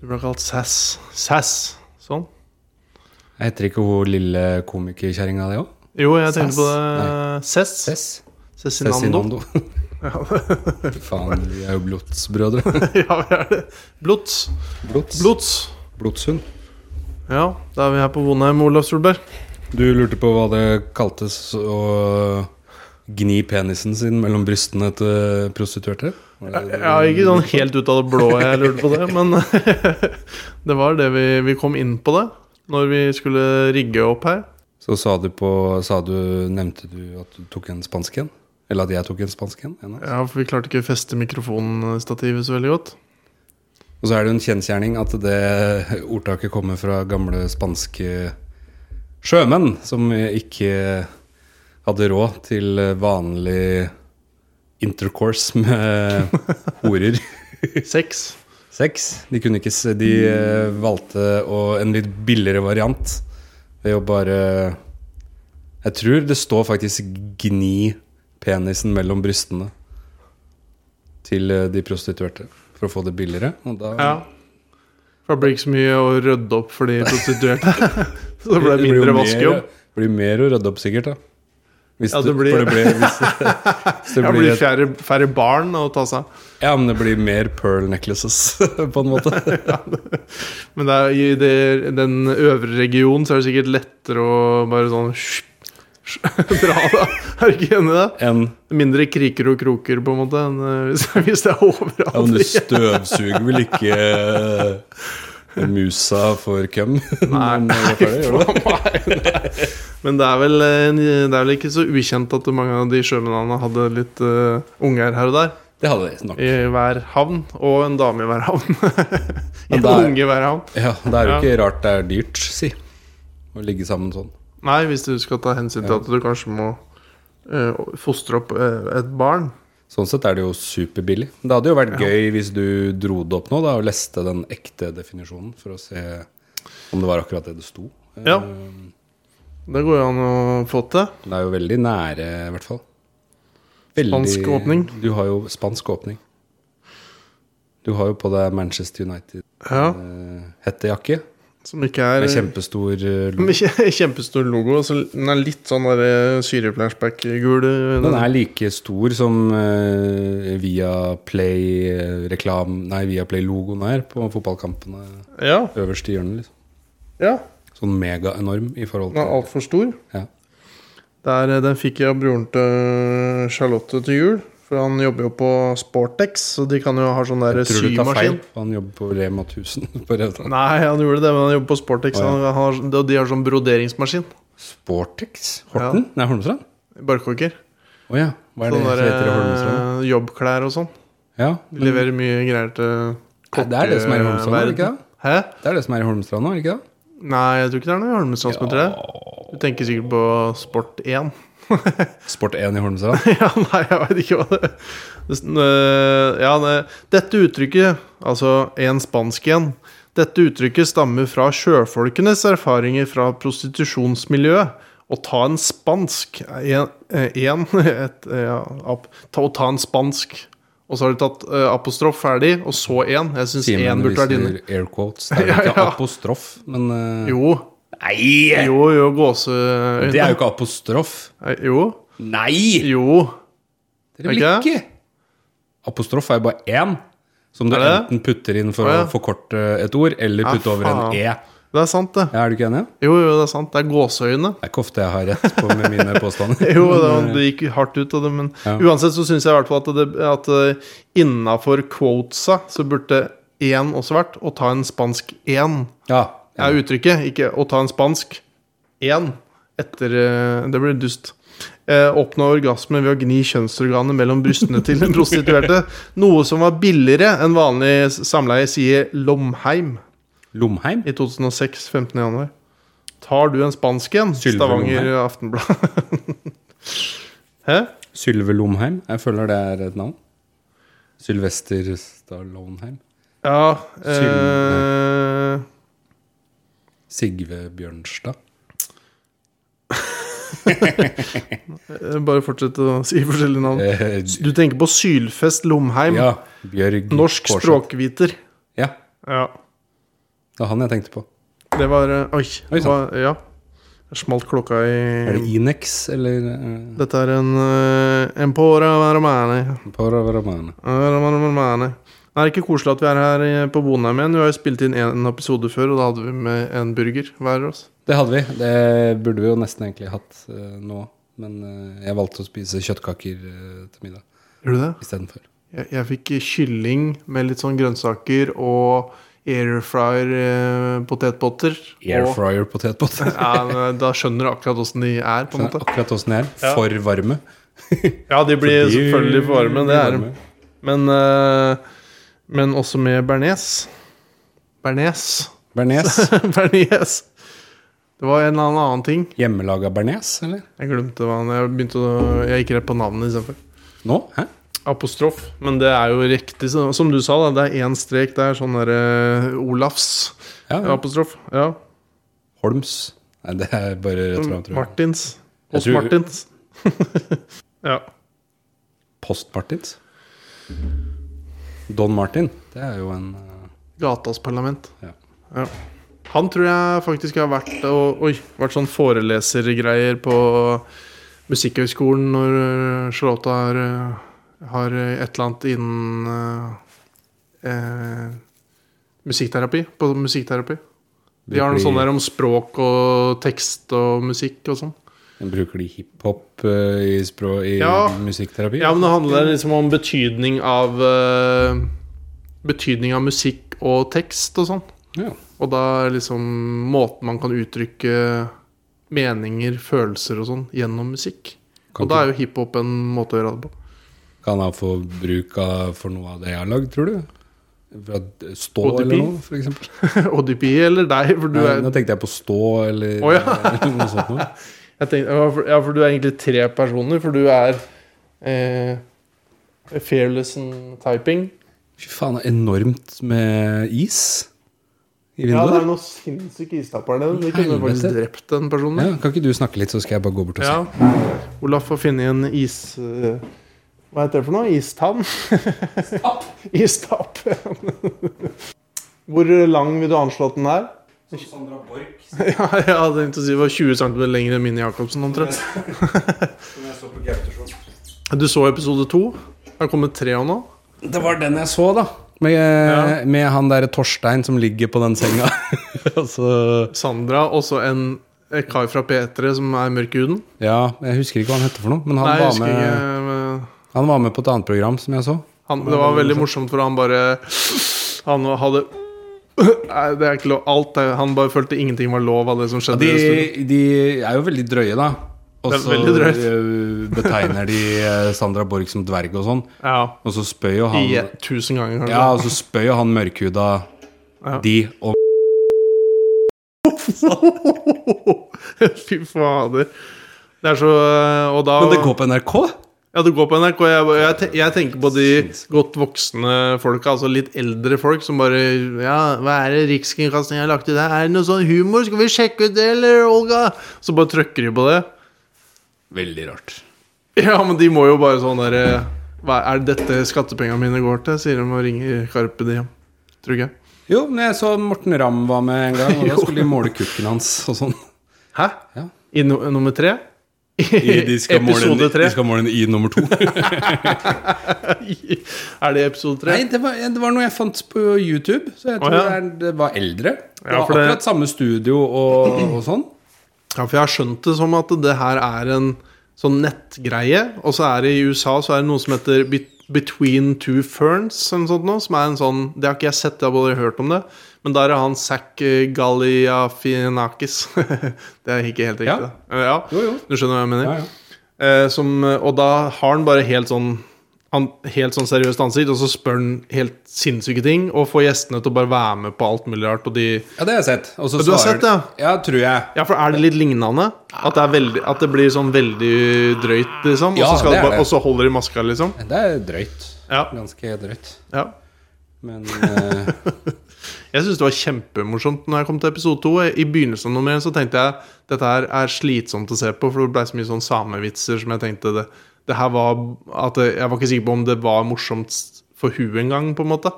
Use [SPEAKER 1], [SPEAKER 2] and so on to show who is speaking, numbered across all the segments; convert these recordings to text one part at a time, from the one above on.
[SPEAKER 1] Du ble kalt Sass. Sass. Sånn.
[SPEAKER 2] Heter ikke hun lille komikerkjerringa det òg?
[SPEAKER 1] Jo, jeg tenkte
[SPEAKER 2] Sass?
[SPEAKER 1] på det. Cess.
[SPEAKER 2] Cess?
[SPEAKER 1] Cezinando.
[SPEAKER 2] Cezinando.
[SPEAKER 1] Ja,
[SPEAKER 2] Fy Faen, vi er jo blodsbrødre.
[SPEAKER 1] ja, vi er det. Blods.
[SPEAKER 2] Blods.
[SPEAKER 1] Blods.
[SPEAKER 2] Blodshund.
[SPEAKER 1] Ja, da er vi her på Vonheim, Olav Solberg.
[SPEAKER 2] Du lurte på hva det kaltes å gni penisen sin mellom brystene til prostituerte? Var det-
[SPEAKER 1] Ja, ikke sånn helt ut av det blå jeg lurte på det, men det var det vi, vi kom inn på det når vi skulle rigge opp her.
[SPEAKER 2] Så sa du på sa du, Nevnte du at du tok en spansk en? Eller at jeg tok en spansk en? en av oss?
[SPEAKER 1] Ja, for vi klarte ikke å feste mikrofonstativet så veldig godt.
[SPEAKER 2] Og så er det jo en kjensgjerning at det ordtaket kommer fra gamle spanske sjømenn som ikke hadde råd til vanlig intercourse med horer.
[SPEAKER 1] Seks.
[SPEAKER 2] Sex. De kunne ikke se De eh, valgte å, en litt billigere variant ved å bare Jeg tror det står faktisk 'gni penisen mellom brystene' til eh, de prostituerte for å få det billigere. Og da
[SPEAKER 1] Ja. For det blir ikke så mye å rydde opp for de prostituerte. så det ble
[SPEAKER 2] jo
[SPEAKER 1] mindre
[SPEAKER 2] mer-
[SPEAKER 1] vaskejobb.
[SPEAKER 2] blir mer å rydde opp, sikkert. da hvis
[SPEAKER 1] Ja,
[SPEAKER 2] du-
[SPEAKER 1] det blir-
[SPEAKER 2] for det blir, hvis, hvis det
[SPEAKER 1] Ja, det
[SPEAKER 2] blir
[SPEAKER 1] blir
[SPEAKER 2] et,
[SPEAKER 1] færre, færre barn å ta seg av.
[SPEAKER 2] ja, men det blir mer pearl necklaces, på en måte.
[SPEAKER 1] Men det er, i det, den øvre regionen så er det sikkert lettere å bare sånn sj- sj- dra, da. Er du ikke enig i det?
[SPEAKER 2] Enn
[SPEAKER 1] Mindre kriker og kroker, på en måte, enn eh, hvis, hvis det er overalt.
[SPEAKER 2] Ja, men du støvsuger vel ikke eh, musa for køm?
[SPEAKER 1] Nei.
[SPEAKER 2] Når det er ferdig, gjør du det?
[SPEAKER 1] Men det er, vel, eh, det er vel ikke så ukjent at mange av de sjømennene hadde litt eh, unger her og der.
[SPEAKER 2] Det hadde jeg nok.
[SPEAKER 1] I hver havn, og en dame i hver havn.
[SPEAKER 2] Men
[SPEAKER 1] en
[SPEAKER 2] det er-
[SPEAKER 1] unge i hver havn.
[SPEAKER 2] Ja, det er jo
[SPEAKER 1] Ja.
[SPEAKER 2] ikke rart det er dyrt, si. Å ligge sammen sånn.
[SPEAKER 1] Nei, hvis du skal ta hensyn til
[SPEAKER 2] Ja.
[SPEAKER 1] at du kanskje må eh, fostre opp eh, et barn.
[SPEAKER 2] Sånn sett er det jo superbillig. Det hadde jo vært gøy hvis du dro det opp nå da, og leste den ekte definisjonen for å se om det var akkurat det det sto. Eh,
[SPEAKER 1] Ja. Det går jo an å få til.
[SPEAKER 2] Det er jo veldig nære, i hvert fall.
[SPEAKER 1] Spansk åpning.
[SPEAKER 2] Du har jo spansk åpning. Du har jo på deg Manchester
[SPEAKER 1] Ja,
[SPEAKER 2] United-hettejakke.
[SPEAKER 1] som ikke er,
[SPEAKER 2] Eh, Det er kjempestor eh, lo-
[SPEAKER 1] Med kje- kjempestor logo. Så den er litt sånn der, eh, syreflashback-gul. eh,
[SPEAKER 2] Den er like stor som eh, Viaplay-reklam... Nei, Viaplay-logoen er på fotballkampene
[SPEAKER 1] Ja.
[SPEAKER 2] øverst i hjørnet. liksom.
[SPEAKER 1] ja.
[SPEAKER 2] Sånn megaenorm i forhold
[SPEAKER 1] Den er
[SPEAKER 2] til
[SPEAKER 1] altfor stor.
[SPEAKER 2] Ja.
[SPEAKER 1] Det er, eh, den fikk jeg av broren til eh, Charlotte til jul. For han jobber jo på Sportex, så de kan jo ha sånn der
[SPEAKER 2] Jeg tror du tar feil,
[SPEAKER 1] symaskin.
[SPEAKER 2] for han jobber på Rema 1000 på Revdal.
[SPEAKER 1] Nei, han gjorde det, men han jobber på Sportex,
[SPEAKER 2] Å, ja.
[SPEAKER 1] han har, og de har sånn broderingsmaskin.
[SPEAKER 2] Sportex? Horten? Nei, Holmestrand?
[SPEAKER 1] Barkåker.
[SPEAKER 2] Å ja. Hva er det
[SPEAKER 1] Sånne
[SPEAKER 2] som heter i Holmestrand?
[SPEAKER 1] der, Sånn eh, jobbklær og sånn.
[SPEAKER 2] Ja.
[SPEAKER 1] De leverer mye greier til
[SPEAKER 2] Nei, det er det som er i Holmestrand, er det ikke
[SPEAKER 1] kokkeverden. Hæ?
[SPEAKER 2] Det er det som er i Holmestrand nå, er det ikke det?
[SPEAKER 1] Nei, jeg tror ikke det er noe i Holmestrand som heter det. Du tenker sikkert på Sport 1.
[SPEAKER 2] Sport 1 i Holmestrand?
[SPEAKER 1] ja, nei, jeg veit ikke hva det det s- øh, Ja, det, dette uttrykket, altså en spansk en, dette uttrykket stammer fra sjøfolkenes erfaringer fra prostitusjonsmiljøet. Å ta en spansk en, en, et, ja, ap, ta, Å ta en spansk Og så har de tatt eh, apostrof ferdig, og så en. Jeg syns en
[SPEAKER 2] Simen
[SPEAKER 1] burde vært inne.
[SPEAKER 2] viser air quotes. Det er jo
[SPEAKER 1] Ja,
[SPEAKER 2] ikke
[SPEAKER 1] ja.
[SPEAKER 2] apostrof, men eh,
[SPEAKER 1] Jo.
[SPEAKER 2] Nei!
[SPEAKER 1] Jo, jo, gåseøyne.
[SPEAKER 2] Det er jo ikke apostrof.
[SPEAKER 1] Jo.
[SPEAKER 2] Nei!
[SPEAKER 1] Jo.
[SPEAKER 2] Dere blir
[SPEAKER 1] Ikke?
[SPEAKER 2] ikke Apostrof er jo bare én, som du
[SPEAKER 1] Er det?
[SPEAKER 2] enten putter inn for
[SPEAKER 1] Å, ja.
[SPEAKER 2] å forkorte et ord, eller
[SPEAKER 1] Ja,
[SPEAKER 2] putte over en
[SPEAKER 1] faen.
[SPEAKER 2] e.
[SPEAKER 1] Det er sant, det.
[SPEAKER 2] Ja, er du ikke enig?
[SPEAKER 1] Jo, jo, det er sant. Det er gåseøyne.
[SPEAKER 2] Det er ikke ofte jeg har rett på med mine påstander.
[SPEAKER 1] Jo, det, var- det gikk hardt ut av det, men
[SPEAKER 2] eh, Ja.
[SPEAKER 1] uansett så syns jeg i hvert fall at, det- at eh, innafor quotesa så burde én også vært å ta en spansk én.
[SPEAKER 2] Ja,
[SPEAKER 1] Det er uttrykket, ikke å ta en spansk én etter eh, Det blir dust. Eh, Oppnå orgasme ved å gni kjønnsorganet mellom brystene til den prostituerte. Noe som var billigere enn vanlig s- samleie, sier Lomheim
[SPEAKER 2] Lomheim?
[SPEAKER 1] i 2006. 15. januar. Tar du en spansk en?
[SPEAKER 2] Sylve
[SPEAKER 1] Stavanger
[SPEAKER 2] Lomheim.
[SPEAKER 1] Aftenblad. Hæ?
[SPEAKER 2] Sylve Lomheim? Jeg føler det er et navn. Sylvester Stallonheim?
[SPEAKER 1] Ja
[SPEAKER 2] Sylve.
[SPEAKER 1] eh,
[SPEAKER 2] Sigve Bjørnstad?
[SPEAKER 1] Bare fortsett å si forskjellige navn.
[SPEAKER 2] Eh,
[SPEAKER 1] Du tenker på Sylfest Lomheim.
[SPEAKER 2] ja. Bjørg
[SPEAKER 1] Norsk
[SPEAKER 2] Kårseth.
[SPEAKER 1] språkviter.
[SPEAKER 2] Ja.
[SPEAKER 1] Ja.
[SPEAKER 2] Det er han jeg tenkte på.
[SPEAKER 1] Det var eh, Oi.
[SPEAKER 2] Oi, sånn.
[SPEAKER 1] det var, ja. Jeg Smalt klokka
[SPEAKER 2] Er det
[SPEAKER 1] i
[SPEAKER 2] Inex eller eh,
[SPEAKER 1] Dette er en eh, Empora Romane.
[SPEAKER 2] Pora Romana?
[SPEAKER 1] Romane. Det er ikke koselig at vi er her eh, på Bonheim igjen. Vi har jo spilt inn en episode før, og da hadde vi med en burger hver av oss.
[SPEAKER 2] Det hadde vi. Det burde vi jo nesten egentlig hatt eh, nå. Men eh, jeg valgte å spise kjøttkaker eh, til middag
[SPEAKER 1] Gjorde du det?
[SPEAKER 2] istedenfor.
[SPEAKER 1] Jeg, jeg fikk kylling med litt sånn grønnsaker og airfryer eh, potetpotter.
[SPEAKER 2] Air
[SPEAKER 1] Og,
[SPEAKER 2] fryer potetbåter.
[SPEAKER 1] ja, men da skjønner du akkurat åssen de er, på en måte.
[SPEAKER 2] Akkurat åssen de er.
[SPEAKER 1] Ja.
[SPEAKER 2] For varme.
[SPEAKER 1] Ja, de blir
[SPEAKER 2] De-
[SPEAKER 1] selvfølgelig for varme, det er de.
[SPEAKER 2] varme.
[SPEAKER 1] Men, eh, men også med bearnés. Bearnés.
[SPEAKER 2] Bearnés.
[SPEAKER 1] bearnés. Det var en eller annen annen ting.
[SPEAKER 2] Hjemmelaga bearnés, eller?
[SPEAKER 1] Jeg glemte hva han Jeg begynte å Jeg gikk rett på navnet istedenfor.
[SPEAKER 2] Nå? Hæ?
[SPEAKER 1] Apostrof. Men det er jo riktig, så- som du sa. da Det er én strek der. Sånn derre Olafs
[SPEAKER 2] Ja, ja.
[SPEAKER 1] apostrof. Ja.
[SPEAKER 2] Holms. Nei, det er bare rett fram, tror jeg.
[SPEAKER 1] Martins.
[SPEAKER 2] Jeg
[SPEAKER 1] Hos
[SPEAKER 2] tror-
[SPEAKER 1] Martins. ja.
[SPEAKER 2] Post-Martins. Don Martin. Det er jo en eh,
[SPEAKER 1] Gatas parlament.
[SPEAKER 2] Ja.
[SPEAKER 1] Ja. Han tror jeg faktisk har vært og, Oi, vært sånn forelesergreier på Musikkhøgskolen når øh, Charlotte har, øh, har øh, et eller annet innen øh, eh, musikkterapi. På musikkterapi. De har noe sånt der om språk og tekst og musikk og sånn.
[SPEAKER 2] Bruker de hiphop eh, i, språ- i
[SPEAKER 1] Ja.
[SPEAKER 2] musikkterapi?
[SPEAKER 1] Ja, men det handler liksom om betydning av øh, Betydning av musikk og tekst og sånn.
[SPEAKER 2] Ja.
[SPEAKER 1] Og da er liksom måten man kan uttrykke meninger, følelser og sånn gjennom musikk.
[SPEAKER 2] Kan
[SPEAKER 1] og da er jo hiphop en måte å gjøre det på.
[SPEAKER 2] Kan han få bruk av for noe av det jeg har lagd, tror du? Fra d- stå
[SPEAKER 1] ODP?
[SPEAKER 2] eller noe, for eksempel?
[SPEAKER 1] ODP eller deg, for du
[SPEAKER 2] Nei,
[SPEAKER 1] er
[SPEAKER 2] nå tenkte jeg på stå eller
[SPEAKER 1] Å, ja.
[SPEAKER 2] eller noe sånt noe.
[SPEAKER 1] jeg tenkte, ja, for- Ja, for du er egentlig tre personer, for du er eh, Fearless and typing.
[SPEAKER 2] Fy faen, det er enormt med is i
[SPEAKER 1] Ja, det er
[SPEAKER 2] vinduet.
[SPEAKER 1] noen sinnssyke istapper der. nede. De kunne
[SPEAKER 2] Helvete.
[SPEAKER 1] faktisk drept den personen.
[SPEAKER 2] Ja,
[SPEAKER 1] der.
[SPEAKER 2] kan ikke du snakke litt, så skal jeg bare gå bort og se.
[SPEAKER 1] Ja. Olaf har funnet en is... eh, Hva heter det for noe? Istann? Istapp. Hvor lang vil du anslå at den er?
[SPEAKER 2] Sandra Borch,
[SPEAKER 1] Ja, jeg hadde tenkt å si det var 20 cm lenger enn Mini Jacobsen omtrent.
[SPEAKER 2] som jeg så på Gautershow.
[SPEAKER 1] Du så episode to. Det har kommet tre av nå.
[SPEAKER 2] Det var den jeg så, da. Med,
[SPEAKER 1] Ja.
[SPEAKER 2] med han derre Torstein som ligger på den senga. altså
[SPEAKER 1] Sandra og så en en kar fra P3 som er mørk i huden.
[SPEAKER 2] Ja, jeg husker ikke hva han hette for noe, men han,
[SPEAKER 1] Nei, jeg
[SPEAKER 2] var,
[SPEAKER 1] husker
[SPEAKER 2] med,
[SPEAKER 1] ikke. men
[SPEAKER 2] han var med på et annet program som jeg så.
[SPEAKER 1] Han, det var veldig morsomt, for han bare Han hadde Nei, det er ikke lov. Alt er, han bare følte ingenting var lov av det som skjedde.
[SPEAKER 2] De,
[SPEAKER 1] i studio.
[SPEAKER 2] de er jo veldig drøye, da. Og
[SPEAKER 1] Det er
[SPEAKER 2] så
[SPEAKER 1] veldig drøyt.
[SPEAKER 2] øh, betegner de eh, Sandra Borch som dverg og sånn.
[SPEAKER 1] ja,
[SPEAKER 2] Og så spør jo han
[SPEAKER 1] i, tusen ganger, kanskje.
[SPEAKER 2] Ja, og så spør jo han mørkhuda
[SPEAKER 1] Ja.
[SPEAKER 2] de om
[SPEAKER 1] Fy fader. Det er så eh, Og da
[SPEAKER 2] altså. Men det går på NRK?
[SPEAKER 1] Ja, det går på NRK. Jeg, jeg, te- jeg tenker på de godt voksne folka, altså litt eldre folk, som bare Ja, hva er det Rikskringkastingen har lagt ut her? Er det noe sånn humor? Skal vi sjekke ut det, eller, Olga? Så bare trykker de på det.
[SPEAKER 2] Veldig rart.
[SPEAKER 1] Ja, men de må jo bare sånn derre Hva er det dette skattepengene mine går til? Sier de og ringer Karpe Diem. Tror ikke jeg.
[SPEAKER 2] Jo, men jeg så Morten Ramm var med en gang, og da skulle de måle kukken hans og sånn.
[SPEAKER 1] Hæ?
[SPEAKER 2] Ja.
[SPEAKER 1] I no nummer tre?
[SPEAKER 2] I- De skal måle den-
[SPEAKER 1] episode tre?
[SPEAKER 2] de skal måle den i nummer to.
[SPEAKER 1] Er det episode tre?
[SPEAKER 2] Nei, det var, det var noe jeg fant på YouTube. Så jeg tror
[SPEAKER 1] Å, ja.
[SPEAKER 2] det, er, det var eldre. Det
[SPEAKER 1] Ja,
[SPEAKER 2] var
[SPEAKER 1] for det-
[SPEAKER 2] akkurat samme studio og, og sånn.
[SPEAKER 1] Ja, for jeg har skjønt det som at det her er en sånn nettgreie. Og så er det i USA så er det noe som heter Be- Between Two Ferns, eller noe sånt nå. Som er en sånn Det har ikke jeg sett, jeg har bare hørt om det. Men der er han Zack Galliafinakis. det er ikke helt riktig. det.
[SPEAKER 2] Ja.
[SPEAKER 1] Eh, ja.
[SPEAKER 2] Jo, jo.
[SPEAKER 1] Du skjønner hva jeg mener?
[SPEAKER 2] Ja, ja.
[SPEAKER 1] Eh, som, og da har han bare helt sånn han, Helt sånn seriøst ansikt, og så spør han helt sinnssyke ting. Og får gjestene til å bare være med på alt mulig rart. Og de
[SPEAKER 2] Ja, det har jeg sett. Og så
[SPEAKER 1] Ja, du har
[SPEAKER 2] svarer-
[SPEAKER 1] sett det,
[SPEAKER 2] Ja, tror jeg.
[SPEAKER 1] Ja, for er det litt lignende? At det, er veldig, at det blir sånn veldig drøyt, liksom?
[SPEAKER 2] Ja,
[SPEAKER 1] og, så skal
[SPEAKER 2] det er
[SPEAKER 1] det bare,
[SPEAKER 2] det.
[SPEAKER 1] og så holder de maska, liksom?
[SPEAKER 2] Det er drøyt.
[SPEAKER 1] Ja.
[SPEAKER 2] Ganske drøyt.
[SPEAKER 1] ja.
[SPEAKER 2] Men eh,
[SPEAKER 1] Jeg syns det var kjempemorsomt når jeg kom til episode to. I begynnelsen av nummer én så tenkte jeg dette her er slitsomt å se på, for det blei så mye sånn samevitser som jeg tenkte det, det her var at Jeg var ikke sikker på om det var morsomt for hun engang, på en måte.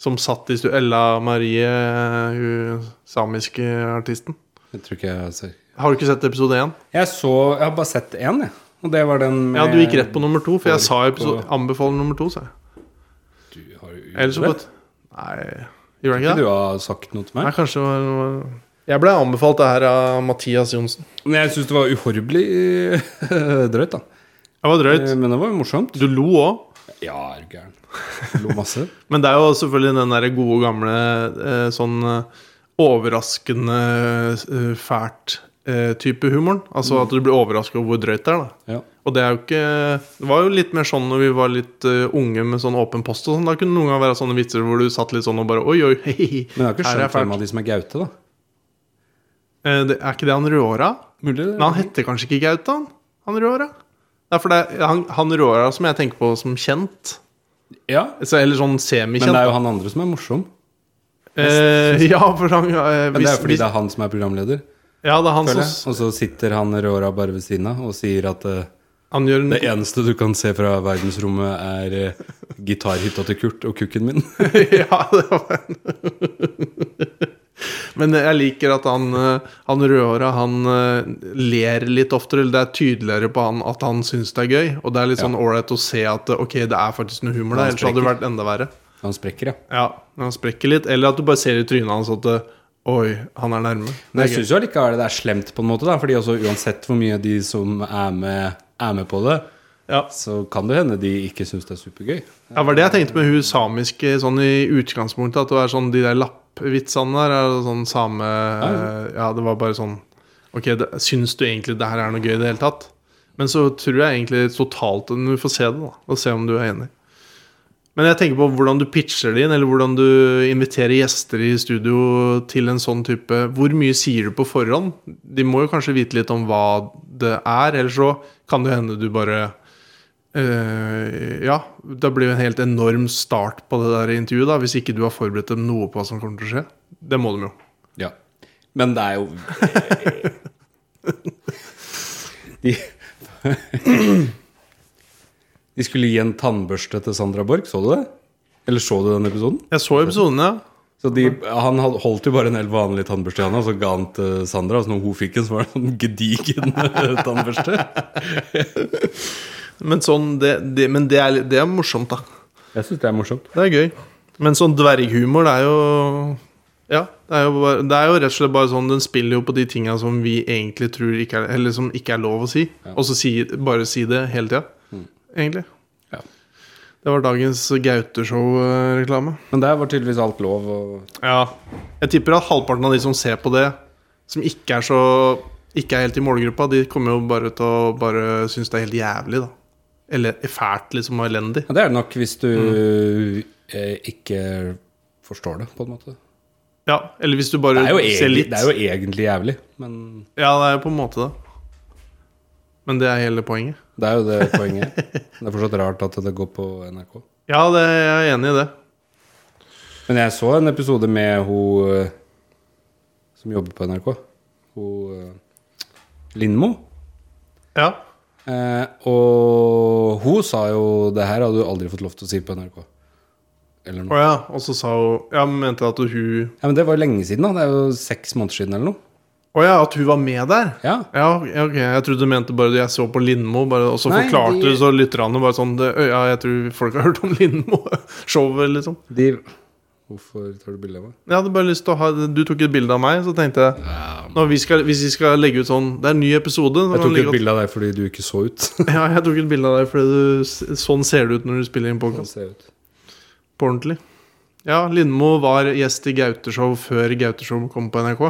[SPEAKER 1] Som satt i stu... Ella Marie, hun samiske artisten.
[SPEAKER 2] Jeg tror ikke jeg har sett
[SPEAKER 1] Har du ikke sett episode én?
[SPEAKER 2] Jeg så Jeg har bare sett én, jeg. Og det var den
[SPEAKER 1] Ja, du gikk rett på nummer to, for jeg
[SPEAKER 2] Folk
[SPEAKER 1] sa episode,
[SPEAKER 2] og-
[SPEAKER 1] anbefaler nummer to, sa jeg.
[SPEAKER 2] Du har jo
[SPEAKER 1] Ellers så
[SPEAKER 2] gjort
[SPEAKER 1] bare Nei, gjorde jeg ikke det?
[SPEAKER 2] det. Du har sagt noe til
[SPEAKER 1] Nei,
[SPEAKER 2] meg.
[SPEAKER 1] kanskje det var noe- Jeg ble anbefalt det her av Mathias Johnsen.
[SPEAKER 2] Men jeg syns det var uhorvelig drøyt, da.
[SPEAKER 1] Det var drøyt.
[SPEAKER 2] Eh, Men det var jo morsomt.
[SPEAKER 1] Du lo òg.
[SPEAKER 2] Ja, er du gæren. Lo masse.
[SPEAKER 1] Men det er jo selvfølgelig den der gode gamle eh, sånn eh, overraskende eh, fælt eh, type humoren. Altså at du blir overraska over hvor drøyt det er. da
[SPEAKER 2] Ja.
[SPEAKER 1] Og det er jo ikke Det var jo litt mer sånn når vi var litt eh, unge med sånn åpen post og sånn. Da kunne det noen ganger være sånne vitser hvor du satt litt sånn og bare oi, oi, hei, hei.
[SPEAKER 2] Men jeg har ikke
[SPEAKER 1] Her er
[SPEAKER 2] skjønt
[SPEAKER 1] fælt.
[SPEAKER 2] hvem av de som er Gaute, da.
[SPEAKER 1] Eh, det, er ikke det han Råra?
[SPEAKER 2] Mulig det.
[SPEAKER 1] Men han heter kanskje ikke Gautan? Han Råra? Det er for det er han, han Råra som jeg tenker på som kjent.
[SPEAKER 2] Ja.
[SPEAKER 1] Så, eller sånn
[SPEAKER 2] Men det
[SPEAKER 1] semikjent.
[SPEAKER 2] er jo han andre som er morsom.
[SPEAKER 1] Eh, ja, for han eh,
[SPEAKER 2] Men det
[SPEAKER 1] hvis-
[SPEAKER 2] er fordi
[SPEAKER 1] hvis-
[SPEAKER 2] det er han som er programleder.
[SPEAKER 1] Ja, det er han
[SPEAKER 2] føler jeg.
[SPEAKER 1] som
[SPEAKER 2] Og så sitter han Rora bare ved siden av og sier at eh,
[SPEAKER 1] Han gjør en
[SPEAKER 2] det eneste du kan se fra verdensrommet, er eh, gitarhytta til Kurt og kukken min.
[SPEAKER 1] Ja, det var en Men jeg liker at han, eh, han rødhåra, han eh, ler litt oftere. eller Det er tydeligere på han at han syns det er gøy. Og det er litt sånn ålreit å se at eh, ok, det er faktisk noe humor der.
[SPEAKER 2] Han
[SPEAKER 1] Ellers hadde det vært enda verre.
[SPEAKER 2] Han sprekker, ja.
[SPEAKER 1] Ja, når han sprekker litt. Eller at du bare ser i trynet hans at eh, oi, han er nærme. Det
[SPEAKER 2] Men
[SPEAKER 1] er
[SPEAKER 2] jeg
[SPEAKER 1] gøy.
[SPEAKER 2] syns jo allikevel det er slemt, på en måte, da. Fordi altså, uansett hvor mye de som er med, er med på det,
[SPEAKER 1] Ja.
[SPEAKER 2] så kan det hende de ikke syns det er supergøy.
[SPEAKER 1] Ja, var det jeg tenkte med hun samiske sånn i utgangspunktet. At det var sånn de der lappvitsene der er sånn same Ja, det var bare sånn Ok, det, syns du egentlig det her er noe gøy i det hele tatt? Men så tror jeg egentlig totalt Du får se det, da. Og se om du er enig. Men jeg tenker på hvordan du pitcher det inn, eller hvordan du inviterer gjester i studio til en sånn type Hvor mye sier du på forhånd? De må jo kanskje vite litt om hva det er, eller så kan det hende du bare Eh, ja, det blir jo en helt enorm start på det der intervjuet, da, hvis ikke du har forberedt dem noe på hva som kommer til å skje. Det må de jo.
[SPEAKER 2] Ja. Men det er jo De De skulle gi en tannbørste til Sandra Borch, så du det? Eller så du den episoden?
[SPEAKER 1] Jeg så episoden, ja.
[SPEAKER 2] Så de, Han had- holdt jo bare en helt vanlig tannbørste i handa, og så ga han til Sandra. Og så når hun fikk en, så var det en gedigen tannbørste.
[SPEAKER 1] Men, sånn, det, det, men det, er, litt- det er morsomt, da.
[SPEAKER 2] Jeg syns det er morsomt.
[SPEAKER 1] Det er gøy. Men sånn dverghumor, det er jo Ja. Det er jo, bare, det er jo rett og slett bare sånn Den spiller jo på de tinga som vi egentlig tror ikke er Eller som ikke er lov å si. Og så si, bare si det hele tida, egentlig.
[SPEAKER 2] Ja.
[SPEAKER 1] Det var dagens eh, Gauteshow-reklame.
[SPEAKER 2] Men der var tydeligvis alt lov. Og
[SPEAKER 1] Ja. Jeg tipper at halvparten av de som ser på det, som ikke er så Ikke er helt i målgruppa, de kommer jo bare til å bare synes det er helt jævlig, da. Eller fælt, liksom, og elendig.
[SPEAKER 2] ja, det er det nok hvis du eh, ikke forstår det, på en måte.
[SPEAKER 1] Ja, eller hvis du bare
[SPEAKER 2] Det er jo
[SPEAKER 1] ser
[SPEAKER 2] egentlig,
[SPEAKER 1] litt.
[SPEAKER 2] det er jo egentlig jævlig, men
[SPEAKER 1] Ja, det er jo på en måte det. Men det er hele poenget.
[SPEAKER 2] Det er jo det poenget. Det er fortsatt rart at det går på NRK.
[SPEAKER 1] Ja, det, jeg er enig i det.
[SPEAKER 2] Men jeg så en episode med hun eh, som jobber på NRK. Hun eh, Lindmo.
[SPEAKER 1] Ja.
[SPEAKER 2] Eh, og hun sa jo det her hadde du aldri fått lov til å si på NRK. Eller noe.
[SPEAKER 1] Å ja. Og så sa hun Ja, men mente at hun
[SPEAKER 2] Ja, Men det var jo lenge siden, da. Det er jo seks måneder siden eller noe.
[SPEAKER 1] Å ja, at hun var med der?
[SPEAKER 2] Ja.
[SPEAKER 1] Ja, ja, ok. Jeg trodde du mente bare jeg så på Lindmo, bare, og så
[SPEAKER 2] Nei,
[SPEAKER 1] forklarte
[SPEAKER 2] de-
[SPEAKER 1] du så lytterne bare sånn det, Ja, jeg tror folk har hørt om Lindmo-showet, liksom.
[SPEAKER 2] De Hvorfor tar du bilde av meg?
[SPEAKER 1] Jeg hadde bare lyst til å ha Du tok et bilde av meg, så tenkte jeg når vi skal, Hvis vi skal legge ut sånn Det er en ny episode. så
[SPEAKER 2] Jeg
[SPEAKER 1] kan vi
[SPEAKER 2] tok et
[SPEAKER 1] legge ut-
[SPEAKER 2] bilde av deg fordi du ikke så ut.
[SPEAKER 1] Ja, jeg tok et bilde av deg, fordi du, s- sånn ser det ut når du spiller inn
[SPEAKER 2] Sånn
[SPEAKER 1] podkast.
[SPEAKER 2] ser jeg ut.
[SPEAKER 1] På ordentlig. Ja, Lindmo var gjest i Gauteshow før Gauteshow kom på NRK.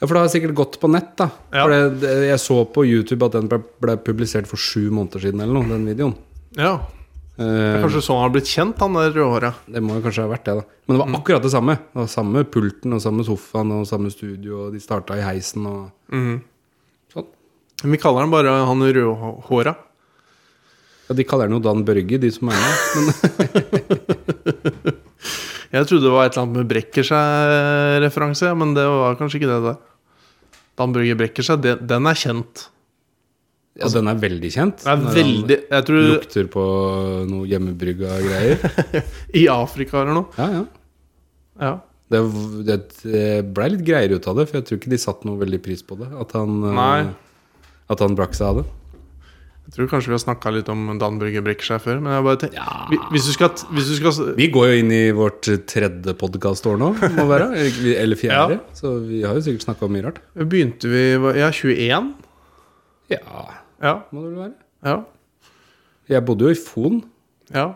[SPEAKER 2] Ja, for det har sikkert gått på nett, da.
[SPEAKER 1] Ja.
[SPEAKER 2] For det, det, jeg så på YouTube at den ble, ble publisert for sju måneder siden eller noe, den videoen.
[SPEAKER 1] Ja,
[SPEAKER 2] Eh,
[SPEAKER 1] Kanskje sånn han har blitt kjent, han der rødhåra.
[SPEAKER 2] det må jo kanskje ha vært det, da. Men det
[SPEAKER 1] Mm.
[SPEAKER 2] var akkurat det samme. Det var samme pulten og samme sofaen og samme studio, og de starta i heisen og sånn.
[SPEAKER 1] Vi kaller han bare han rødhåra.
[SPEAKER 2] Ja, de kaller den jo Dan Børge, de som er med. Men
[SPEAKER 1] Jeg trodde det var et eller annet med brekker seg-referanse, ja, men det var kanskje ikke det der. Dan Børge brekker seg, det, den er kjent.
[SPEAKER 2] ja, den er sånn veldig kjent.
[SPEAKER 1] Den
[SPEAKER 2] Når
[SPEAKER 1] er
[SPEAKER 2] han
[SPEAKER 1] veldig Jeg tror
[SPEAKER 2] Lukter på noe hjemmebrygga greier.
[SPEAKER 1] i Afrika eller noe.
[SPEAKER 2] Ja, ja.
[SPEAKER 1] Ja.
[SPEAKER 2] Det, det, det blei litt greier ut av det, for jeg tror ikke de satte noe veldig pris på det. At han, eh,
[SPEAKER 1] Nei.
[SPEAKER 2] At han brakk seg av det.
[SPEAKER 1] Jeg tror kanskje vi har snakka litt om Dan Børge Brekkskjær før. Men jeg bare tenker, Hvi- hvis du skal, hvis du skal
[SPEAKER 2] Vi går jo inn i vårt tredje podkastår nå, må være. eller- Eller fjerde. Så vi har jo sikkert snakka om mye rart.
[SPEAKER 1] Begynte vi Ja, 21?
[SPEAKER 2] Ja,
[SPEAKER 1] Ja.
[SPEAKER 2] må det vel være.
[SPEAKER 1] Ja.
[SPEAKER 2] Jeg bodde jo i Fon,
[SPEAKER 1] ja.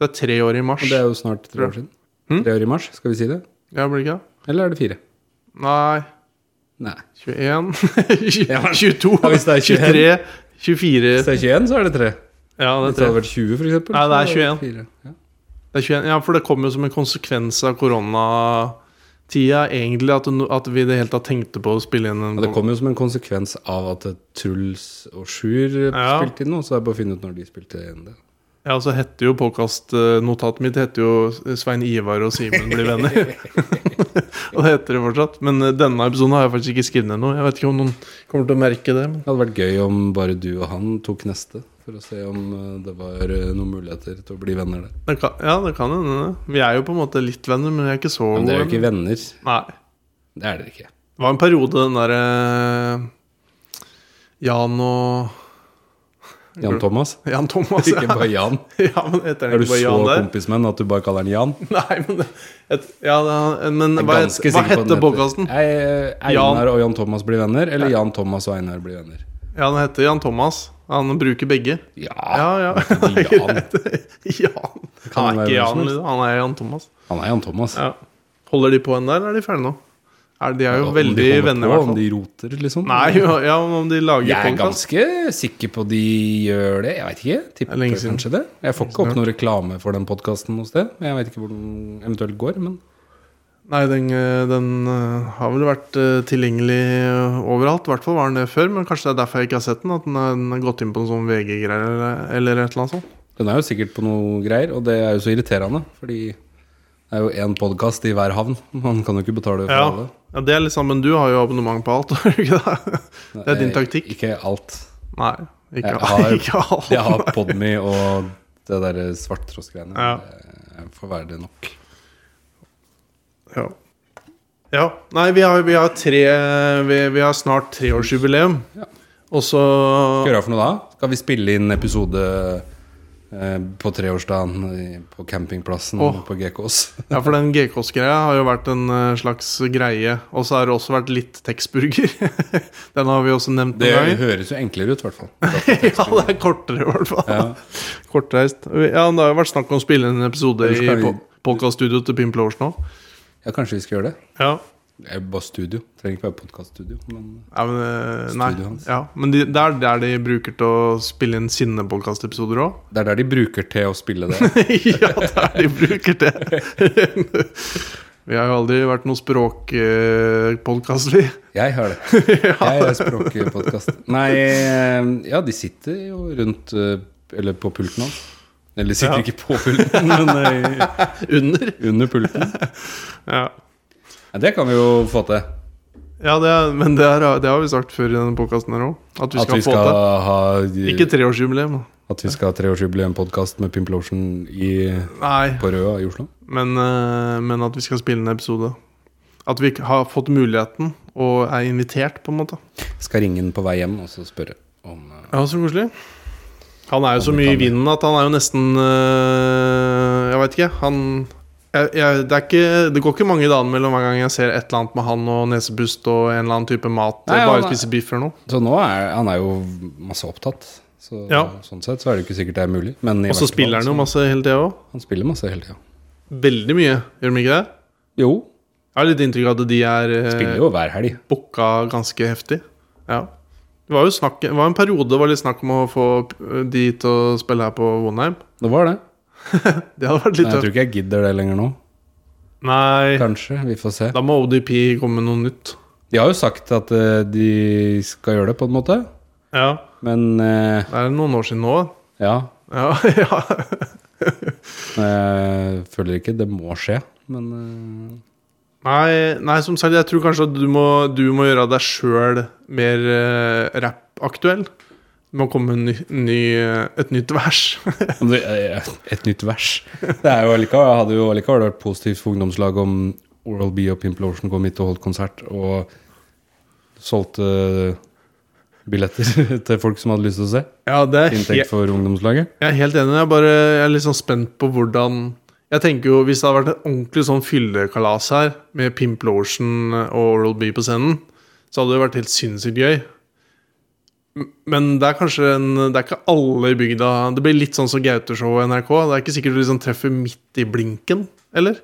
[SPEAKER 1] Det er tre år i mars.
[SPEAKER 2] og det er jo snart tre år siden.
[SPEAKER 1] Hm?
[SPEAKER 2] Tre år i mars, skal vi si det?
[SPEAKER 1] Ja, blir det ikke det?
[SPEAKER 2] Eller er det fire?
[SPEAKER 1] Nei.
[SPEAKER 2] Nei.
[SPEAKER 1] 21
[SPEAKER 2] Ja, men-
[SPEAKER 1] 22
[SPEAKER 2] Ja, hvis det er
[SPEAKER 1] 23
[SPEAKER 2] Hvis
[SPEAKER 1] 24
[SPEAKER 2] det er 21, så er det tre.
[SPEAKER 1] Ja, det er
[SPEAKER 2] Hvis det
[SPEAKER 1] tre.
[SPEAKER 2] hadde vært 20, for eksempel.
[SPEAKER 1] Nei, det er
[SPEAKER 2] så hadde fire. Ja.
[SPEAKER 1] Det er 21, ja, for det kom jo som en konsekvens av koronatida, egentlig, at, no- at vi i det hele tatt tenkte på å spille inn en
[SPEAKER 2] Ja, det kom jo som en konsekvens av at Truls og Sjur eh,
[SPEAKER 1] Ja.
[SPEAKER 2] spilte inn noe, så det er bare å finne ut når de spilte inn det.
[SPEAKER 1] Ja, så heter jo podkastnotatet mitt heter jo 'Svein Ivar og Simen blir venner'. og det heter det fortsatt. Men eh, denne episoden har jeg faktisk ikke skrevet ned noe. Jeg vet ikke om noen kommer til å merke det. Men
[SPEAKER 2] Det hadde vært gøy om bare du og han tok neste, for å se om eh, det var eh, noen muligheter til å bli venner der.
[SPEAKER 1] det kan, ja, det kan hende. det. Vi er jo på en måte litt venner, men vi er ikke så gode.
[SPEAKER 2] Men dere er jo ikke
[SPEAKER 1] venner.
[SPEAKER 2] venner.
[SPEAKER 1] Nei.
[SPEAKER 2] Det er dere ikke.
[SPEAKER 1] Det var en periode den derre Jan og
[SPEAKER 2] Jan Thomas.
[SPEAKER 1] Jan Thomas.
[SPEAKER 2] Ikke bare Jan.
[SPEAKER 1] ja, men heter
[SPEAKER 2] Er
[SPEAKER 1] han
[SPEAKER 2] du
[SPEAKER 1] ikke
[SPEAKER 2] så
[SPEAKER 1] bare Jan der?
[SPEAKER 2] kompis med han at du bare kaller han Jan?
[SPEAKER 1] Nei, men, det- et, ja, det, er- men
[SPEAKER 2] Jeg er
[SPEAKER 1] hva, het,
[SPEAKER 2] ganske
[SPEAKER 1] hva
[SPEAKER 2] sikker på at den
[SPEAKER 1] heter podkasten?
[SPEAKER 2] Jeg, eh,
[SPEAKER 1] Jan.
[SPEAKER 2] Einar og Jan Thomas blir venner, eller Jan Thomas og Einar blir venner?
[SPEAKER 1] Ja, den heter Jan Thomas. Han bruker begge.
[SPEAKER 2] Ja,
[SPEAKER 1] Ja, ja.
[SPEAKER 2] Ah, det er Jan.
[SPEAKER 1] Jan.
[SPEAKER 2] Kan
[SPEAKER 1] Han er ikke
[SPEAKER 2] være hvem som
[SPEAKER 1] Jan,
[SPEAKER 2] helst.
[SPEAKER 1] han er Jan Thomas.
[SPEAKER 2] han er Jan Thomas.
[SPEAKER 1] Ja. Holder de på en der, eller er de ferdige nå? Er, de er jo
[SPEAKER 2] Om de
[SPEAKER 1] veldig
[SPEAKER 2] holder
[SPEAKER 1] venner, i
[SPEAKER 2] på,
[SPEAKER 1] hvert
[SPEAKER 2] Om
[SPEAKER 1] fall.
[SPEAKER 2] de roter, liksom.
[SPEAKER 1] Nei, jo, ja, om de lager
[SPEAKER 2] Jeg er
[SPEAKER 1] podkast.
[SPEAKER 2] ganske sikker på de gjør det. Jeg veit ikke.
[SPEAKER 1] Det er
[SPEAKER 2] Tipper
[SPEAKER 1] lenge siden.
[SPEAKER 2] kanskje det. Jeg får ikke opp noen reklame for den podkasten noe sted. Jeg veit ikke hvor den eventuelt går, men
[SPEAKER 1] Nei, den, eh, den eh, har vel vært eh, tilgjengelig eh, overalt. I hvert fall var den det før, men kanskje det er derfor jeg ikke har sett den. At den er- den har gått inn på en sånn VG-greier eller, eller et eller annet sånt.
[SPEAKER 2] den er jo sikkert på noe greier, og det er jo så irriterende, fordi det er jo én podkast i hver havn. Man kan jo ikke betale for
[SPEAKER 1] Ja.
[SPEAKER 2] alle.
[SPEAKER 1] Ja, det er litt sånn, men du har jo abonnement på alt, har du ikke det? Det er din
[SPEAKER 2] Jeg-
[SPEAKER 1] taktikk.
[SPEAKER 2] Eh, Ikke alt.
[SPEAKER 1] Nei, ikke,
[SPEAKER 2] Jeg har-
[SPEAKER 1] ikke alt.
[SPEAKER 2] Jeg har Podme og det derre svarttross-greiene.
[SPEAKER 1] Ja.
[SPEAKER 2] Det Får være det nok.
[SPEAKER 1] Ja. ja. Nei, vi har, vi har tre vi, vi har snart treårsjubileum.
[SPEAKER 2] Ja.
[SPEAKER 1] Og så
[SPEAKER 2] Skal vi gjøre for noe da? Skal vi spille inn episode eh, på treårsdagen i- på campingplassen
[SPEAKER 1] Åh.
[SPEAKER 2] på GKs?
[SPEAKER 1] Ja, for den GKs-greia har jo vært en eh, slags greie. Og så har det også vært litt Texburger. den har vi også nevnt
[SPEAKER 2] Det
[SPEAKER 1] noen ganger.
[SPEAKER 2] høres jo enklere ut, i hvert fall.
[SPEAKER 1] ja, det er kortere, i hvert fall. Kortreist. Ja, det har jo vært snakk om å spille inn en episode
[SPEAKER 2] Eller
[SPEAKER 1] i
[SPEAKER 2] skal vi-
[SPEAKER 1] podkaststudioet til Pimp Lovers nå.
[SPEAKER 2] Ja, kanskje vi skal gjøre det.
[SPEAKER 1] Ja.
[SPEAKER 2] Det er bare studio. Trenger ikke være podkaststudio. Men
[SPEAKER 1] Ja, men, eh, nei.
[SPEAKER 2] Studioet hans.
[SPEAKER 1] Ja, men de, det er der de bruker til å spille inn sine podkastepisoder òg.
[SPEAKER 2] det er der de bruker til å spille det.
[SPEAKER 1] ja, det er de bruker det. vi har jo aldri vært noen språkpodkast, vi.
[SPEAKER 2] Jeg har det. Jeg er språkpodkast. Nei, eh, ja, de sitter jo rundt eh, Eller på pulten hans. Eller de sitter
[SPEAKER 1] Ja.
[SPEAKER 2] ikke på pulten, men eh,
[SPEAKER 1] Under.
[SPEAKER 2] under pulten.
[SPEAKER 1] Ja,
[SPEAKER 2] Ja, det kan vi jo få til.
[SPEAKER 1] ja det er, men det, er, det har vi sagt før i denne podkasten her òg. At vi
[SPEAKER 2] At
[SPEAKER 1] skal,
[SPEAKER 2] vi skal
[SPEAKER 1] få
[SPEAKER 2] ha
[SPEAKER 1] til. Ikke treårsjubileum. da.
[SPEAKER 2] At vi skal ha treårsjubileumpodkast med Pimplotion i,
[SPEAKER 1] Nei,
[SPEAKER 2] på Røa i Oslo.
[SPEAKER 1] men, eh, men at vi skal spille en episode. At vi har fått muligheten og er invitert, på en måte.
[SPEAKER 2] Skal ringe den på vei hjem og så spørre om eh,
[SPEAKER 1] Ja, så koselig. Han er jo så
[SPEAKER 2] Om vi
[SPEAKER 1] mye i
[SPEAKER 2] kan det.
[SPEAKER 1] vinden at han er jo nesten øh, Jeg veit ikke. Han jeg, jeg, det, er ikke, det går ikke mange dager mellom hver gang jeg ser et eller annet med han og nesebust og en eller annen type mat.
[SPEAKER 2] Nei,
[SPEAKER 1] eh,
[SPEAKER 2] han
[SPEAKER 1] bare
[SPEAKER 2] er-
[SPEAKER 1] spise biff eller noe.
[SPEAKER 2] Så nå er han er jo masse opptatt. Så,
[SPEAKER 1] Ja.
[SPEAKER 2] Sånn sett så er det ikke sikkert det er mulig. Men i
[SPEAKER 1] Og så
[SPEAKER 2] hvert fall
[SPEAKER 1] spiller han jo
[SPEAKER 2] så-
[SPEAKER 1] masse hele tida òg.
[SPEAKER 2] Han spiller masse hele tida.
[SPEAKER 1] Veldig mye, gjør de ikke det?
[SPEAKER 2] Jo,
[SPEAKER 1] Jeg har litt inntrykk av at de er
[SPEAKER 2] spiller
[SPEAKER 1] eh,
[SPEAKER 2] jo hver helg.
[SPEAKER 1] booka ganske heftig. Ja. Det var jo snakk, det var en periode det var litt snakk om å få eh, de til å spille her på Vonheim.
[SPEAKER 2] Det var det.
[SPEAKER 1] Det hadde vært
[SPEAKER 2] Men
[SPEAKER 1] litt
[SPEAKER 2] jeg
[SPEAKER 1] tøft.
[SPEAKER 2] tror ikke jeg gidder det lenger nå.
[SPEAKER 1] Nei,
[SPEAKER 2] Kanskje. Vi får se.
[SPEAKER 1] da må ODP komme med noe nytt.
[SPEAKER 2] De har jo sagt at eh, de skal gjøre det, på en måte.
[SPEAKER 1] Ja
[SPEAKER 2] Men eh,
[SPEAKER 1] Det er noen år siden nå.
[SPEAKER 2] ja.
[SPEAKER 1] Ja, ja.
[SPEAKER 2] Jeg Eh, føler ikke det må skje. Men eh,
[SPEAKER 1] Nei, nei, som sagt, jeg tror kanskje at du må, du må gjøre deg sjøl mer eh, rappaktuell. Det må komme en ny, ny, eh, et nytt vers.
[SPEAKER 2] Og eh, det er Et nytt vers. Det er jo allikevel, hadde jo allikevel vært positivt for ungdomslaget om Oral B og Pimplotion kom hit og holdt konsert og solgte billetter til folk som hadde lyst til å se.
[SPEAKER 1] Ja, det er helt
[SPEAKER 2] Inntekt for ungdomslaget.
[SPEAKER 1] Jeg er helt enig. Jeg, er bare, jeg er litt sånn spent på hvordan Jeg tenker jo Hvis det hadde vært et ordentlig sånn fyllekalas her, med Pimp Lotion og Oral B på scenen, så hadde det vært helt sinnssykt gøy. M- Men det er kanskje en, Det er ikke alle i bygda Det blir litt sånn som Gaute-showet i NRK. Det er ikke sikkert du liksom treffer midt i blinken, eller?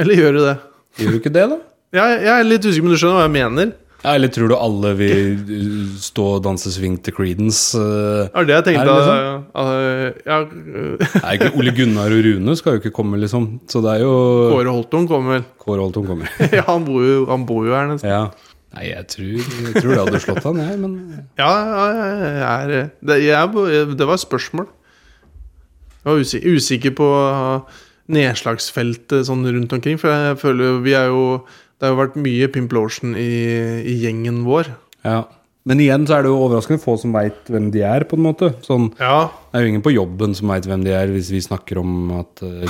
[SPEAKER 1] Eller gjør du det?
[SPEAKER 2] Gjør du ikke det, da?
[SPEAKER 1] Jeg, jeg er litt usikker, men du skjønner hva jeg mener?
[SPEAKER 2] Ja, Eller tror du alle vil uh, stå og danse swing til Creedence? eh?
[SPEAKER 1] Det var det jeg
[SPEAKER 2] Er
[SPEAKER 1] tenkte.
[SPEAKER 2] det liksom?
[SPEAKER 1] at- at- ja,
[SPEAKER 2] Nei, ikke Ole Gunnar og Rune skal jo ikke komme, liksom. Så det er jo
[SPEAKER 1] Kåre Holton kommer vel.
[SPEAKER 2] Kåre Holton kommer.
[SPEAKER 1] Ja, han bor jo, han bor jo her nesten.
[SPEAKER 2] Ja. Nei, jeg tror, jeg tror det hadde slått han, jeg, men
[SPEAKER 1] Ja, ja, ja, jeg er, det, jeg, er på- det var et spørsmål. Jeg var usikker, usikker på uh, nedslagsfeltet sånn rundt omkring. For jeg føler jo- vi er jo Det har jo vært mye Pimplotion i, i gjengen vår.
[SPEAKER 2] Ja. Men igjen så er det jo overraskende få som veit hvem de er, på en måte. Sånn,
[SPEAKER 1] Ja,
[SPEAKER 2] det er jo ingen på jobben som veit hvem de er, hvis vi snakker om at eh,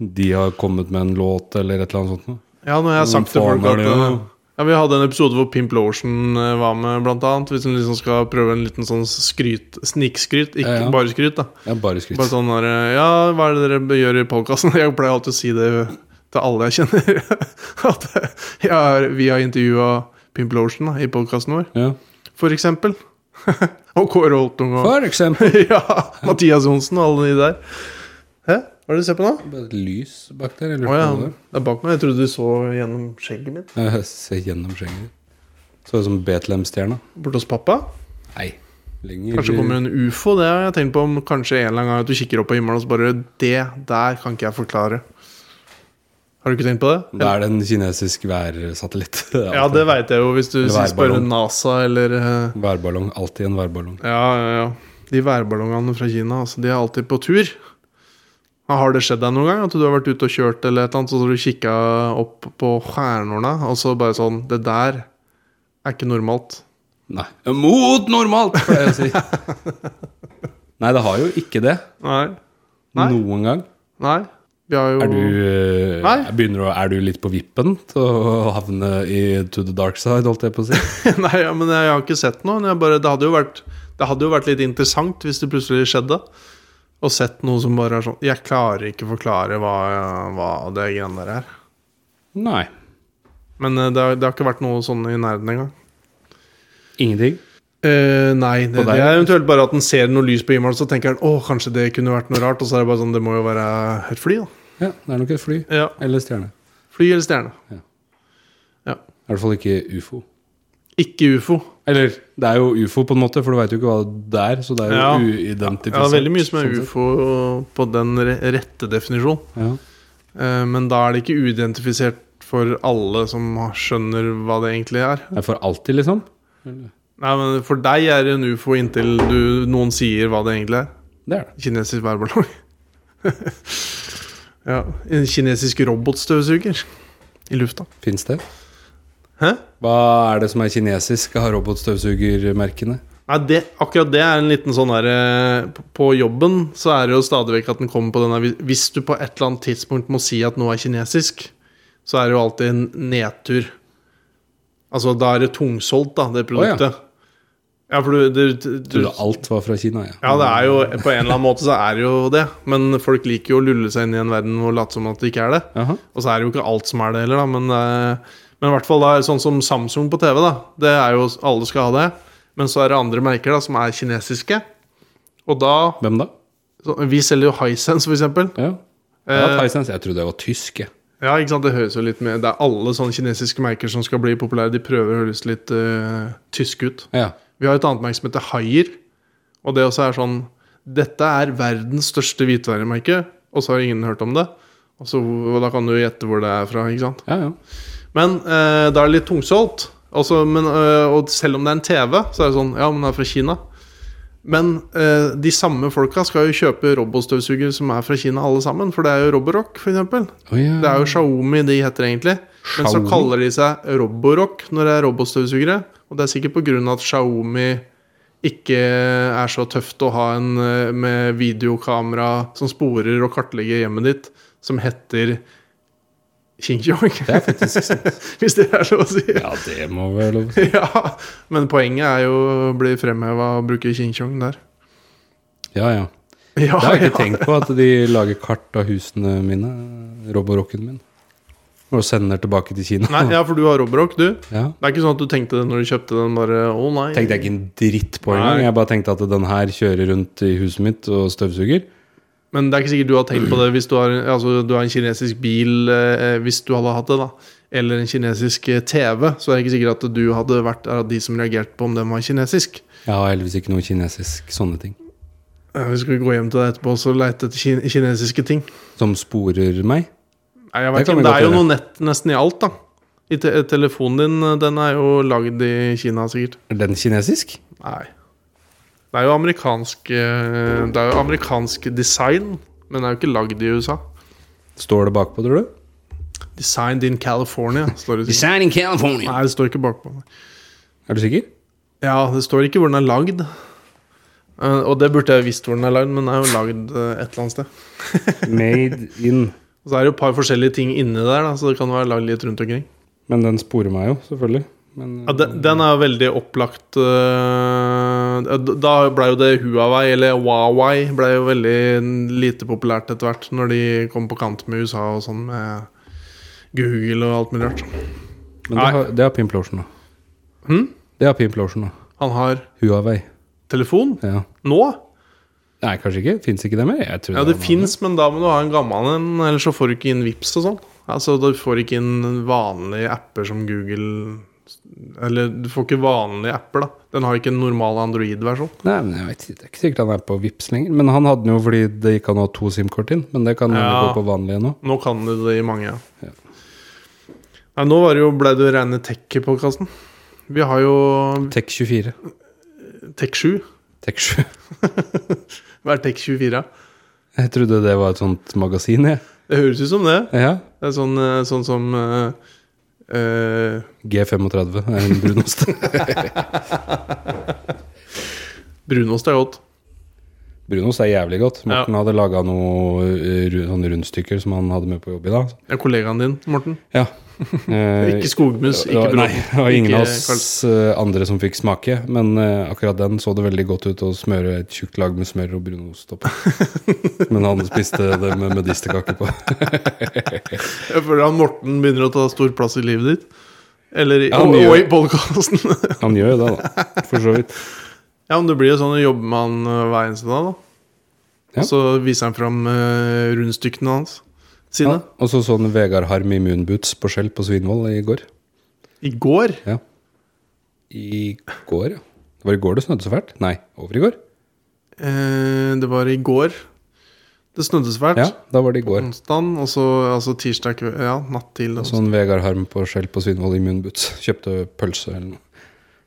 [SPEAKER 2] de har kommet med en låt eller et eller annet sånt. noe.
[SPEAKER 1] ja når jeg har
[SPEAKER 2] Hvem
[SPEAKER 1] sagt til
[SPEAKER 2] faen
[SPEAKER 1] folk
[SPEAKER 2] er
[SPEAKER 1] at
[SPEAKER 2] det,
[SPEAKER 1] uh,
[SPEAKER 2] da?
[SPEAKER 1] ja, Vi hadde en episode hvor Pimplotion uh, var med, blant annet. Hvis du liksom skal prøve en liten sånn skryt, snikskryt, ikke
[SPEAKER 2] Ja, ja.
[SPEAKER 1] bare skryt, da.
[SPEAKER 2] Ja, bare skryt.
[SPEAKER 1] Bare sånn der, Ja, hva er det dere gjør i podkasten? Jeg pleier alltid å si det til alle jeg kjenner. At jeg har, vi har intervjua Pimplotion i podkasten vår,
[SPEAKER 2] Ja.
[SPEAKER 1] for eksempel. og Kåre Holtung og
[SPEAKER 2] For eksempel
[SPEAKER 1] ja, Mathias Johnsen og alle de der. Hæ? Hva er det du ser på nå?
[SPEAKER 2] Bare et lys bak
[SPEAKER 1] Å
[SPEAKER 2] der. Eller
[SPEAKER 1] ja,
[SPEAKER 2] noe
[SPEAKER 1] det er bak meg. Jeg trodde du så gjennom skjegget mitt.
[SPEAKER 2] der. Jeg ser gjennom skjegget. Så ut som Betlehem-stjerna.
[SPEAKER 1] Borte hos pappa.
[SPEAKER 2] Nei. Lenger.
[SPEAKER 1] Kanskje kommer en ufo. Det har jeg tenkt på om kanskje en eller annen gang at du kikker opp på himmelen og så bare Det der kan ikke jeg forklare. Har du ikke tenkt på det?
[SPEAKER 2] Da er det en kinesisk værsatellitt.
[SPEAKER 1] Ja, det veit jeg jo, hvis du
[SPEAKER 2] Eller
[SPEAKER 1] sier- spør
[SPEAKER 2] værballong.
[SPEAKER 1] NASA eller eh,
[SPEAKER 2] Værballong. Alltid en værballong.
[SPEAKER 1] Ja, ja, ja. De værballongene fra Kina, altså, de er alltid på tur. Ja, Har det skjedd deg noen gang at du har vært ute og kjørt eller et eller annet, så har du kikka opp på stjernene, og så bare sånn Det der er ikke normalt.
[SPEAKER 2] Nei. Mot normalt, pleier jeg å si. Nei, det har jo ikke det.
[SPEAKER 1] Nei. Nei.
[SPEAKER 2] Noen gang.
[SPEAKER 1] Nei. Vi har jo
[SPEAKER 2] Er du, eh,
[SPEAKER 1] Nei.
[SPEAKER 2] begynner, å- er du litt på vippen til å havne i to the dark side, holdt jeg på å si?
[SPEAKER 1] Nei, ja, men jeg har ikke sett noe. men Jeg bare, det, hadde jo vært, det hadde jo vært litt interessant hvis det plutselig skjedde. Og sett noe som bare er sånn Jeg klarer ikke forklare hva, hva det greiene der er.
[SPEAKER 2] Nei.
[SPEAKER 1] Men eh, det har, det har ikke vært noe sånn i nærheten engang.
[SPEAKER 2] Ingenting.
[SPEAKER 1] Eh, nei, det,
[SPEAKER 2] Og der-
[SPEAKER 1] det er eventuelt bare at den ser noe lys på himmelen, så tenker den åh, kanskje det kunne vært noe rart. Og så er det bare sånn, det må jo være et fly, da.
[SPEAKER 2] Ja, det er nok et fly.
[SPEAKER 1] Ja,
[SPEAKER 2] Eller stjerne.
[SPEAKER 1] Fly eller stjerne.
[SPEAKER 2] I hvert fall ikke ufo.
[SPEAKER 1] Ikke ufo.
[SPEAKER 2] Eller det er jo ufo, på en måte, for du veit jo ikke hva det er. Så det er jo
[SPEAKER 1] Ja.
[SPEAKER 2] uidentifisert.
[SPEAKER 1] Ja, det er veldig mye som er
[SPEAKER 2] sånn sett.
[SPEAKER 1] ufo på den re- rette definisjon.
[SPEAKER 2] Ja.
[SPEAKER 1] Eh, men da er det ikke uidentifisert for alle som har- skjønner hva det egentlig er.
[SPEAKER 2] Det er for alltid, liksom?
[SPEAKER 1] Nei, men For deg er det en ufo inntil du, noen sier hva det egentlig er.
[SPEAKER 2] Det er det.
[SPEAKER 1] Kinesisk værballong. ja, en kinesisk robotstøvsuger i lufta.
[SPEAKER 2] Fins det?
[SPEAKER 1] Hæ?
[SPEAKER 2] Hva er det som er kinesisk av robotstøvsugermerkene?
[SPEAKER 1] Nei, det, akkurat det er en liten sånn der eh, p- På jobben så er det jo stadig vekk at den kommer på denne hvis- Hvis du på et eller annet tidspunkt må si at noe er kinesisk, så er det jo alltid en nedtur. Altså, da er det tungsolgt, da, det produktet. ja. for du, du, du, du
[SPEAKER 2] Trodde alt var fra Kina, ja.
[SPEAKER 1] Ja, det er jo På en eller annen måte så er det jo det. Men folk liker jo å lulle seg inn i en verden og late som at det ikke er det.
[SPEAKER 2] Jaha.
[SPEAKER 1] Og så er det jo ikke alt som er det heller, da, men, eh, men i hvert fall da, sånn som Samsung på TV, da. Det er jo Alle skal ha det. Men så er det andre merker da, som er kinesiske. Og da
[SPEAKER 2] Hvem da?
[SPEAKER 1] så, Vi selger jo Hisense, for eksempel.
[SPEAKER 2] Ja. ja
[SPEAKER 1] Eh,
[SPEAKER 2] Tysense. Jeg trodde jeg var tysk, jeg.
[SPEAKER 1] ja, ikke sant? Det høres jo litt med Det er alle sånne kinesiske merker som skal bli populære. De prøver å høres litt eh, tyske ut.
[SPEAKER 2] Ja.
[SPEAKER 1] Vi har et annet merke som heter Haier. Og det også er sånn Dette er verdens største hvitvaremerke, og så har ingen hørt om det. Og, så, og da kan du gjette hvor det er fra. ikke sant?
[SPEAKER 2] ja, ja.
[SPEAKER 1] Men eh, da er det litt tungsolgt. Altså, men, eh, og selv om det er en TV, så er det sånn Ja, men det er fra Kina. Men eh, de samme folka skal jo kjøpe robotstøvsuger som er fra Kina, alle sammen. For det er jo Roborock, f.eks.
[SPEAKER 2] Å, ja.
[SPEAKER 1] Det er jo Xiaomi de heter egentlig. Men så
[SPEAKER 2] Xiaomi?
[SPEAKER 1] kaller de seg Roborock når det er robotstøvsugere. Og det er sikkert pga. at Xiaomi ikke er så tøft å ha en eh, med videokamera som sporer og kartlegger hjemmet ditt, som heter Xinjiang.
[SPEAKER 2] Det er faktisk sant.
[SPEAKER 1] Hvis det er lov å si.
[SPEAKER 2] Ja, det må være lov å si.
[SPEAKER 1] Ja, men poenget er jo å bli fremheva og bruke Xinjiang der.
[SPEAKER 2] Ja, ja.
[SPEAKER 1] Ja,
[SPEAKER 2] Det har jeg
[SPEAKER 1] ja.
[SPEAKER 2] ikke tenkt på, at de lager kart av husene mine. Roborocken min. Og sender tilbake til Kina.
[SPEAKER 1] Nei, ja, for du har Robrock, du.
[SPEAKER 2] Ja.
[SPEAKER 1] Det er ikke sånn at du tenkte det når du kjøpte den, bare Å, nei.
[SPEAKER 2] Tenkte jeg ikke en dritt på engang.
[SPEAKER 1] Nei.
[SPEAKER 2] Jeg bare tenkte at den her kjører rundt i huset mitt og støvsuger.
[SPEAKER 1] Men det er ikke sikkert du har tenkt på det hvis du har, altså, du har en kinesisk bil, eh, hvis du hadde hatt det, da. Eller en kinesisk eh, TV. Så er det ikke sikkert at du hadde vært av de som reagerte på om den var kinesisk.
[SPEAKER 2] Jeg har heldigvis ikke noe kinesisk sånne ting.
[SPEAKER 1] Eh, Vi skal gå hjem til deg etterpå og leite etter kin kinesiske ting.
[SPEAKER 2] Som sporer meg.
[SPEAKER 1] Nei, jeg
[SPEAKER 2] Det
[SPEAKER 1] vet
[SPEAKER 2] kan
[SPEAKER 1] ikke,
[SPEAKER 2] vi
[SPEAKER 1] men Det
[SPEAKER 2] godt
[SPEAKER 1] er jo
[SPEAKER 2] gjøre.
[SPEAKER 1] noe nett nesten i alt, da. I te telefonen din eh, den er jo lagd i Kina, sikkert.
[SPEAKER 2] Er den kinesisk?
[SPEAKER 1] Nei. Det er jo amerikansk eh, Det er jo amerikansk design, men det er jo ikke lagd i USA.
[SPEAKER 2] Står det bakpå, tror du?
[SPEAKER 1] Designed in California, står det.
[SPEAKER 2] Design in California.
[SPEAKER 1] Nei, det står ikke bakpå.
[SPEAKER 2] Er du sikker?
[SPEAKER 1] Ja, det står ikke hvor den er lagd. Eh, Og det burde jeg visst hvor den er lagd, men den er jo lagd eh, et eller annet sted.
[SPEAKER 2] Made in.
[SPEAKER 1] Og så er det jo et par forskjellige ting inni der, da, så det kan være lagd litt rundt omkring.
[SPEAKER 2] Men den sporer meg jo, selvfølgelig. Men,
[SPEAKER 1] Ja, den, den er jo veldig opplagt eh, d- Da blei jo det Huawei, eller Huawei, blei jo veldig lite populært etter hvert når de kom på kant med USA og sånn med Google og alt mulig rart.
[SPEAKER 2] men det, har, det har Pimplotion, da.
[SPEAKER 1] Hm?
[SPEAKER 2] Det har Pimplotion, da.
[SPEAKER 1] Han har
[SPEAKER 2] Huawei.
[SPEAKER 1] telefon
[SPEAKER 2] Ja.
[SPEAKER 1] nå.
[SPEAKER 2] Nei, kanskje ikke. Fins ikke det mer? Jeg tror
[SPEAKER 1] Ja, det
[SPEAKER 2] var noe.
[SPEAKER 1] fins, men da må du ha en gammel en, ellers så får du ikke inn Vips og sånn. Altså, du får ikke inn vanlige apper som Google Eller du får ikke vanlige apper, da. Den har ikke en normal Android-versjon.
[SPEAKER 2] Nei, men jeg vet ikke. Det er ikke sikkert han er på Vips lenger. Men han hadde den jo fordi det gikk an å ha to SIM-kort inn. Men det kan han jo
[SPEAKER 1] Ja.
[SPEAKER 2] gå på vanlige nå.
[SPEAKER 1] Nå kan du det i mange, ja.
[SPEAKER 2] Ja.
[SPEAKER 1] Nei, nå var det jo, ble det jo rene tech-podkasten. Vi har jo
[SPEAKER 2] Tech24.
[SPEAKER 1] Tech7.
[SPEAKER 2] Tech7.
[SPEAKER 1] Hva er Tech24?
[SPEAKER 2] Jeg trodde det var et sånt magasin, jeg.
[SPEAKER 1] Det høres ut som det.
[SPEAKER 2] Ja.
[SPEAKER 1] Det er sånn, eh, sånn som eh, eh,
[SPEAKER 2] G35 er en brunost.
[SPEAKER 1] Brunost er godt.
[SPEAKER 2] brunost er jævlig godt. Morten hadde laga noen sånne sånn rundstykker som han hadde med på jobb i dag.
[SPEAKER 1] Det er kollegaen din, Morten.
[SPEAKER 2] Ja. Eh,
[SPEAKER 1] Ikke skogmus,
[SPEAKER 2] det var-
[SPEAKER 1] ikke
[SPEAKER 2] Nei,
[SPEAKER 1] brød.
[SPEAKER 2] det var ingen
[SPEAKER 1] ikke
[SPEAKER 2] av oss eh, andre som fikk smake, men eh, akkurat den så det veldig godt ut å smøre et tjukt lag med smør og brunost oppå. men han spiste det med medisterkake på.
[SPEAKER 1] Jeg føler at Morten begynner å ta stor plass i livet ditt. Eller i,
[SPEAKER 2] Ja, han
[SPEAKER 1] og,
[SPEAKER 2] gjør
[SPEAKER 1] og i
[SPEAKER 2] det.
[SPEAKER 1] podkasten.
[SPEAKER 2] Han gjør jo det, da. For så vidt.
[SPEAKER 1] ja, men det blir jo sånn å jobbe med han eh, hver eneste dag, da.
[SPEAKER 2] Ja.
[SPEAKER 1] Og så viser han fram eh, rundstykkene hans. Sine.
[SPEAKER 2] Ja, og så sånn Vegard Harm i moonboots på skjell på Svinvoll i går.
[SPEAKER 1] I går?
[SPEAKER 2] Ja. I går, ja. Det var i går det snødde så fælt? Nei, over i går?
[SPEAKER 1] Eh, det var i går. Det snødde svært.
[SPEAKER 2] Ja, da var det i går.
[SPEAKER 1] Onsdag, og så altså tirsdag kveld Ja, natt til. og
[SPEAKER 2] Sånn Vegard Harm på skjell på Svinvoll i moonboots. Kjøpte pølse eller noe.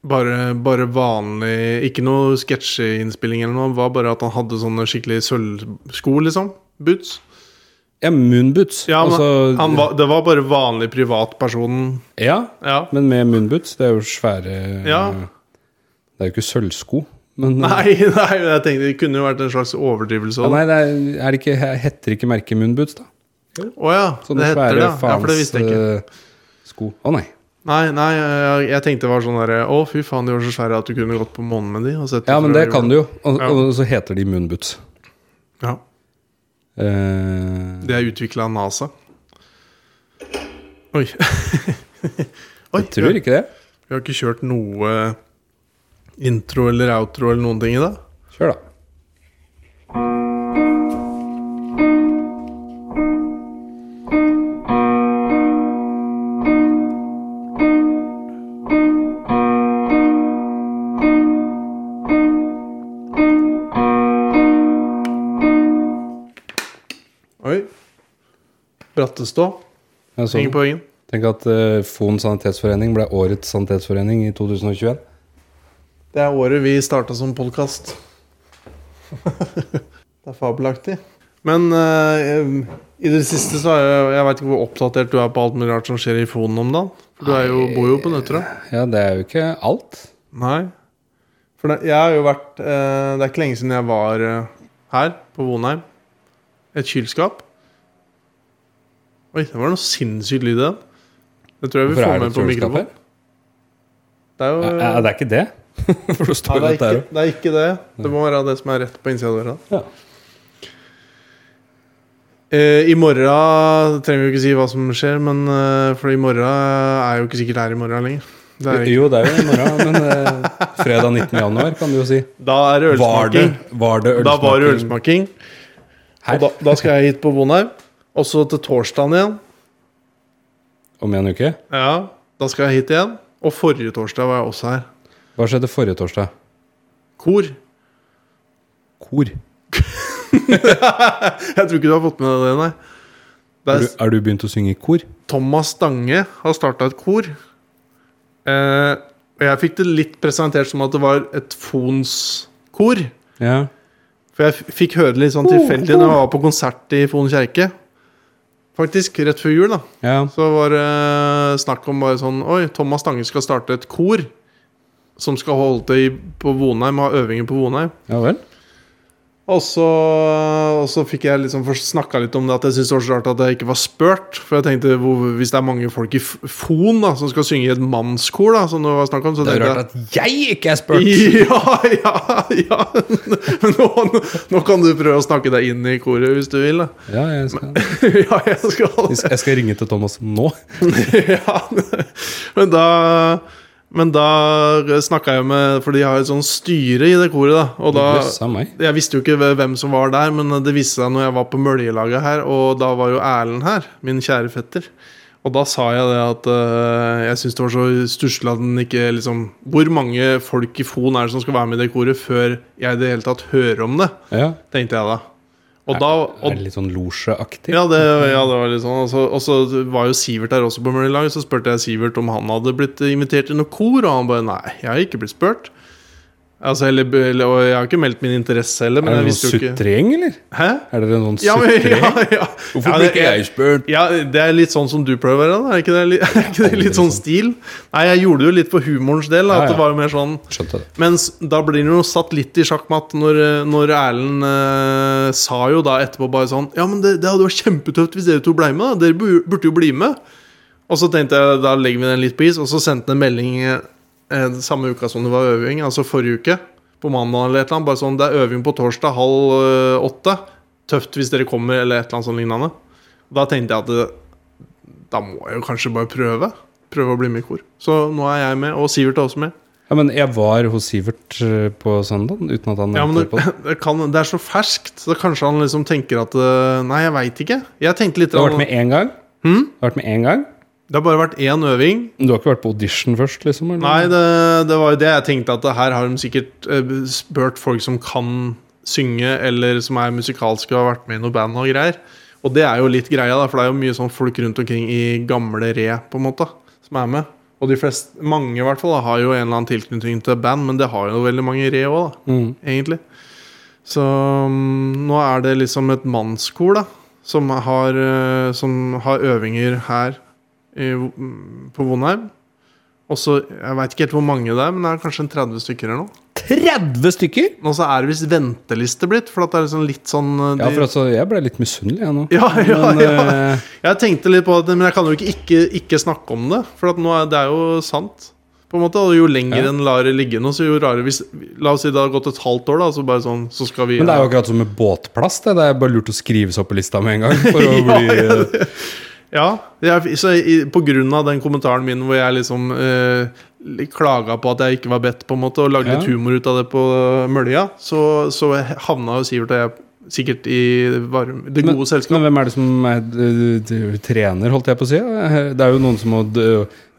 [SPEAKER 1] Bare, bare vanlig Ikke noe sketsjeinnspilling eller noe. Det var bare at han hadde sånne skikkelig sølvsko, liksom. Boots.
[SPEAKER 2] Ja, moonboots.
[SPEAKER 1] Ja, men
[SPEAKER 2] Altså-
[SPEAKER 1] han var, det var bare vanlig privatpersonen.
[SPEAKER 2] ja,
[SPEAKER 1] Ja.
[SPEAKER 2] Men med moonboots, det er jo svære eh,
[SPEAKER 1] Ja.
[SPEAKER 2] Det er jo ikke sølvsko, men eh,
[SPEAKER 1] Nei, nei, men jeg tenkte det kunne jo vært en slags overdrivelse. Å
[SPEAKER 2] ja,
[SPEAKER 1] ja,
[SPEAKER 2] nei det er, er det ikke, heter ikke merket moonboots, da? Sånne
[SPEAKER 1] det heter det.
[SPEAKER 2] svære
[SPEAKER 1] ja. Ja, for det visste jeg ikke.
[SPEAKER 2] faens eh, sko. Å nei.
[SPEAKER 1] Nei, nei, jeg, jeg tenkte det var sånn derre Å, fy faen, de var så svære at du kunne gått på månen med de. Og sett
[SPEAKER 2] Ja, men det kan du jo. Og,
[SPEAKER 1] Ja.
[SPEAKER 2] og så heter de moonboots.
[SPEAKER 1] Ja.
[SPEAKER 2] Eh,
[SPEAKER 1] Det er utvikla av NASA. Oi. Oi,
[SPEAKER 2] jeg tror ikke det.
[SPEAKER 1] Vi har ikke kjørt noe intro eller outro eller noen ting i dag.
[SPEAKER 2] Kjør, da.
[SPEAKER 1] Oi. Brattestå.
[SPEAKER 2] Jeg så
[SPEAKER 1] Ingen
[SPEAKER 2] den.
[SPEAKER 1] poeng.
[SPEAKER 2] Tenk at eh, Fon sanitetsforening ble årets sanitetsforening i 2021.
[SPEAKER 1] Det er året vi starta som podkast. det er fabelaktig. Men eh, i det siste så er jeg, jeg vet ikke hvor oppdatert du er på alt mulig rart som skjer i fonen om dagen. For du er jo, bor jo på Nøtterøy.
[SPEAKER 2] Ja, det er jo ikke alt.
[SPEAKER 1] Nei. For det, jeg har jo vært eh, Det er ikke lenge siden jeg var eh, her, på Vonheim. Et kyleskap. Oi, det var noe sinnssykt lyd i den. Det tror jeg vi
[SPEAKER 2] Hvorfor
[SPEAKER 1] får
[SPEAKER 2] er det
[SPEAKER 1] med
[SPEAKER 2] et
[SPEAKER 1] på
[SPEAKER 2] kjøleskap
[SPEAKER 1] mikrofon.
[SPEAKER 2] her?
[SPEAKER 1] Det er jo
[SPEAKER 2] Ja, ja, det er ikke det? For det
[SPEAKER 1] Nei,
[SPEAKER 2] står
[SPEAKER 1] det,
[SPEAKER 2] jo
[SPEAKER 1] er
[SPEAKER 2] dette her
[SPEAKER 1] ikke, det er ikke det. Det må være det som er rett på innsida av døra.
[SPEAKER 2] Ja.
[SPEAKER 1] Eh, I morgen trenger vi jo ikke si hva som skjer, men eh, for i morgen er jo ikke sikkert her i morgen lenger. Det er
[SPEAKER 2] også.
[SPEAKER 1] ikke.
[SPEAKER 2] Jo, det er jo i morgen, men eh, fredag 19. januar kan du jo si.
[SPEAKER 1] Da er det
[SPEAKER 2] Var det,
[SPEAKER 1] ølsmaking.
[SPEAKER 2] var det
[SPEAKER 1] Da var det
[SPEAKER 2] ølsmaking
[SPEAKER 1] ølsmaking. Og
[SPEAKER 2] her
[SPEAKER 1] da, da skal jeg hit på Bonheim. Og så til torsdagen igjen.
[SPEAKER 2] om en uke?
[SPEAKER 1] Ja, Da skal jeg hit igjen. Og forrige torsdag var jeg også her.
[SPEAKER 2] Hva skjedde forrige torsdag?
[SPEAKER 1] Kor.
[SPEAKER 2] Kor.
[SPEAKER 1] Jeg tror ikke du har fått med deg det, nei. Det
[SPEAKER 2] Er
[SPEAKER 1] er
[SPEAKER 2] du, er du begynt å synge i kor?
[SPEAKER 1] Thomas Stange har starta et kor. Eh, og jeg fikk det litt presentert som at det var et fonskor.
[SPEAKER 2] Ja.
[SPEAKER 1] For jeg f- fikk høre det litt sånn tilfeldig når jeg var på konsert i Fon kjerke. Faktisk rett før jul, da.
[SPEAKER 2] ja.
[SPEAKER 1] Så var det snakk om bare sånn Oi, Thomas Stange skal starte et kor som skal holde til i- på Vonheim, ha øvinger på Vonheim.
[SPEAKER 2] Ja vel?
[SPEAKER 1] Og så, og så fikk jeg liksom snakka litt om det at jeg syntes det var så rart at jeg ikke var spurt. For jeg tenkte hvor, hvis det er mange folk i F- Fon da som skal synge i et mannskor, da, som det var snakk om, så
[SPEAKER 2] Det er
[SPEAKER 1] tenkte
[SPEAKER 2] jo
[SPEAKER 1] jeg
[SPEAKER 2] rart at jeg ikke er spurt!
[SPEAKER 1] ja, ja, ja Men nå, nå kan du prøve å snakke deg inn i koret hvis du vil. Da.
[SPEAKER 2] Ja, jeg skal,
[SPEAKER 1] Ja, jeg skal
[SPEAKER 2] jeg skal ringe til Thomas nå.
[SPEAKER 1] ja, men da Men da snakka jeg med For de har et sånn styre i det koret, da. Og da
[SPEAKER 2] Jøssa meg.
[SPEAKER 1] Jeg visste jo ikke hvem som var der, men det viste seg når jeg var på Møljelaget her, og da var jo Erlend her, min kjære fetter. Og da sa jeg det at eh, jeg syntes det var så stusslig at den ikke liksom Hvor mange folk i Fon er det som skal være med i det koret før jeg i det hele tatt hører om det?
[SPEAKER 2] Ja.
[SPEAKER 1] Tenkte jeg da. Og da og
[SPEAKER 2] Er det litt sånn losjeaktig?
[SPEAKER 1] ja det, ja, det var litt sånn. Og så- Og så var jo Sivert der også på Møllelaget. Så spurte jeg Sivert om han hadde blitt invitert i noe kor, og han bare nei, jeg har ikke blitt spurt. Altså, eller, eller, og jeg har ikke meldt min interesse heller, men
[SPEAKER 2] er
[SPEAKER 1] jeg
[SPEAKER 2] det noen
[SPEAKER 1] visste jo ikke
[SPEAKER 2] sutregjeng, eller?
[SPEAKER 1] Hæ?
[SPEAKER 2] Er det noen
[SPEAKER 1] Ja, men,
[SPEAKER 2] sutregjeng?
[SPEAKER 1] ja, ja. ja, det,
[SPEAKER 2] spurt?
[SPEAKER 1] ja, det er litt sånn som du prøver å være, da. Er ikke det, li- er ikke det litt
[SPEAKER 2] Aldri
[SPEAKER 1] sånn stil? Nei, jeg gjorde det jo litt for humorens del. Da,
[SPEAKER 2] Ja,
[SPEAKER 1] at det
[SPEAKER 2] ja.
[SPEAKER 1] var jo mer sånn
[SPEAKER 2] Skjønte det.
[SPEAKER 1] mens da blir han jo satt litt i sjakkmatt når, når Erlend eh, sa jo da etterpå bare sånn Ja, men det, det hadde vært kjempetøft hvis dere to ble med. da. Dere bu- burde jo bli med. Og så tenkte jeg da legger vi den litt på is, og så sendte han en melding eh, eh, samme uka som det var øving, altså forrige uke, på mandag eller et eller annet. Bare sånn Det er øving på torsdag halv eh, åtte. Tøft hvis dere kommer, eller et eller annet sånt lignende. Og da tenkte jeg at det, da må jeg jo kanskje bare prøve. Prøve å bli med i kor. Så nå er jeg med, og Sivert er også med.
[SPEAKER 2] Ja, men jeg var hos Sivert eh, på søndag uten at han
[SPEAKER 1] Ja, men
[SPEAKER 2] nevnte det på
[SPEAKER 1] det, det, kan, det er så ferskt, så kanskje han liksom tenker at eh, Nei, jeg veit ikke. Jeg tenkte litt
[SPEAKER 2] Du har vært
[SPEAKER 1] grann-
[SPEAKER 2] med én gang?
[SPEAKER 1] Hmm?
[SPEAKER 2] Du har vært med én gang?
[SPEAKER 1] Det har bare vært én øving.
[SPEAKER 2] Men Du har ikke vært på audition først, liksom? Eller?
[SPEAKER 1] Nei, det, det var jo det jeg tenkte, at det her har de sikkert eh, spurt folk som kan synge, eller som er musikalske og har vært med i noe band og greier. Og det er jo litt greia, da, for det er jo mye sånn folk rundt omkring i gamle re, på en måte, som er med. Og de fleste, mange i hvert fall, da, har jo en eller annen tilknytning til band, men det har jo veldig mange re òg, da.
[SPEAKER 2] Mm.
[SPEAKER 1] egentlig. Så mm, nå er det liksom et mannskor, da, som har, eh, som har øvinger her i, mm, på Vonheim. Og så, Jeg veit ikke helt hvor mange det er, men det er kanskje en 30 stykker eller noe.
[SPEAKER 2] 30 stykker?!
[SPEAKER 1] Og så er det visst venteliste blitt, for at det er liksom litt sånn eh,
[SPEAKER 2] Ja,
[SPEAKER 1] de-
[SPEAKER 2] for altså, jeg ble litt misunnelig, jeg nå.
[SPEAKER 1] ja, ja,
[SPEAKER 2] Men,
[SPEAKER 1] ja.
[SPEAKER 2] eh,
[SPEAKER 1] Jeg tenkte litt på det, men jeg kan jo ikke ikke, ikke snakke om det. For at nå er, det er jo sant. På en måte, og Jo lenger
[SPEAKER 2] Ja.
[SPEAKER 1] en lar det ligge nå, så jo rarere hvis, La oss si det har gått et halvt år, da, så bare sånn, så skal vi
[SPEAKER 2] Men det er jo akkurat som med båtplass. Det, det er bare lurt å skrive seg opp på lista med en gang. For å
[SPEAKER 1] Ja,
[SPEAKER 2] bli, eh,
[SPEAKER 1] ja, det- eh, Ja, jeg, så i, på grunn av den kommentaren min hvor jeg liksom eh, li- klaga på at jeg ikke var bedt, på en måte, og lagde litt
[SPEAKER 2] Ja.
[SPEAKER 1] humor ut av det på mølja, så, så havna jo Sivert og jeg sikkert i varum, det
[SPEAKER 2] Men-
[SPEAKER 1] gode selskap.
[SPEAKER 2] Men hvem er det som er, d- d- trener, holdt jeg på å si? Det er jo noen som må d-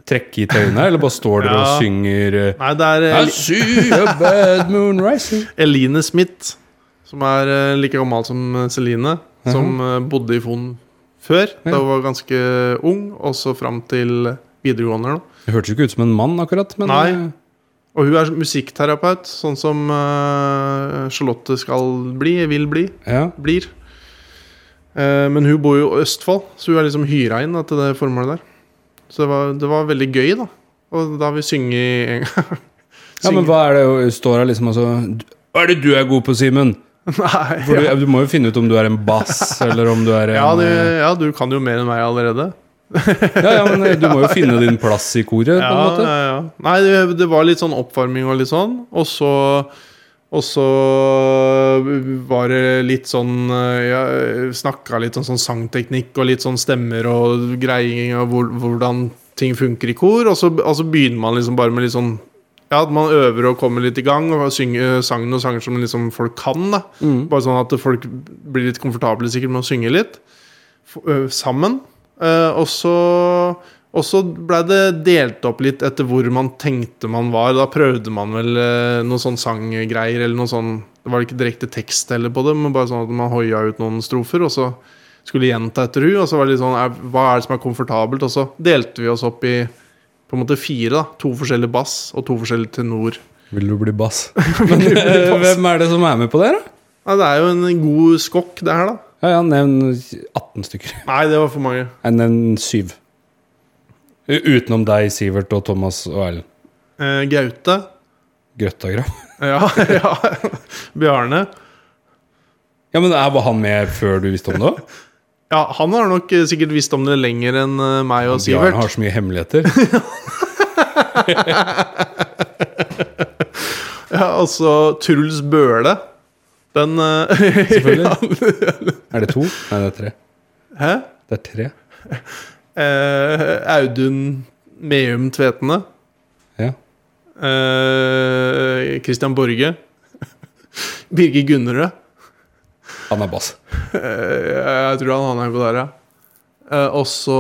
[SPEAKER 2] trekke i tøyene, eller bare står der
[SPEAKER 1] Ja.
[SPEAKER 2] og synger eh,
[SPEAKER 1] Nei, det er
[SPEAKER 2] I
[SPEAKER 1] eh,
[SPEAKER 2] see a bad moon rising.
[SPEAKER 1] Eline Smith, som er eh, like gammel som Celine, som eh, bodde i Fon før. Da
[SPEAKER 2] Ja.
[SPEAKER 1] hun var ganske ung, og så fram til videregående. eller noe.
[SPEAKER 2] Det hørtes jo ikke ut som en mann, akkurat. Men
[SPEAKER 1] Nei.
[SPEAKER 2] eh,
[SPEAKER 1] Og hun er musikkterapeut, sånn som eh, Charlotte skal bli, vil bli,
[SPEAKER 2] ja.
[SPEAKER 1] blir. Eh, men hun bor jo i Østfold, så hun er liksom hyra inn da, til det formålet der. Så det var, det var veldig gøy, da. Og da har vi sunget en gang.
[SPEAKER 2] Ja, men hva er det står det liksom altså Hva er det du er god på, Simen?
[SPEAKER 1] Nei,
[SPEAKER 2] For
[SPEAKER 1] ja.
[SPEAKER 2] du, du må jo finne ut om du er en bass, eller om du er en eh,
[SPEAKER 1] Ja, du, ja, du kan jo mer enn meg allerede.
[SPEAKER 2] ja, ja, men eh, du må jo finne din plass i koret, på
[SPEAKER 1] Ja,
[SPEAKER 2] en måte.
[SPEAKER 1] ja, ja. Nei, det, det var litt sånn oppvarming og litt sånn. Og så, og så var det litt sånn eh, Jeg snakka litt om sånn sangteknikk og litt sånn stemmer og greiing og hvor, hvordan ting funker i kor. Og så, og så begynner man liksom bare med litt sånn ja, at man øver og kommer litt i gang og synger sang noen sanger som liksom folk kan. da
[SPEAKER 2] Mm.
[SPEAKER 1] Bare sånn at folk blir litt komfortable sikkert med å synge litt f- ø, sammen. Eh, og så og så ble det delt opp litt etter hvor man tenkte man var. Da prøvde man vel eh, noen sånn sanggreier eller noe sånn Det var ikke direkte tekst heller på det, men bare sånn at man hoia ut noen strofer, og så skulle gjenta etter hun, og så var det litt sånn er, Hva er det som er komfortabelt? Og så delte vi oss opp i på en måte fire, da. To forskjellige bass og to forskjellige tenor.
[SPEAKER 2] Vil du bli bass? Men, eh, hvem er det som er med på det, her, da?
[SPEAKER 1] Nei, det er jo en god skokk, det her, da.
[SPEAKER 2] Ja, ja, nevn 18 stykker.
[SPEAKER 1] Nei, det var for mange.
[SPEAKER 2] Jeg nevn 7. Utenom deg, Sivert og Thomas og Erlend.
[SPEAKER 1] Eh, Gaute.
[SPEAKER 2] Grøttagrav.
[SPEAKER 1] Ja, ja. Bjarne.
[SPEAKER 2] Ja, men er- Var han med før du visste om det òg?
[SPEAKER 1] Ja, han har nok eh, sikkert visst om det lenger enn eh, meg og
[SPEAKER 2] Bjarne
[SPEAKER 1] Sivert.
[SPEAKER 2] har så mye hemmeligheter.
[SPEAKER 1] Ja, altså Truls Bøhle. Den eh,
[SPEAKER 2] Selvfølgelig. Er det to? Nei, det er tre.
[SPEAKER 1] Hæ?
[SPEAKER 2] Det er tre.
[SPEAKER 1] Eh, Audun Meum Tvetene.
[SPEAKER 2] Ja.
[SPEAKER 1] Eh, Christian Borge. Birger Gunnerød.
[SPEAKER 2] Han er bass.
[SPEAKER 1] Eh, jeg tror han han er på der, ja. Eh, også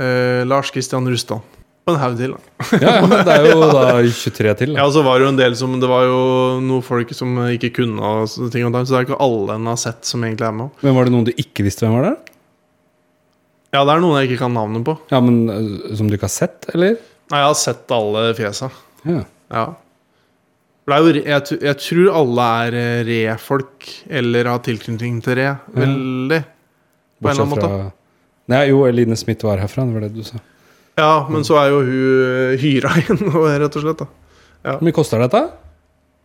[SPEAKER 1] eh, Lars Christian Rustan. Og en haug til, da.
[SPEAKER 2] Ja, ja, men det er jo da 23 til.
[SPEAKER 1] Ja,
[SPEAKER 2] Da.
[SPEAKER 1] og så var det jo en del som Det var jo noen folk som ikke kunne og så- ting og tang, så det er ikke alle en har sett som egentlig er med.
[SPEAKER 2] Men var det noen du ikke visste hvem var der?
[SPEAKER 1] Ja, det er noen jeg ikke kan navnet på.
[SPEAKER 2] Ja, men eh, Som du ikke har sett, eller?
[SPEAKER 1] Nei, jeg har sett alle fjesa.
[SPEAKER 2] Ja.
[SPEAKER 1] Ja. For Det er jo, re- jeg, tr- jeg tror alle er eh, re-folk, eller har tilknytning til re. Veldig. På en eller annen
[SPEAKER 2] Bortsett
[SPEAKER 1] måte.
[SPEAKER 2] fra Nei, jo, Eline Smith var herfra, det var det du sa.
[SPEAKER 1] Ja, men så er jo hun eh, hyra inn, og rett og slett. da
[SPEAKER 2] Hvor mye koster dette?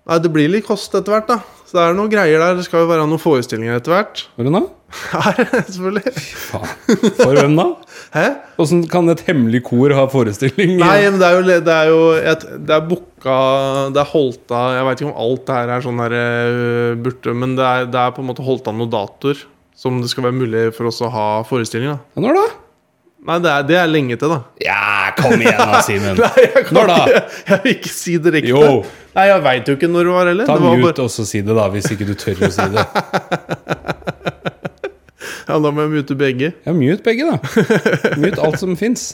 [SPEAKER 1] Nei, Det blir litt kost etter hvert, da. Så det er noen greier der. Det skal jo være noen forestillinger etter hvert.
[SPEAKER 2] Var det nå?
[SPEAKER 1] Her, selvfølgelig.
[SPEAKER 2] Faen. For hvem da?
[SPEAKER 1] Hæ?
[SPEAKER 2] Åssen kan et hemmelig kor ha forestilling?
[SPEAKER 1] Nei, men det er jo, le- det er jo et, Det er booka Det er Holta Jeg vet ikke om alt det her er sånn der øh, burte, men det er, det er på en måte Holta noen datoer som det skal være mulig for oss å ha forestilling av.
[SPEAKER 2] Ja, Når da?
[SPEAKER 1] Nei, det er, det er lenge til, da.
[SPEAKER 2] Ja, kom igjen da, Simen.
[SPEAKER 1] Nei, jeg, kan
[SPEAKER 2] Når da?
[SPEAKER 1] Ikke, jeg vil ikke si det riktig.
[SPEAKER 2] Jo.
[SPEAKER 1] Nei, jeg veit jo ikke når det var heller.
[SPEAKER 2] Ta
[SPEAKER 1] Det var
[SPEAKER 2] mute
[SPEAKER 1] bare,
[SPEAKER 2] og så si det, da, hvis ikke du tør å si det.
[SPEAKER 1] ja, da må jeg mute begge.
[SPEAKER 2] Ja, mute begge, da. Mute alt som fins.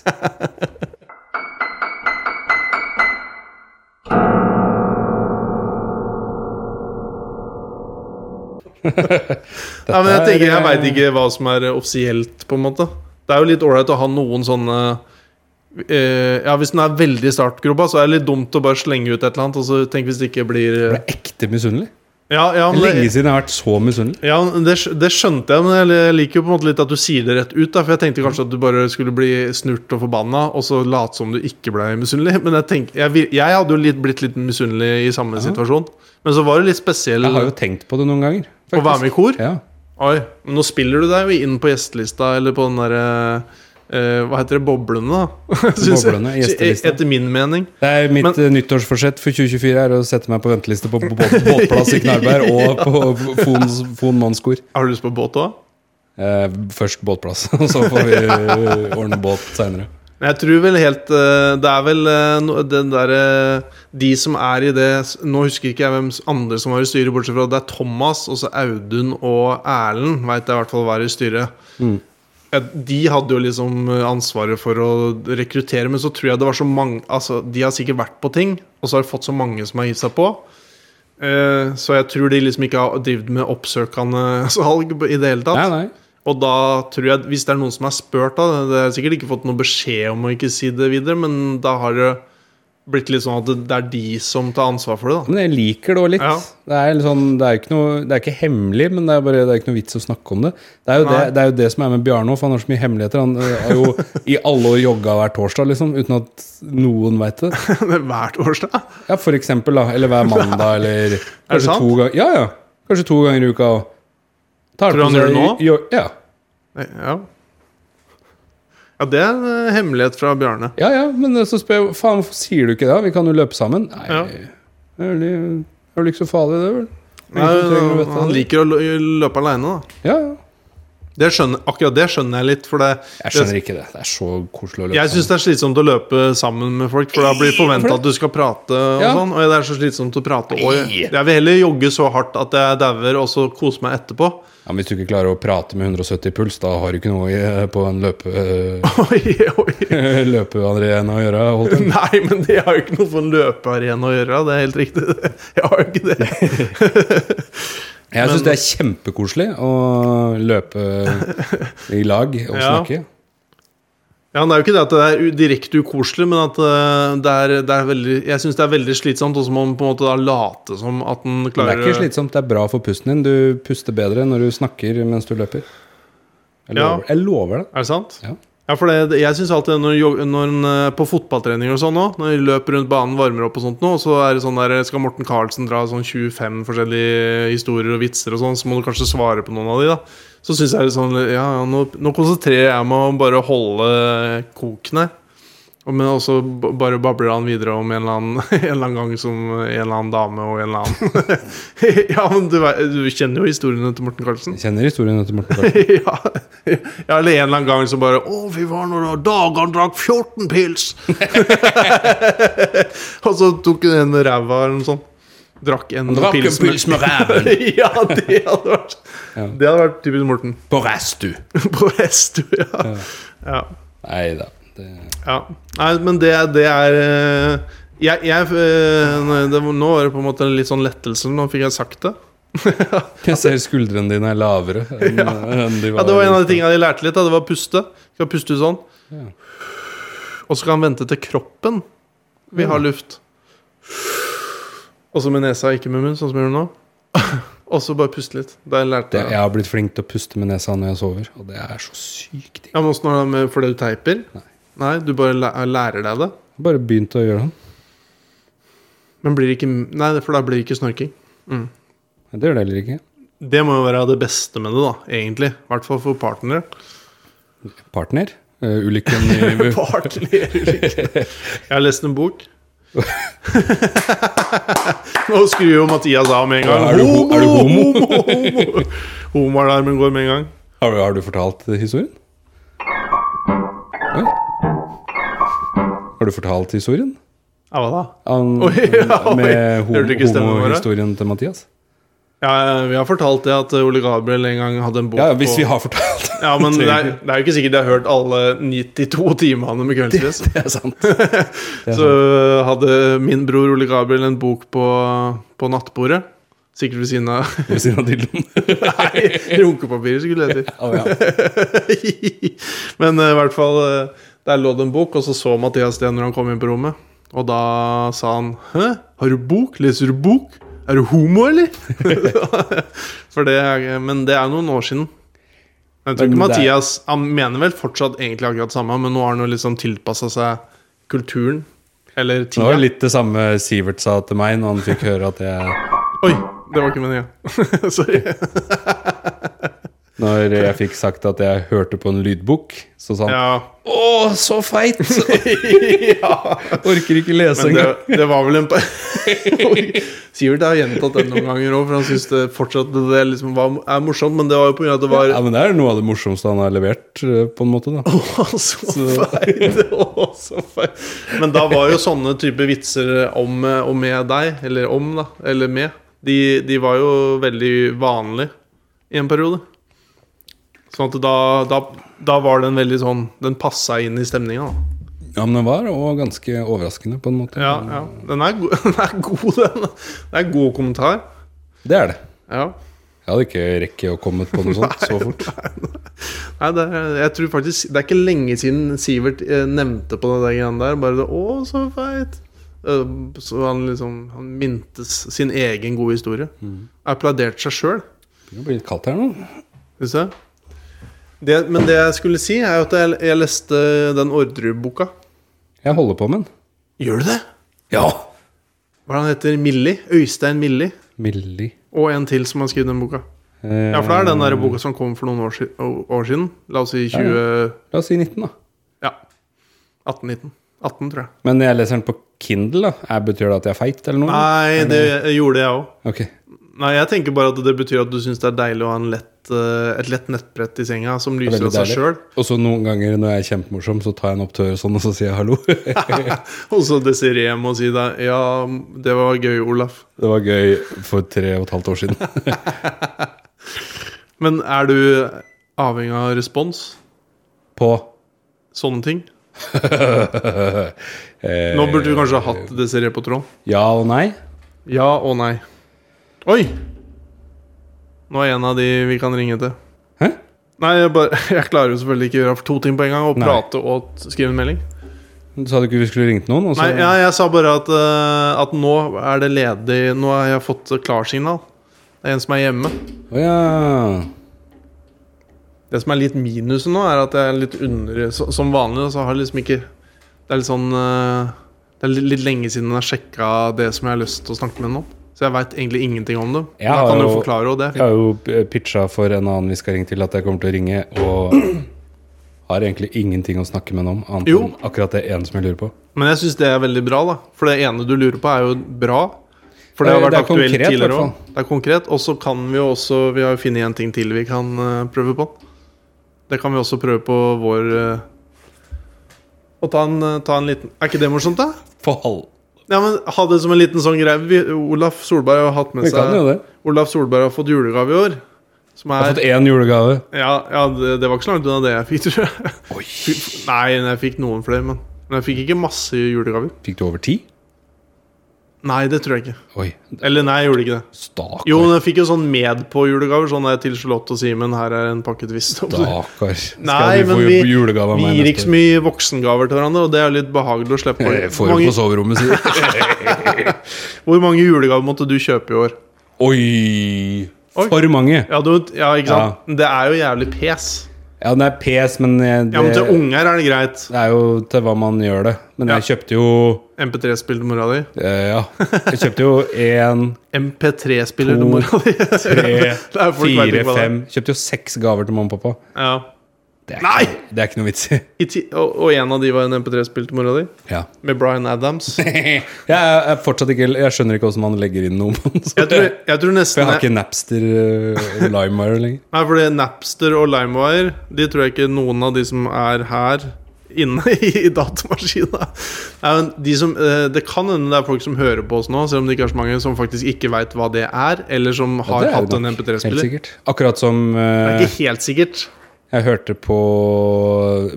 [SPEAKER 1] Nei, men jeg tenker, jeg veit ikke hva som er eh, offisielt, på en måte. Det er jo litt ålreit å ha noen sånne eh, Ja, hvis den er veldig i startgropa, så er det litt dumt å bare slenge ut et eller annet. Og så tenk hvis det ikke blir
[SPEAKER 2] Jeg
[SPEAKER 1] eh,
[SPEAKER 2] ble ekte misunnelig.
[SPEAKER 1] Ja, ja,
[SPEAKER 2] Det er
[SPEAKER 1] men
[SPEAKER 2] lenge
[SPEAKER 1] det,
[SPEAKER 2] siden jeg har vært så misunnelig.
[SPEAKER 1] ja men det, skj- det skjønte jeg, men jeg liker jo på en måte litt at du sier det rett ut. Da, for jeg tenkte kanskje at du bare skulle bli snurt og forbanna, og så late som du ikke ble misunnelig. Men jeg, tenk, jeg, vir- jeg hadde jo litt, blitt litt misunnelig i samme situasjon. Men så var det litt spesiell
[SPEAKER 2] Jeg har jo tenkt på det noen ganger.
[SPEAKER 1] å være med i kor.
[SPEAKER 2] Ja.
[SPEAKER 1] Oi, men nå spiller du deg jo inn på gjestelista, eller på den derre eh, Hva heter det? Boblene, da? Synes jeg.
[SPEAKER 2] Boblene, gjestelista.
[SPEAKER 1] Etter min mening.
[SPEAKER 2] Det er mitt
[SPEAKER 1] Men-
[SPEAKER 2] eh, nyttårsforsett for 2024 er å sette meg på venteliste på, på båt, båtplass i Knarberg og på Fons, Fon Monskor.
[SPEAKER 1] Har du lyst på båt òg?
[SPEAKER 2] Eh, først båtplass, og så får vi eh, ordne båt seinere.
[SPEAKER 1] Jeg tror vel helt eh, Det er vel eh, no- den derre De som er i det s- Nå husker ikke jeg hvem s- andre som var i styret, bortsett fra at det er Thomas, og så Audun og Erlend, veit jeg i hvert fall hva er i styret.
[SPEAKER 2] Mm.
[SPEAKER 1] Ja, De hadde jo liksom ansvaret for å rekruttere, men så tror jeg det var så mange Altså, de har sikkert vært på ting, og så har de fått så mange som har gitt seg på. Eh, Så jeg tror de liksom ikke har drevet med oppsøkende salg på- i det hele
[SPEAKER 2] Nei,
[SPEAKER 1] tatt.
[SPEAKER 2] nei.
[SPEAKER 1] Og da tror jeg, hvis det er noen som er spurt, da Det har jeg sikkert ikke fått noe beskjed om å ikke si det videre, men da har det blitt litt sånn at det- det er de som tar ansvar for det, da.
[SPEAKER 2] Men jeg liker det òg litt.
[SPEAKER 1] Ja.
[SPEAKER 2] Det, er litt sånn, det, er jo ikke noe, det er ikke hemmelig, men det er, bare, det er ikke noe vits å snakke om det. Det er jo, det,
[SPEAKER 1] Nei.
[SPEAKER 2] det, er jo det som er med Bjarne òg, for han har så mye hemmeligheter. Han øh, har jo i alle år jogga hver torsdag, liksom, uten at noen veit det.
[SPEAKER 1] Hver torsdag.
[SPEAKER 2] Ja, for eksempel, da. Eller hver mandag, eller kanskje
[SPEAKER 1] sant?
[SPEAKER 2] to ganger Ja, ja. Kanskje to ganger i uka. og tar
[SPEAKER 1] Tror du
[SPEAKER 2] på
[SPEAKER 1] han gjør
[SPEAKER 2] seg-
[SPEAKER 1] det nå?
[SPEAKER 2] Jo, ja.
[SPEAKER 1] Ja. ja, det er en eh, hemmelighet fra Bjarne.
[SPEAKER 2] ja, ja. Men eh, så spør jeg faen, hvorfor sier du ikke det? Vi kan jo løpe sammen. Nei,
[SPEAKER 1] Ja.
[SPEAKER 2] det er vel i- det er vel ikke så farlig, det, vel?
[SPEAKER 1] Nei,
[SPEAKER 2] Ingen som trenger å vite
[SPEAKER 1] han
[SPEAKER 2] det.
[SPEAKER 1] liker å lø- løpe aleine, da.
[SPEAKER 2] Ja, ja.
[SPEAKER 1] Det skjønner, akkurat det skjønner jeg litt, for det,
[SPEAKER 2] Jeg skjønner ikke det. Det er så koselig å løpe
[SPEAKER 1] jeg syns det er slitsomt å løpe sammen med folk, for da blir det forventa
[SPEAKER 2] Hvorfor
[SPEAKER 1] at du skal prate og
[SPEAKER 2] Ja.
[SPEAKER 1] sånn, og det er så slitsomt å prate. Og
[SPEAKER 2] Nei.
[SPEAKER 1] jeg vil heller jogge så hardt at jeg dauer, og så kose meg etterpå.
[SPEAKER 2] Ja, men Hvis du ikke klarer å prate med 170 puls, da har du ikke noe i- eh, på en løpe, eh,
[SPEAKER 1] Oi, oi.
[SPEAKER 2] løpearena å gjøre. Holdt. jeg.
[SPEAKER 1] Nei, men det har jo ikke noe for en løpearena å gjøre, det er helt riktig. Jeg har jo ikke det.
[SPEAKER 2] Jeg syns det er kjempekoselig å løpe i lag og
[SPEAKER 1] Ja.
[SPEAKER 2] snakke.
[SPEAKER 1] Ja, men Det er jo ikke det at det er u- direkte ukoselig, men at eh, det er, det er veldig Jeg syns det er veldig slitsomt, og så må man på en måte da late som at den
[SPEAKER 2] Men Det
[SPEAKER 1] klarer
[SPEAKER 2] er ikke slitsomt, det er bra for pusten din. Du puster bedre når du snakker mens du løper. Jeg
[SPEAKER 1] Ja.
[SPEAKER 2] lover, jeg lover det.
[SPEAKER 1] Er det sant?
[SPEAKER 2] Ja.
[SPEAKER 1] Ja, for det, jeg syns alltid når, jog- når en, eh, på fotballtrening og sånn òg, når de løper rundt banen, varmer opp og sånt nå, så er det sånn der Skal Morten Carlsen dra sånn 25 forskjellige historier og vitser og sånn, så må du kanskje svare på noen av de, da. Så syns jeg det er sånn Ja, ja nå, nå konsentrerer jeg meg om bare å holde koken her. Og- Men også b- bare babler han videre om en eller, annen, en eller annen gang som en eller annen dame og en eller annen Ja, men du, vei- du kjenner jo historiene til Morten Carlsen.
[SPEAKER 2] Jeg kjenner historien til Morten Karlsen.
[SPEAKER 1] ja. ja, eller en eller annen gang så bare Å, fy faen, og da Dagan drakk 14 pils! og så tok hun en ræva eller noe sånt. Drakk en pils med-
[SPEAKER 2] med ræven
[SPEAKER 1] ja, det hadde vært
[SPEAKER 2] Ja.
[SPEAKER 1] Det hadde vært typisk Morten.
[SPEAKER 2] på restu.
[SPEAKER 1] På hest, ja. ja.
[SPEAKER 2] Nei da. Det,
[SPEAKER 1] ja. Nei, men det, det er eh, jeg, jeg, eh, nei, det, var- Nå var det på en måte en litt sånn lettelse. Nå fikk jeg sagt det.
[SPEAKER 2] jeg ser skuldrene dine er lavere enn, enn de var.
[SPEAKER 1] Ja, Det var en av de tingene de lærte litt. Da. Det var å puste. Skal puste sånn.
[SPEAKER 2] Ja.
[SPEAKER 1] Og så kan han vente til kroppen vil
[SPEAKER 2] Mm.
[SPEAKER 1] ha luft. Også med nesa, ikke med munn, sånn som jeg gjør nå. Og så bare puste litt. Der lærte
[SPEAKER 2] Det,
[SPEAKER 1] jeg.
[SPEAKER 2] jeg har blitt flink til å puste med nesa når jeg sover, og det er så sykt digg.
[SPEAKER 1] Ja, men åssen har det med fordi du teiper? Nei. du bare læ- lærer deg det.
[SPEAKER 2] Jeg Bare begynte å gjøre det.
[SPEAKER 1] Men blir det ikke Nei, for da blir det ikke snorking.
[SPEAKER 2] Det gjør det heller ikke.
[SPEAKER 1] Det må jo være det beste med det, da, egentlig. I hvert fall for partnere.
[SPEAKER 2] Partner. eh, ulykken i
[SPEAKER 1] Partnerulykke. Jeg har lest en bok. Nå skrur jo Mathias av med en gang.
[SPEAKER 2] Er du ho- er du homo?
[SPEAKER 1] homo, homo. Homoalarmen går med en gang.
[SPEAKER 2] har, du- har du fortalt eh, historien? Oi. Har du fortalt historien?
[SPEAKER 1] Ja, hva da?
[SPEAKER 2] An,
[SPEAKER 1] Oi, ja, oi.
[SPEAKER 2] med
[SPEAKER 1] Hørte du ikke
[SPEAKER 2] ho-
[SPEAKER 1] stemmen vår, da?
[SPEAKER 2] homohistorien til Mathias?
[SPEAKER 1] Ja, vi har fortalt det at eh, Ole Gabriel en gang hadde en bok
[SPEAKER 2] Ja, hvis
[SPEAKER 1] på-
[SPEAKER 2] vi har fortalt det.
[SPEAKER 1] ja, men det er, det er jo ikke sikkert jeg har hørt alle 92 timene med Kveldsfjes.
[SPEAKER 2] Det er sant. Det er
[SPEAKER 1] Så eh,
[SPEAKER 2] sant.
[SPEAKER 1] hadde min bror Ole Gabriel en bok på, på nattbordet. Sikkert ved siden av
[SPEAKER 2] Ved siden av dildoen.
[SPEAKER 1] Nei, runkepapiret skulle det hete.
[SPEAKER 2] Å, ja.
[SPEAKER 1] Men eh, i hvert fall eh, Der lå det en bok, og så så Mathias det når han kom inn på rommet. Og da sa han 'Hæ? Har du bok? Leser du bok? Er du homo, eller?' For det, er- men det er noen år siden. Jeg tror ikke
[SPEAKER 2] Men det er-
[SPEAKER 1] Mathias Han mener vel fortsatt egentlig akkurat det samme, men nå har han jo liksom tilpassa seg kulturen. Eller
[SPEAKER 2] Det
[SPEAKER 1] tida.
[SPEAKER 2] var jo litt det samme Sivert sa til meg når han fikk høre at jeg
[SPEAKER 1] Oi! Det var ikke meninga. Sorry.
[SPEAKER 2] Når jeg fikk sagt at jeg hørte på en lydbok, så sa han
[SPEAKER 1] Ja.
[SPEAKER 2] Å, så feit!
[SPEAKER 1] ja.
[SPEAKER 2] Orker ikke lese
[SPEAKER 1] Men det,
[SPEAKER 2] engang.
[SPEAKER 1] det var vel en pa- Sivert har gjentatt den noen ganger òg, for han syns det fortsatt det liksom var, er morsomt. Men det var jo på grunn av at det var
[SPEAKER 2] Ja, men det er noe av det morsomste han har levert, eh, på en måte. da
[SPEAKER 1] Åh, så feil! Åh, så feil. Men da var jo sånne type vitser om eh, og med deg, eller om, da, eller med, de, de var jo veldig vanlig i en periode. Sånn at da, da, da var den veldig sånn Den passa inn i stemninga, da.
[SPEAKER 2] Ja, Men den var og ganske overraskende, på en måte.
[SPEAKER 1] Ja, ja. Den er, go den er god, den. Det er god kommentar.
[SPEAKER 2] Det er det.
[SPEAKER 1] Ja.
[SPEAKER 2] Jeg hadde ikke rekket å komme på noe sånt så fort.
[SPEAKER 1] Nei, det er, jeg tror faktisk Det er ikke lenge siden Sivert eh, nevnte på det der greiene der. Bare det 'Å, så feit'. Eh, Så han liksom Han mintes sin egen gode historie. Applauderte seg sjøl.
[SPEAKER 2] Det blir litt kaldt her nå.
[SPEAKER 1] Syns jeg. Det, men det jeg skulle si, er jo at jeg, jeg leste den Orderud-boka.
[SPEAKER 2] Jeg holder på med den.
[SPEAKER 1] Gjør du det?
[SPEAKER 2] Ja!
[SPEAKER 1] Hva er det han heter? Milli? Øystein Milli.
[SPEAKER 2] Millie.
[SPEAKER 1] Og en til som har skrevet den boka.
[SPEAKER 2] Eh,
[SPEAKER 1] Ja, for det er den der boka som kom for noen år, si- å- år siden. La oss si 20...
[SPEAKER 2] La oss si 19, da.
[SPEAKER 1] Ja. 18-19. 18, tror jeg.
[SPEAKER 2] Men jeg leser den på Kindle, da. Er, betyr det at jeg er feit, eller noe?
[SPEAKER 1] Nei, det gjorde jeg òg.
[SPEAKER 2] Ok.
[SPEAKER 1] Nei, jeg tenker bare at det betyr at du syns det er deilig å ha en lett, eh, et lett nettbrett i senga som
[SPEAKER 2] Det er
[SPEAKER 1] lyser av
[SPEAKER 2] veldig
[SPEAKER 1] seg
[SPEAKER 2] deilig.
[SPEAKER 1] sjøl.
[SPEAKER 2] Og så noen ganger når jeg er kjempemorsom, så tar jeg en opptøy og sånn, og så sier jeg hallo. det
[SPEAKER 1] Og så Desiree må si deg Ja, det var gøy, Olaf.
[SPEAKER 2] var gøy for tre og et halvt år siden.
[SPEAKER 1] Men er du avhengig av respons?
[SPEAKER 2] På
[SPEAKER 1] Sånne ting?
[SPEAKER 2] eh,
[SPEAKER 1] Nå burde du kanskje ha hatt Desiree på tråden.
[SPEAKER 2] Ja og nei.
[SPEAKER 1] Ja og nei. Oi! Nå er en av de vi kan ringe til.
[SPEAKER 2] Hæ?
[SPEAKER 1] Nei, jeg, bare, jeg klarer jo selvfølgelig ikke å gjøre to ting på en gang. Å
[SPEAKER 2] Nei.
[SPEAKER 1] prate og t- skrive en melding.
[SPEAKER 2] Du sa du ikke vi skulle ringt noen? Og så,
[SPEAKER 1] Nei, ja, jeg sa bare at, eh, at nå er det ledig Nå har jeg fått klarsignal. Det er en som er hjemme.
[SPEAKER 2] Å ja.
[SPEAKER 1] Det som er litt minuset nå, er at jeg er litt under så, Som vanlig så har jeg liksom ikke Det er litt sånn eh, Det er litt, litt lenge siden jeg har sjekka det som jeg har lyst til å snakke med henne om. Så jeg veit egentlig ingenting om det.
[SPEAKER 2] Jeg
[SPEAKER 1] Da
[SPEAKER 2] har
[SPEAKER 1] kan du
[SPEAKER 2] jo-
[SPEAKER 1] forklare, og det er
[SPEAKER 2] Jeg har jo pitcha for en annen vi skal ringe til, at jeg kommer til å ringe, og har egentlig ingenting å snakke med noen om, annet
[SPEAKER 1] Jo.
[SPEAKER 2] enn akkurat det ene som jeg lurer på.
[SPEAKER 1] Men jeg syns det er veldig bra, da. For det ene du lurer på, er jo bra. For det har
[SPEAKER 2] Eh, Det er-
[SPEAKER 1] vært
[SPEAKER 2] det er
[SPEAKER 1] aktuelt
[SPEAKER 2] konkret,
[SPEAKER 1] tidligere
[SPEAKER 2] hvertfall.
[SPEAKER 1] òg. Det er konkret. Og så kan vi jo også Vi har jo funnet en ting til vi kan eh, prøve på. Det kan vi også prøve på vår eh, Å ta en, eh, ta en liten Er ikke det morsomt, da? Ja, men Ha det som en liten sånn greie. Vi- Olaf Solberg har hatt med
[SPEAKER 2] Vi kan jo
[SPEAKER 1] seg
[SPEAKER 2] det.
[SPEAKER 1] Olaf Solberg har fått julegave i år. Som
[SPEAKER 2] Jeg har
[SPEAKER 1] er
[SPEAKER 2] fått e- én julegave.
[SPEAKER 1] Ja, ja det, det var ikke så langt unna det jeg fikk, tror jeg.
[SPEAKER 2] Oi.
[SPEAKER 1] Nei, jeg fikk noen flere, men, men jeg fikk ikke masse julegaver.
[SPEAKER 2] Fikk du over ti?
[SPEAKER 1] Nei, det tror jeg ikke.
[SPEAKER 2] Oi,
[SPEAKER 1] Eller nei, jeg gjorde ikke det.
[SPEAKER 2] stakkar.
[SPEAKER 1] Jo, men jeg fikk jo sånn med på julegaver. Sånn der til Charlotte og Simen, her er en pakke Twist.
[SPEAKER 2] Stakkar. Skal
[SPEAKER 1] Nei,
[SPEAKER 2] du få
[SPEAKER 1] men vi-
[SPEAKER 2] julegave av
[SPEAKER 1] Vi
[SPEAKER 2] meg
[SPEAKER 1] gir
[SPEAKER 2] neste
[SPEAKER 1] ikke
[SPEAKER 2] år?
[SPEAKER 1] så mye voksengaver til hverandre, og det er jo litt behagelig å slippe.
[SPEAKER 2] Jeg får jo
[SPEAKER 1] mange,
[SPEAKER 2] på soverommet, sier jeg.
[SPEAKER 1] hvor mange julegaver måtte du kjøpe i år?
[SPEAKER 2] Oi!
[SPEAKER 1] Oi.
[SPEAKER 2] For mange.
[SPEAKER 1] Ja, du, ja ikke sant? Det er jo jævlig pes.
[SPEAKER 2] Ja, det er pes, men jeg, det,
[SPEAKER 1] Ja, men til unger er det greit.
[SPEAKER 2] det er jo til hva man gjør det. Men
[SPEAKER 1] Ja.
[SPEAKER 2] jeg kjøpte jo
[SPEAKER 1] MP3-spill til mora di.
[SPEAKER 2] eh, Ja. Jeg kjøpte jo én,
[SPEAKER 1] MP3-spiller
[SPEAKER 2] To,
[SPEAKER 1] til mora di.
[SPEAKER 2] tre,
[SPEAKER 1] Det er folk vet ikke hva
[SPEAKER 2] fire,
[SPEAKER 1] det er.
[SPEAKER 2] fem Kjøpte jo seks gaver til mamma og pappa.
[SPEAKER 1] Ja.
[SPEAKER 2] Det er,
[SPEAKER 1] Nei!
[SPEAKER 2] Ikke, det er ikke noe vits i.
[SPEAKER 1] I ti, og, og en av de var en MP3-spill til mora di,
[SPEAKER 2] Ja.
[SPEAKER 1] med Bryan Adams.
[SPEAKER 2] Jeg, er fortsatt ikke, jeg skjønner ikke hvordan man legger inn noe. Man, så.
[SPEAKER 1] Jeg tror, jeg tror
[SPEAKER 2] For
[SPEAKER 1] nesten
[SPEAKER 2] jeg har ikke Napster uh, LimeWire lenger.
[SPEAKER 1] Nei, fordi Napster og LimeWire De tror jeg ikke noen av de som er her Inne i datamaskina Nei, men de som eh, Det kan hende det er folk som hører på oss nå Selv om det ikke er så mange som faktisk ikke vet hva det er Eller som har
[SPEAKER 2] det er
[SPEAKER 1] hatt
[SPEAKER 2] det
[SPEAKER 1] en
[SPEAKER 2] nok, Helt
[SPEAKER 1] MP3-spiller Det
[SPEAKER 2] sikkert. Akkurat som
[SPEAKER 1] er
[SPEAKER 2] eh,
[SPEAKER 1] ikke helt sikkert
[SPEAKER 2] jeg hørte på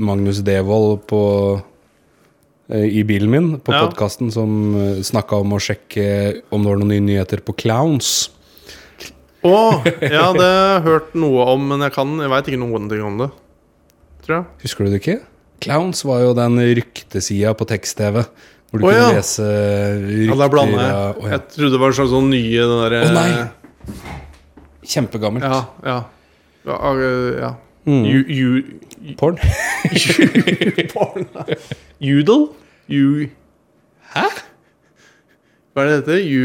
[SPEAKER 2] Magnus Devold på eh, i bilen min, på
[SPEAKER 1] Ja.
[SPEAKER 2] podkasten, som uh, snakka om å sjekke om det var noen nye nyheter på Clowns.
[SPEAKER 1] Åh, ja det har jeg hørt noe om Men jeg, kan, jeg vet ikke noen ting om det Tror jeg
[SPEAKER 2] Husker du det ikke? Clowns var jo den ryktesida på tekst-TV. Hvor du
[SPEAKER 1] Å, ja.
[SPEAKER 2] kunne lese rykter
[SPEAKER 1] Ja, der blander jeg
[SPEAKER 2] av- Å, ja.
[SPEAKER 1] Jeg trodde det var en slags sånn nye den der,
[SPEAKER 2] Å, nei! Kjempegammelt.
[SPEAKER 1] eh, Ja, ja Ja, eh, ja
[SPEAKER 2] Mm.
[SPEAKER 1] Ju- ju-
[SPEAKER 2] Porn?
[SPEAKER 1] Judel? Ju...
[SPEAKER 2] Hæ?
[SPEAKER 1] Hva er det det heter? Ju...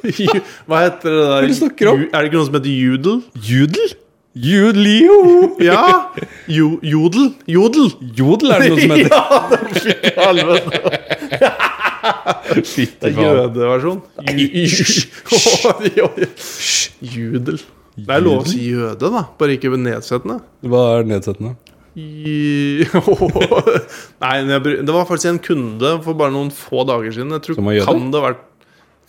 [SPEAKER 1] Ju- Hva heter det der?
[SPEAKER 2] Hva er det du snakker om?
[SPEAKER 1] Ju- Er det ikke noe som heter judel?
[SPEAKER 2] Judel? Judelio!
[SPEAKER 1] Ja! Jo, jodel? Jodel!
[SPEAKER 2] Jodel er det noe som heter.
[SPEAKER 1] Ja, det fikk helvete. Det
[SPEAKER 2] Fytti
[SPEAKER 1] er
[SPEAKER 2] faen.
[SPEAKER 1] jødeversjon. Ju- Oi, oi. Judel. Det er lov å si jøde, da. Bare ikke nedsettende.
[SPEAKER 2] Hva er nedsettende?
[SPEAKER 1] Ju- Nei, men jeg, bry- det var faktisk en kunde for bare noen få dager siden. Jeg tror
[SPEAKER 2] Som var jøde?
[SPEAKER 1] kan det ha vært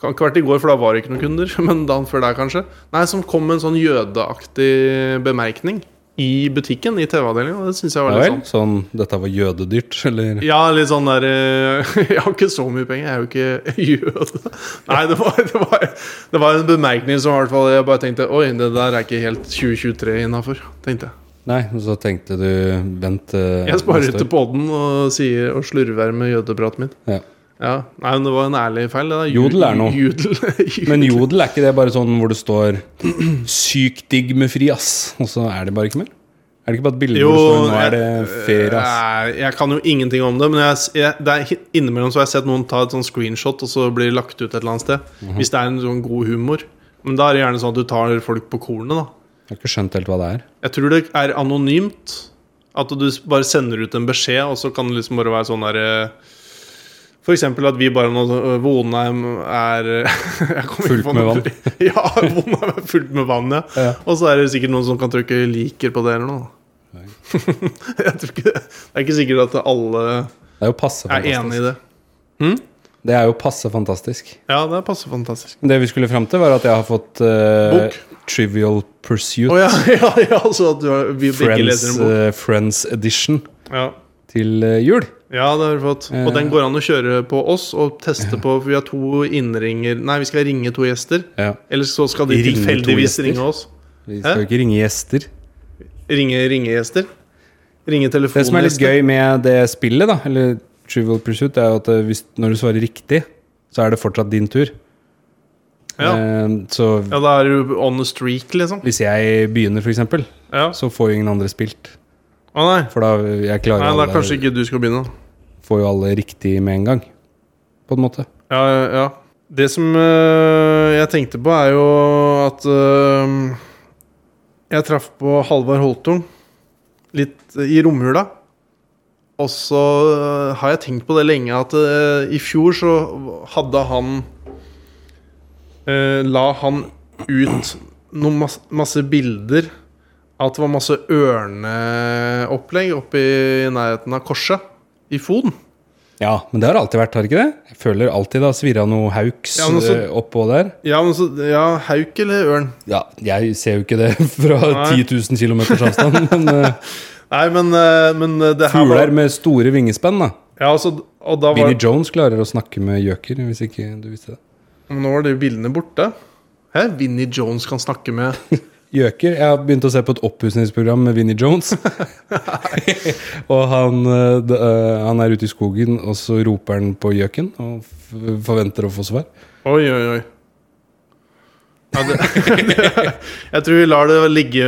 [SPEAKER 1] Kan ikke ha vært i går, for da var det ikke noen kunder. Men dagen før der, kanskje. Nei, Som kom med en sånn jødeaktig bemerkning i butikken, i TV-avdelinga. Det syns jeg var
[SPEAKER 2] Ja
[SPEAKER 1] litt
[SPEAKER 2] vel?
[SPEAKER 1] sånn.
[SPEAKER 2] Sånn Dette var jødedyrt, eller?
[SPEAKER 1] Ja, litt sånn der eh, Jeg har ikke så mye penger, jeg er jo ikke jøde. Nei, det var, det var, det var en bemerkning som i hvert fall jeg bare tenkte Oi, det der er ikke helt 2023 innafor, tenkte jeg.
[SPEAKER 2] Nei, så tenkte du Vent eh,
[SPEAKER 1] Jeg sparer
[SPEAKER 2] neste
[SPEAKER 1] til
[SPEAKER 2] år.
[SPEAKER 1] podden og, sier, og slurver med jødepraten min.
[SPEAKER 2] Ja.
[SPEAKER 1] Ja, Nei, men det var en ærlig feil. Det der.
[SPEAKER 2] Jodel er noe.
[SPEAKER 1] Jodel. jodel.
[SPEAKER 2] Men jodel er ikke det bare sånn hvor det står 'sykt digg med fri', ass? Og så er det bare ikke mer? Er det ikke bare et bilde
[SPEAKER 1] Jo,
[SPEAKER 2] hvor det står 'nå er
[SPEAKER 1] jeg-
[SPEAKER 2] det ferie', ass?
[SPEAKER 1] Nei, Jeg kan jo ingenting om det, men jeg, jeg, det er, innimellom så har jeg sett noen ta et sånn screenshot, og så blir det lagt ut et eller annet sted.
[SPEAKER 2] Mhm.
[SPEAKER 1] Hvis det er en sånn god humor. Men da er det gjerne sånn at du tar folk på kornet, da.
[SPEAKER 2] Jeg har ikke skjønt helt hva det er.
[SPEAKER 1] Jeg tror det er anonymt. At du s- bare sender ut en beskjed, og så kan det liksom bare være sånn derre for eksempel at vi bare nå øh, Vonheim er jeg kommer ikke
[SPEAKER 2] Fullt
[SPEAKER 1] på
[SPEAKER 2] med
[SPEAKER 1] noe-
[SPEAKER 2] vann.
[SPEAKER 1] Ja, Vonheim er fullt med vann, ja.
[SPEAKER 2] Ja.
[SPEAKER 1] Og så er det sikkert noen som kan trykke liker på det eller noe. jeg tror ikke, det er ikke sikkert at alle
[SPEAKER 2] Det er jo passe
[SPEAKER 1] er
[SPEAKER 2] fantastisk.
[SPEAKER 1] enig i det.
[SPEAKER 2] Det er jo passe fantastisk.
[SPEAKER 1] Ja, det passer fantastisk.
[SPEAKER 2] Det vi skulle fram til, var at jeg har fått eh,
[SPEAKER 1] Bok.
[SPEAKER 2] Trivial Pursuit
[SPEAKER 1] Å ja, ja, ja, så at du har, vi begge
[SPEAKER 2] Friends,
[SPEAKER 1] leser en bok.
[SPEAKER 2] eh, Friends Edition
[SPEAKER 1] Ja.
[SPEAKER 2] til eh, jul.
[SPEAKER 1] Ja, det har vi fått. Og
[SPEAKER 2] Eh.
[SPEAKER 1] den går an å kjøre på oss og teste på. For vi har to innringer Nei, vi skal ringe to gjester.
[SPEAKER 2] Ja.
[SPEAKER 1] Eller så skal de
[SPEAKER 2] Ringe to
[SPEAKER 1] tilfeldigvis
[SPEAKER 2] gjester?
[SPEAKER 1] ringe oss.
[SPEAKER 2] Vi skal jo ikke ringe gjester.
[SPEAKER 1] Ringe ringegjester. Ringe
[SPEAKER 2] Det som er litt
[SPEAKER 1] telefongjester.
[SPEAKER 2] gøy med det spillet, da, eller Trivial Pursuit, er jo at eh, hvis, når du svarer riktig, så er det fortsatt din tur.
[SPEAKER 1] Ja.
[SPEAKER 2] Eh, så
[SPEAKER 1] ja, da er du on the streak, liksom.
[SPEAKER 2] hvis jeg begynner, for eksempel,
[SPEAKER 1] Ja.
[SPEAKER 2] så får jo ingen andre spilt.
[SPEAKER 1] Å nei.
[SPEAKER 2] For da eh, jeg klarer
[SPEAKER 1] Nei, da
[SPEAKER 2] alle,
[SPEAKER 1] kanskje ikke du skal begynne.
[SPEAKER 2] får jo alle riktig med en gang. På en måte.
[SPEAKER 1] Ja, ja, ja. Det som øh, jeg tenkte på, er jo at øh, Jeg traff på Halvard Holtung litt eh, i romjula. Og så øh, har jeg tenkt på det lenge at øh, i fjor så hadde han øh, La han ut noen masse, masse bilder at det var masse ørneopplegg oppe i nærheten av Korset, i Fon.
[SPEAKER 2] Ja, men det har det alltid vært, har det ikke det? Jeg føler alltid det har svirra noe hauks
[SPEAKER 1] Ja, men altså- også-
[SPEAKER 2] eh, oppå der.
[SPEAKER 1] Ja, men så, ja, hauk eller ørn?
[SPEAKER 2] Ja, jeg ser jo ikke det fra
[SPEAKER 1] Nei.
[SPEAKER 2] 10 000 kilometers avstand, men eh,
[SPEAKER 1] Nei, men, eh, men eh, det her var-
[SPEAKER 2] fugler med store vingespenn, da.
[SPEAKER 1] Ja, altså, og da var
[SPEAKER 2] Vinnie Jones klarer å snakke med gjøker, hvis ikke du visste det.
[SPEAKER 1] Nå var de bildene borte. Hæ? Vinnie Jones kan snakke med
[SPEAKER 2] Gjøker? Jeg har begynt å se på et oppussingsprogram med Vinnie Jones. og han, eh, d- eh, han er ute i skogen, og så roper han på gjøken og f forventer å få svar.
[SPEAKER 1] Oi, oi, oi. Ja, det, jeg tror vi lar det ligge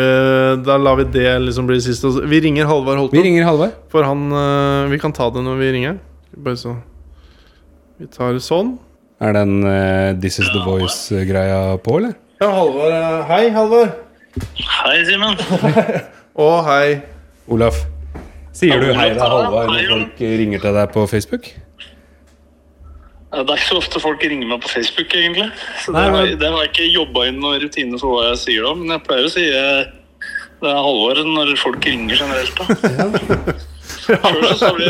[SPEAKER 1] Da lar vi det liksom bli sist. og så- Vi ringer Halvard
[SPEAKER 2] Vi
[SPEAKER 1] Holton.
[SPEAKER 2] ringer Halvard.
[SPEAKER 1] For han eh, Vi kan ta det når vi ringer. Bare så Vi tar sånn.
[SPEAKER 2] Er den eh, This Is The Voice-greia på, eller?
[SPEAKER 1] Ja, Halvard eh, Hei, Halvard.
[SPEAKER 3] Hei, Simen.
[SPEAKER 1] Å, hei.
[SPEAKER 2] Olaf. Sier du
[SPEAKER 3] Ja,
[SPEAKER 2] hei til Halvard
[SPEAKER 3] hei,
[SPEAKER 2] når
[SPEAKER 3] ja.
[SPEAKER 2] folk ringer til deg på Facebook?
[SPEAKER 3] Ja, Det er ikke så ofte folk ringer meg på Facebook, egentlig. Så
[SPEAKER 1] Nei,
[SPEAKER 3] det, har,
[SPEAKER 1] men-
[SPEAKER 3] det har jeg ikke jobba inn noen rutine for hva jeg sier da, men jeg pleier å si eh, det er halvåret når folk ringer generelt, da. Før så sa vi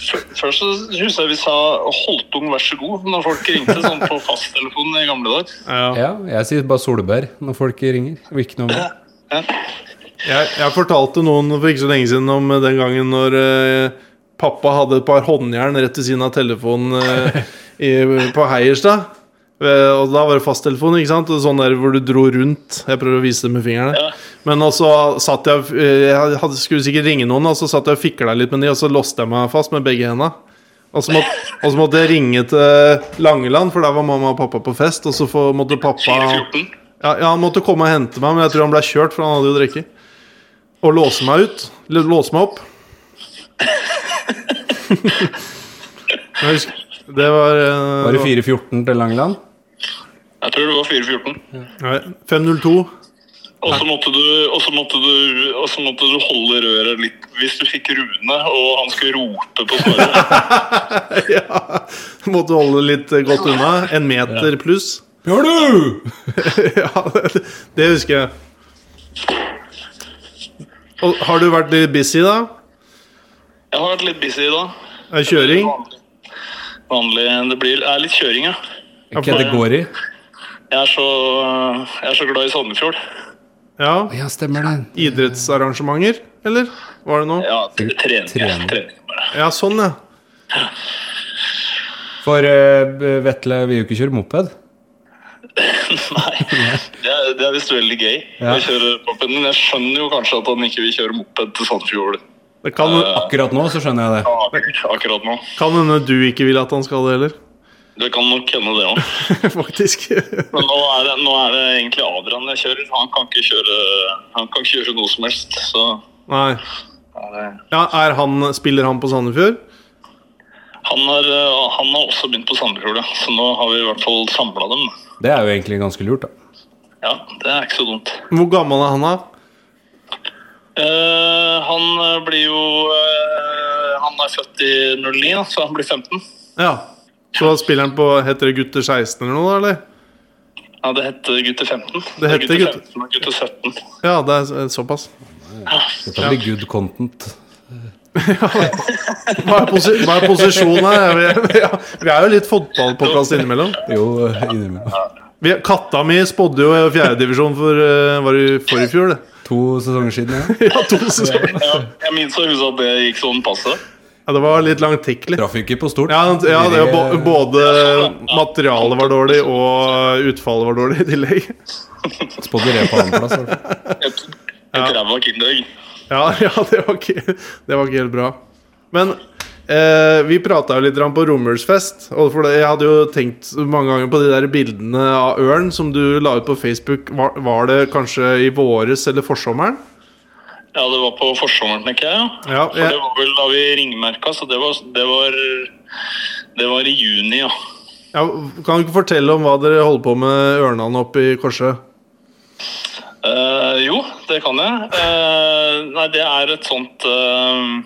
[SPEAKER 3] før- før så husker jeg vi sa 'Holtung, vær så god' når folk ringte sånn på fasttelefonen i gamle dager.
[SPEAKER 1] Ja.
[SPEAKER 2] Ja, jeg sier bare solbær når folk ringer. Og ikke noe mer.
[SPEAKER 1] Jeg, jeg fortalte noen for ikke så lenge siden om eh, den gangen når eh, pappa hadde et par håndjern rett ved siden av telefonen eh, i, på Heierstad. Eh, Og da var det fasttelefon, ikke sant? Og Sånn der hvor du dro rundt. Jeg prøver å vise det med fingrene.
[SPEAKER 3] Ja.
[SPEAKER 1] Men også satt jeg eh, Jeg hadde, skulle sikkert ringe noen, og så satt jeg og fikla litt med de, og så låste jeg meg fast med begge henda. Og så, måtte, og så måtte jeg ringe til Langeland, for der var mamma og pappa på fest. Og så få- måtte pappa
[SPEAKER 3] 414.
[SPEAKER 1] ja, ja, han måtte komme og hente meg, men jeg tror han ble kjørt, for han hadde jo drukket. Og låse meg ut. Eller låse meg opp. jeg husker, det var eh,
[SPEAKER 2] Var det 414 til Langeland?
[SPEAKER 3] Jeg tror det var 414.
[SPEAKER 1] Nei, 502.
[SPEAKER 3] Og så måtte, du- og så måtte, du- og så måtte du holde røret litt hvis du fikk Rune og han skulle rope på Snorre.
[SPEAKER 1] ja. Måtte holde litt eh, godt unna. En meter pluss.
[SPEAKER 2] Bjørnu!
[SPEAKER 1] ja, det, det husker jeg. Og, har du vært litt busy, da?
[SPEAKER 3] Jeg har vært litt busy i dag.
[SPEAKER 1] Er det Kjøring?
[SPEAKER 3] Vanlig. Vanlig. Det blir, er litt kjøring, ja.
[SPEAKER 2] Ikke det går i.
[SPEAKER 3] Jeg er så, jeg er så glad i Sandefjord.
[SPEAKER 1] Ja.
[SPEAKER 2] Ja, stemmer det.
[SPEAKER 1] Idrettsarrangementer, eller? Var det noe?
[SPEAKER 3] Ja, trening.
[SPEAKER 2] Trening.
[SPEAKER 3] trening bare.
[SPEAKER 1] Ja, sånn, ja.
[SPEAKER 2] For eh, Vetle vil jo ikke kjøre moped.
[SPEAKER 3] Nei, det er, det er visst veldig gøy
[SPEAKER 2] Ja.
[SPEAKER 3] å kjøre moped. Men jeg skjønner jo kanskje at han ikke vil kjøre moped til Sandfjord.
[SPEAKER 1] Det kan
[SPEAKER 2] Akkurat nå så skjønner jeg det.
[SPEAKER 3] Akkurat, akkurat nå.
[SPEAKER 1] kan hende du ikke vil at han skal det heller,
[SPEAKER 3] Det kan nok hende, det òg.
[SPEAKER 1] faktisk.
[SPEAKER 3] Men nå er, det, nå er det egentlig Adrian jeg kjører. Han kan ikke kjøre, han kan ikke kjøre noe som helst. Så
[SPEAKER 1] Nei.
[SPEAKER 3] er det
[SPEAKER 1] Ja, er han, spiller han på Sandefjord?
[SPEAKER 3] han har, eh, han har også begynt på Sandefjord, ja. så nå har vi i hvert fall samla dem. da.
[SPEAKER 2] Det er jo egentlig ganske lurt, da.
[SPEAKER 3] Ja, det er ikke så dumt.
[SPEAKER 1] Hvor gammel er han, da?
[SPEAKER 3] Eh, han eh, blir jo eh, Han er født i 09, da, så han blir 15.
[SPEAKER 1] Ja. Så spiller han på Heter det Gutter 16 eller noe, da? eller?
[SPEAKER 3] Ja, det heter gutter 15.
[SPEAKER 1] Det heter
[SPEAKER 3] gutter
[SPEAKER 1] gutter-
[SPEAKER 3] 15 og gutter 17.
[SPEAKER 1] Ja, det er s- eh, såpass.
[SPEAKER 2] Dette blir good content.
[SPEAKER 1] Hva er, posi hva er posisjonen her? Vi, ja, vi er jo litt fotballpodkast innimellom.
[SPEAKER 2] Jo, eh, innimellom.
[SPEAKER 1] Vi, katta mi spådde jo fjerdedivisjon for eh, Var det for i fjor, det?
[SPEAKER 2] To sesonger siden, ja.
[SPEAKER 1] Ja, to sesonger.
[SPEAKER 3] Ja, jeg minnes at hun sa at det gikk sånn passe.
[SPEAKER 1] Ja, det var litt langtekkelig.
[SPEAKER 2] Traff ikke på stort.
[SPEAKER 1] Ja, ja det var bo- både materialet var dårlig, og utfallet var dårlig i tillegg.
[SPEAKER 2] Spådde det på annenplass. i hvert fall.
[SPEAKER 3] Et, et ræva kinderegg.
[SPEAKER 1] Ja, ja det, var ikke, det var ikke helt bra. Men eh, vi prata jo litt grann på Romersfest. Og for det, jeg hadde jo tenkt mange ganger på de der bildene av ørn som du la ut på Facebook. Var, var det kanskje i våres eller forsommeren?
[SPEAKER 3] Ja, det var på forsommeren, tenker jeg. ja.
[SPEAKER 1] Ja,
[SPEAKER 3] For det
[SPEAKER 1] jeg,
[SPEAKER 3] var vel da vi ringmerka, så det var, det var, det var i juni, ja.
[SPEAKER 1] ja, kan du ikke fortelle om hva dere holder på med ørnene oppe i korset?
[SPEAKER 3] Eh, jo, det kan jeg. Eh, nei, det er et sånt eh,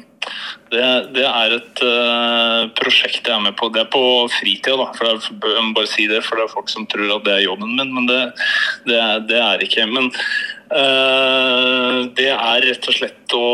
[SPEAKER 3] det, det er et eh, prosjekt jeg er med på. Det er på fritida, da. For det er, jeg må bare si det, for det er folk som tror at det er jobben min, men det, det, er- det er ikke. Men eh, det er rett og slett å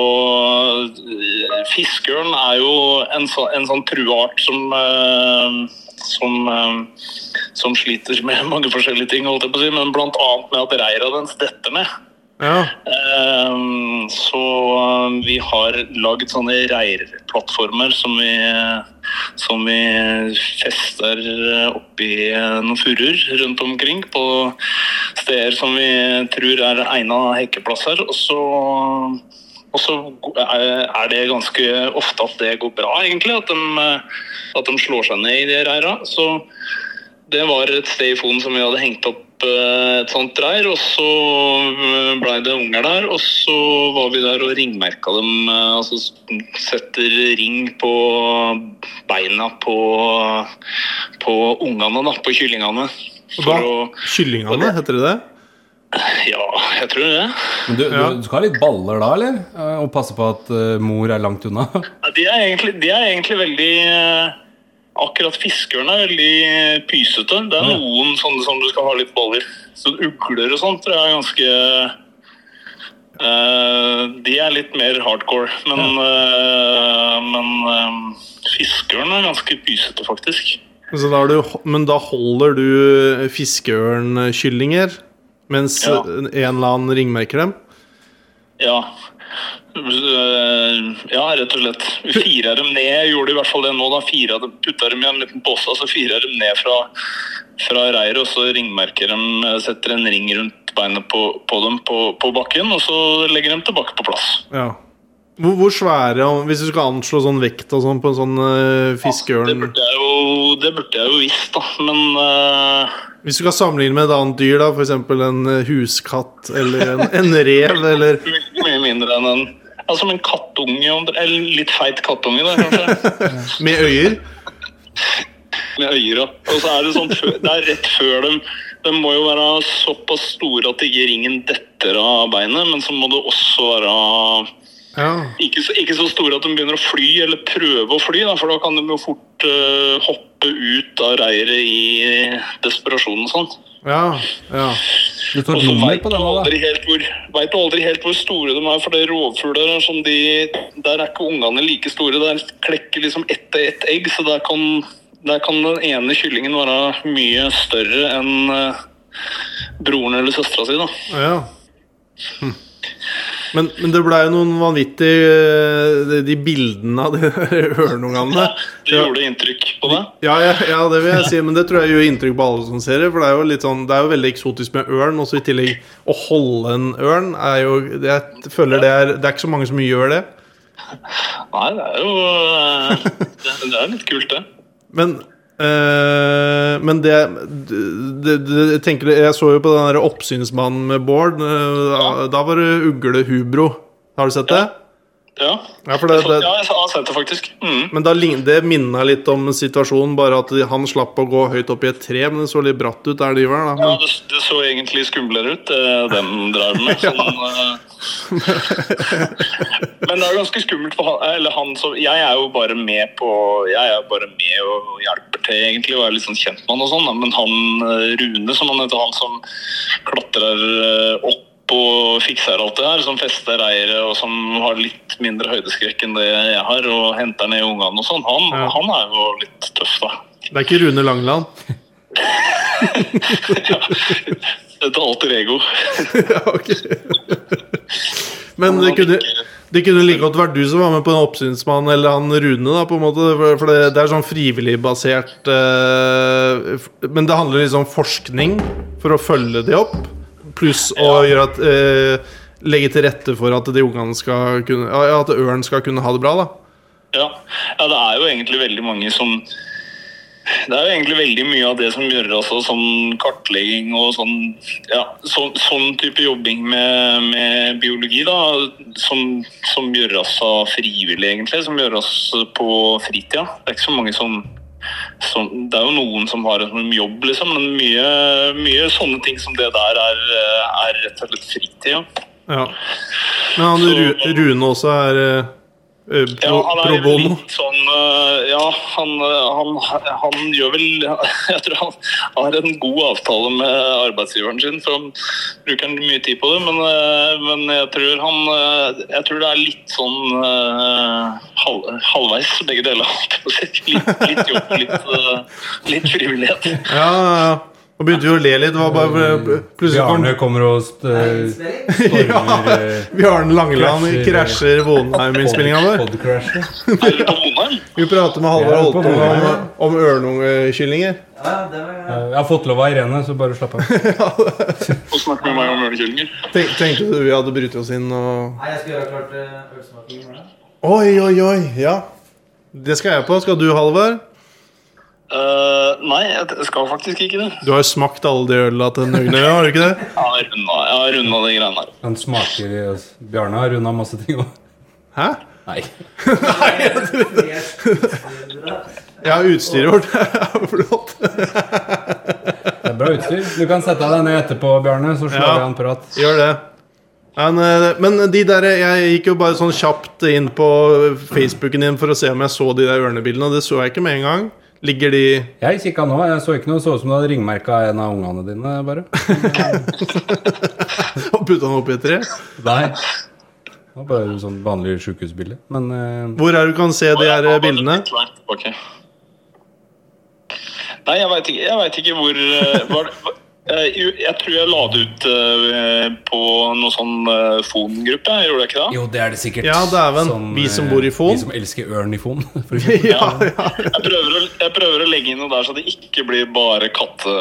[SPEAKER 3] Fiskeørn er jo en, så, en sånn trueart som eh, som, eh, som sliter med mange forskjellige ting, holdt jeg på å si, men blant annet med at reira dens detter ned.
[SPEAKER 1] Ja,
[SPEAKER 3] Ehm, Så eh, vi har laget sånne reirplattformer som vi, som vi fester eh, oppi eh, noen furuer rundt omkring på steder som vi tror er egna hekkeplasser. Og så, og så er er det ganske ofte at det går bra, egentlig. At de, eh, at de slår seg ned i de reira. Så det var et sted i Fon som vi hadde hengt opp eh, et sånt reir, og så eh, blei det unger der. Og så var vi der og ringmerka dem. eh, Altså s- setter ring på beina på, på ungene, da. På kyllingene. For
[SPEAKER 1] Hva?
[SPEAKER 3] å
[SPEAKER 1] Kyllingene, heter det det?
[SPEAKER 3] Ja, jeg tror det.
[SPEAKER 2] Men du,
[SPEAKER 1] Ja.
[SPEAKER 2] du, du skal ha litt baller da, eller? Eh, Og passe på at eh, mor er langt unna.
[SPEAKER 3] Ja, De er egentlig, de er egentlig veldig eh, Akkurat fiskeørn er veldig eh, pysete. Det er noen sånne som du skal ha litt baller. Så ugler og sånt tror jeg er ganske eh, De er litt mer hardcore. Men, eh, men eh, fiskeørn er ganske pysete, faktisk.
[SPEAKER 1] Så da har du, men da holder du fiskeørnkyllinger mens
[SPEAKER 3] Ja.
[SPEAKER 1] en eller annen ringmerker dem?
[SPEAKER 3] Ja. Øh, Ja, rett og slett. Vi fira dem ned. Jeg gjorde i hvert fall det nå. da fira dem, Putta dem i en liten pose og så fira dem ned fra, fra reiret. Og så ringmerker dem, eh, setter en ring rundt beinet på, på dem på, på bakken, og så legger dem tilbake på plass.
[SPEAKER 1] Ja. Hvor, hvor svære, om- hvis du skal anslå sånn vekt og sånn på en sånn uh,
[SPEAKER 3] Ah, Det
[SPEAKER 1] fiskeørn
[SPEAKER 3] burde jeg jo, det burde jeg jo visst, da. Men eh,
[SPEAKER 1] Hvis du skal sammenligne med et annet dyr, da, f.eks. en eh, huskatt eller en, en rev eller
[SPEAKER 3] mye, mye mindre enn en ja, Som en kattunge, om- eller litt feit kattunge, da, kanskje.
[SPEAKER 1] med øyer
[SPEAKER 3] med øyre. Og så er det sånn, fø- det er rett før dem. De må jo være såpass store at ikke ringen detter av beinet, men så må det også være
[SPEAKER 1] Ja.
[SPEAKER 3] ikke så, ikke så store at de begynner å fly, eller prøve å fly, da, for da kan de jo fort eh, hoppe ut av reiret i desperasjon og sånn.
[SPEAKER 1] Ja. ja.
[SPEAKER 2] Du tar
[SPEAKER 3] Og så
[SPEAKER 2] nummer
[SPEAKER 3] veit
[SPEAKER 2] på
[SPEAKER 3] du
[SPEAKER 2] den òg, da.
[SPEAKER 3] aldri helt hvor vet du aldri helt hvor store de er, for det er rovfugler som de Der er ikke ungene like store. Der klekker liksom ett og ett egg, så der kan, der kan den ene kyllingen være mye større enn eh, broren eller søstera si, da.
[SPEAKER 1] ja. Hm. Men, men det blei jo noen vanvittige eh, de, de bildene av de der ørneungene.
[SPEAKER 3] Det gjorde inntrykk på deg?
[SPEAKER 1] Ja, ja, ja, det vil jeg si, men det tror jeg gjør inntrykk på alle som ser det. For det er jo litt sånn, det er jo veldig eksotisk med ørn, og så i tillegg å holde en ørn er jo Jeg føler det er Det er ikke så mange som gjør det.
[SPEAKER 3] Nei, det er jo eh, Det, det er litt kult, det.
[SPEAKER 1] Men eh, men det, det, det jeg, tenker, jeg så jo på den der oppsynsmannen med Bård. eh, da, da var det uglehubro. Har du sett det?
[SPEAKER 3] Ja,
[SPEAKER 1] Ja, for det, det
[SPEAKER 3] ja jeg har sett det faktisk. Mm.
[SPEAKER 1] Men da, lign- det minna litt om situasjonen, bare at de- han slapp å gå høyt opp i et tre. Men det så litt bratt ut der de var. da
[SPEAKER 3] Ja,
[SPEAKER 1] men,
[SPEAKER 3] det, det så egentlig skumlere ut, eh, det de drev med. Sånn, eh. Men det er ganske skummelt for han, eller han som Jeg er jo bare med på Jeg er bare med og hjelper til, egentlig, og er litt sånn kjent med han og sånn. da. Men han eh, Rune, som han heter, han som klatrer eh, opp og fikser alt det her, som fester eiere og som har litt mindre høydeskrekk enn det jeg har, og henter ned ungene og sånn, han,
[SPEAKER 1] Ja.
[SPEAKER 3] han er jo litt tøff, da.
[SPEAKER 1] det er ikke Rune Langland.
[SPEAKER 3] Et alter ego.
[SPEAKER 1] ja, ok Men det kunne, det kunne like godt vært du som var med på en oppsynsmann, eller han Rune, da, på en måte. For- For det, det er sånn frivillig basert eh, f- Men det handler liksom om forskning for å følge de opp, pluss å gjøre at eh, Legge til rette for at de ungene skal kunne ja, At ørn skal kunne ha det bra, da.
[SPEAKER 3] Ja. ja, det er jo egentlig veldig mange som Det er jo egentlig veldig mye av det som gjør altså, sånn kartlegging og sånn ja, så, sånn type jobbing med, med biologi, da, som, som gjøres av frivillige, egentlig. Som gjøres på fritida. Det er ikke så mange som som, det er jo noen som har en sånn jobb, liksom, men mye, mye sånne ting som det der er, eh, er rett og slett fritid. Ja.
[SPEAKER 1] Ja. Men han Ru- Rune også er eh, eh,
[SPEAKER 3] Ja,
[SPEAKER 1] pro,
[SPEAKER 3] han er
[SPEAKER 1] pro
[SPEAKER 3] jo
[SPEAKER 1] bono.
[SPEAKER 3] litt sånn øh, Ja, han, øh, han, han gjør vel Jeg tror han har en god avtale med arbeidsgiveren sin, for han bruker mye tid på det. Men, øh, men jeg tror han øh, Jeg tror det er litt sånn øh, halv, halvveis begge deler. Litt, litt jobb, litt, øh, litt frivillighet.
[SPEAKER 1] Ja, ja, ja. Nå begynte vi å le litt. Det var bare plutselig kom
[SPEAKER 2] Bjarne kommer og st eh, stormer eh,
[SPEAKER 1] Bjarne Langeland
[SPEAKER 2] Krasjer-
[SPEAKER 1] krasjer Vonheim-innspillinga vår.
[SPEAKER 2] podcrasher.
[SPEAKER 3] Er det på Bonheim?
[SPEAKER 1] Vi prater med Halvor
[SPEAKER 2] Ja, på
[SPEAKER 1] Holten om,
[SPEAKER 2] Vonheim,
[SPEAKER 1] om ørnungekyllinger.
[SPEAKER 2] Eh, Jeg har fått lov av Irene, så bare slapp av.
[SPEAKER 3] Og snakke med meg om ølkyllinger.
[SPEAKER 1] Tenk, tenkte du vi hadde brytt oss inn og
[SPEAKER 4] Nei, jeg skal gjøre klart eh, ølsmaking i morgen.
[SPEAKER 1] Oi, oi, oi! Ja. Det skal jeg på. Skal du, Halvor?
[SPEAKER 3] Øh, nei, jeg skal faktisk ikke det.
[SPEAKER 1] Du har jo smakt alle de øla til Nøgne, har du ikke det?
[SPEAKER 3] Jeg har runda jeg har runda de greiene her.
[SPEAKER 2] Han smaker i oss. Bjarne har runda masse ting òg.
[SPEAKER 1] Hæ?
[SPEAKER 2] Nei.
[SPEAKER 1] Ja, utstyret vårt er flott.
[SPEAKER 2] Det er bra utstyr. Du kan sette deg ned etterpå, Bjarne, så slår
[SPEAKER 1] Ja.
[SPEAKER 2] vi av en prat.
[SPEAKER 1] Gjør det. Men, eh, men de der, jeg gikk jo bare sånn kjapt inn på Facebooken din for å se om jeg så de der ørnebildene, og det så jeg ikke med en gang. Ligger de
[SPEAKER 2] Jeg kikka nå, jeg så ikke noe. Så ut som du hadde ringmerka en av ungene dine, bare.
[SPEAKER 1] og putta den opp i et tre?
[SPEAKER 2] Nei. Det var bare sånn vanlig sjukehusbilde. Men eh,
[SPEAKER 1] Hvor er det du kan se de
[SPEAKER 3] Ja,
[SPEAKER 1] her
[SPEAKER 3] jeg
[SPEAKER 1] eh,
[SPEAKER 3] var
[SPEAKER 1] bildene?
[SPEAKER 3] litt langt tilbake. Nei, jeg veit ikke, jeg vet ikke hvor eh, var, det- eh, jo, Jeg tror jeg la det ut eh, på noen sånn eh, fongruppe, gjorde jeg ikke det?
[SPEAKER 2] jo, det er det sikkert.
[SPEAKER 1] Ja, dæven. Vi
[SPEAKER 2] eh,
[SPEAKER 1] som bor i Fon.
[SPEAKER 2] Vi som elsker ørn i Fon. for eksempel.
[SPEAKER 1] Ja, ja.
[SPEAKER 3] Jeg prøver, å, jeg prøver å legge inn noe der så det ikke blir bare katte,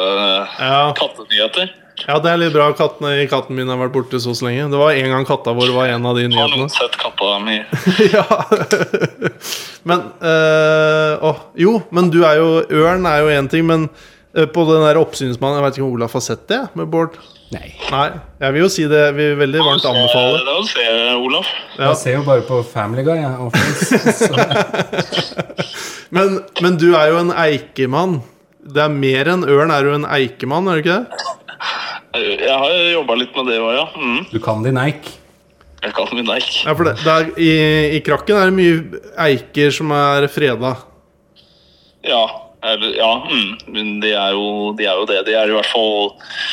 [SPEAKER 1] Ja.
[SPEAKER 3] kattenyheter.
[SPEAKER 1] ja, det er litt bra. Kattene, katten min har vært borte så så lenge. Det var en gang katta vår var en av de
[SPEAKER 3] Har
[SPEAKER 1] nyhetene.
[SPEAKER 3] noen sett katta mi?
[SPEAKER 1] ja. men eh, åh, Jo, men du er jo Ørn er jo én ting, men eh, på den der oppsynsmannen Jeg vet ikke om Olaf har sett det med Bård?
[SPEAKER 2] Nei.
[SPEAKER 1] Nei, jeg vil jo si det. Vi veldig varmt anbefaler.
[SPEAKER 3] Det er å se, Olaf.
[SPEAKER 1] Ja.
[SPEAKER 2] Jeg ser jo bare på Family Guy. Jeg, og Friends, så-
[SPEAKER 1] Men, men du er jo en eikemann. Det er mer enn ørn. Er du en eikemann, er du ikke det?
[SPEAKER 3] Jeg har jobba litt med det òg, ja. Mm.
[SPEAKER 2] du kan din eik.
[SPEAKER 3] Jeg kan min eik.
[SPEAKER 1] Ja, for det, det er, i, I krakken er det mye eiker som er freda.
[SPEAKER 3] Ja. Eller, ja mm. Men de er, jo, de er jo det. De er i hvert fall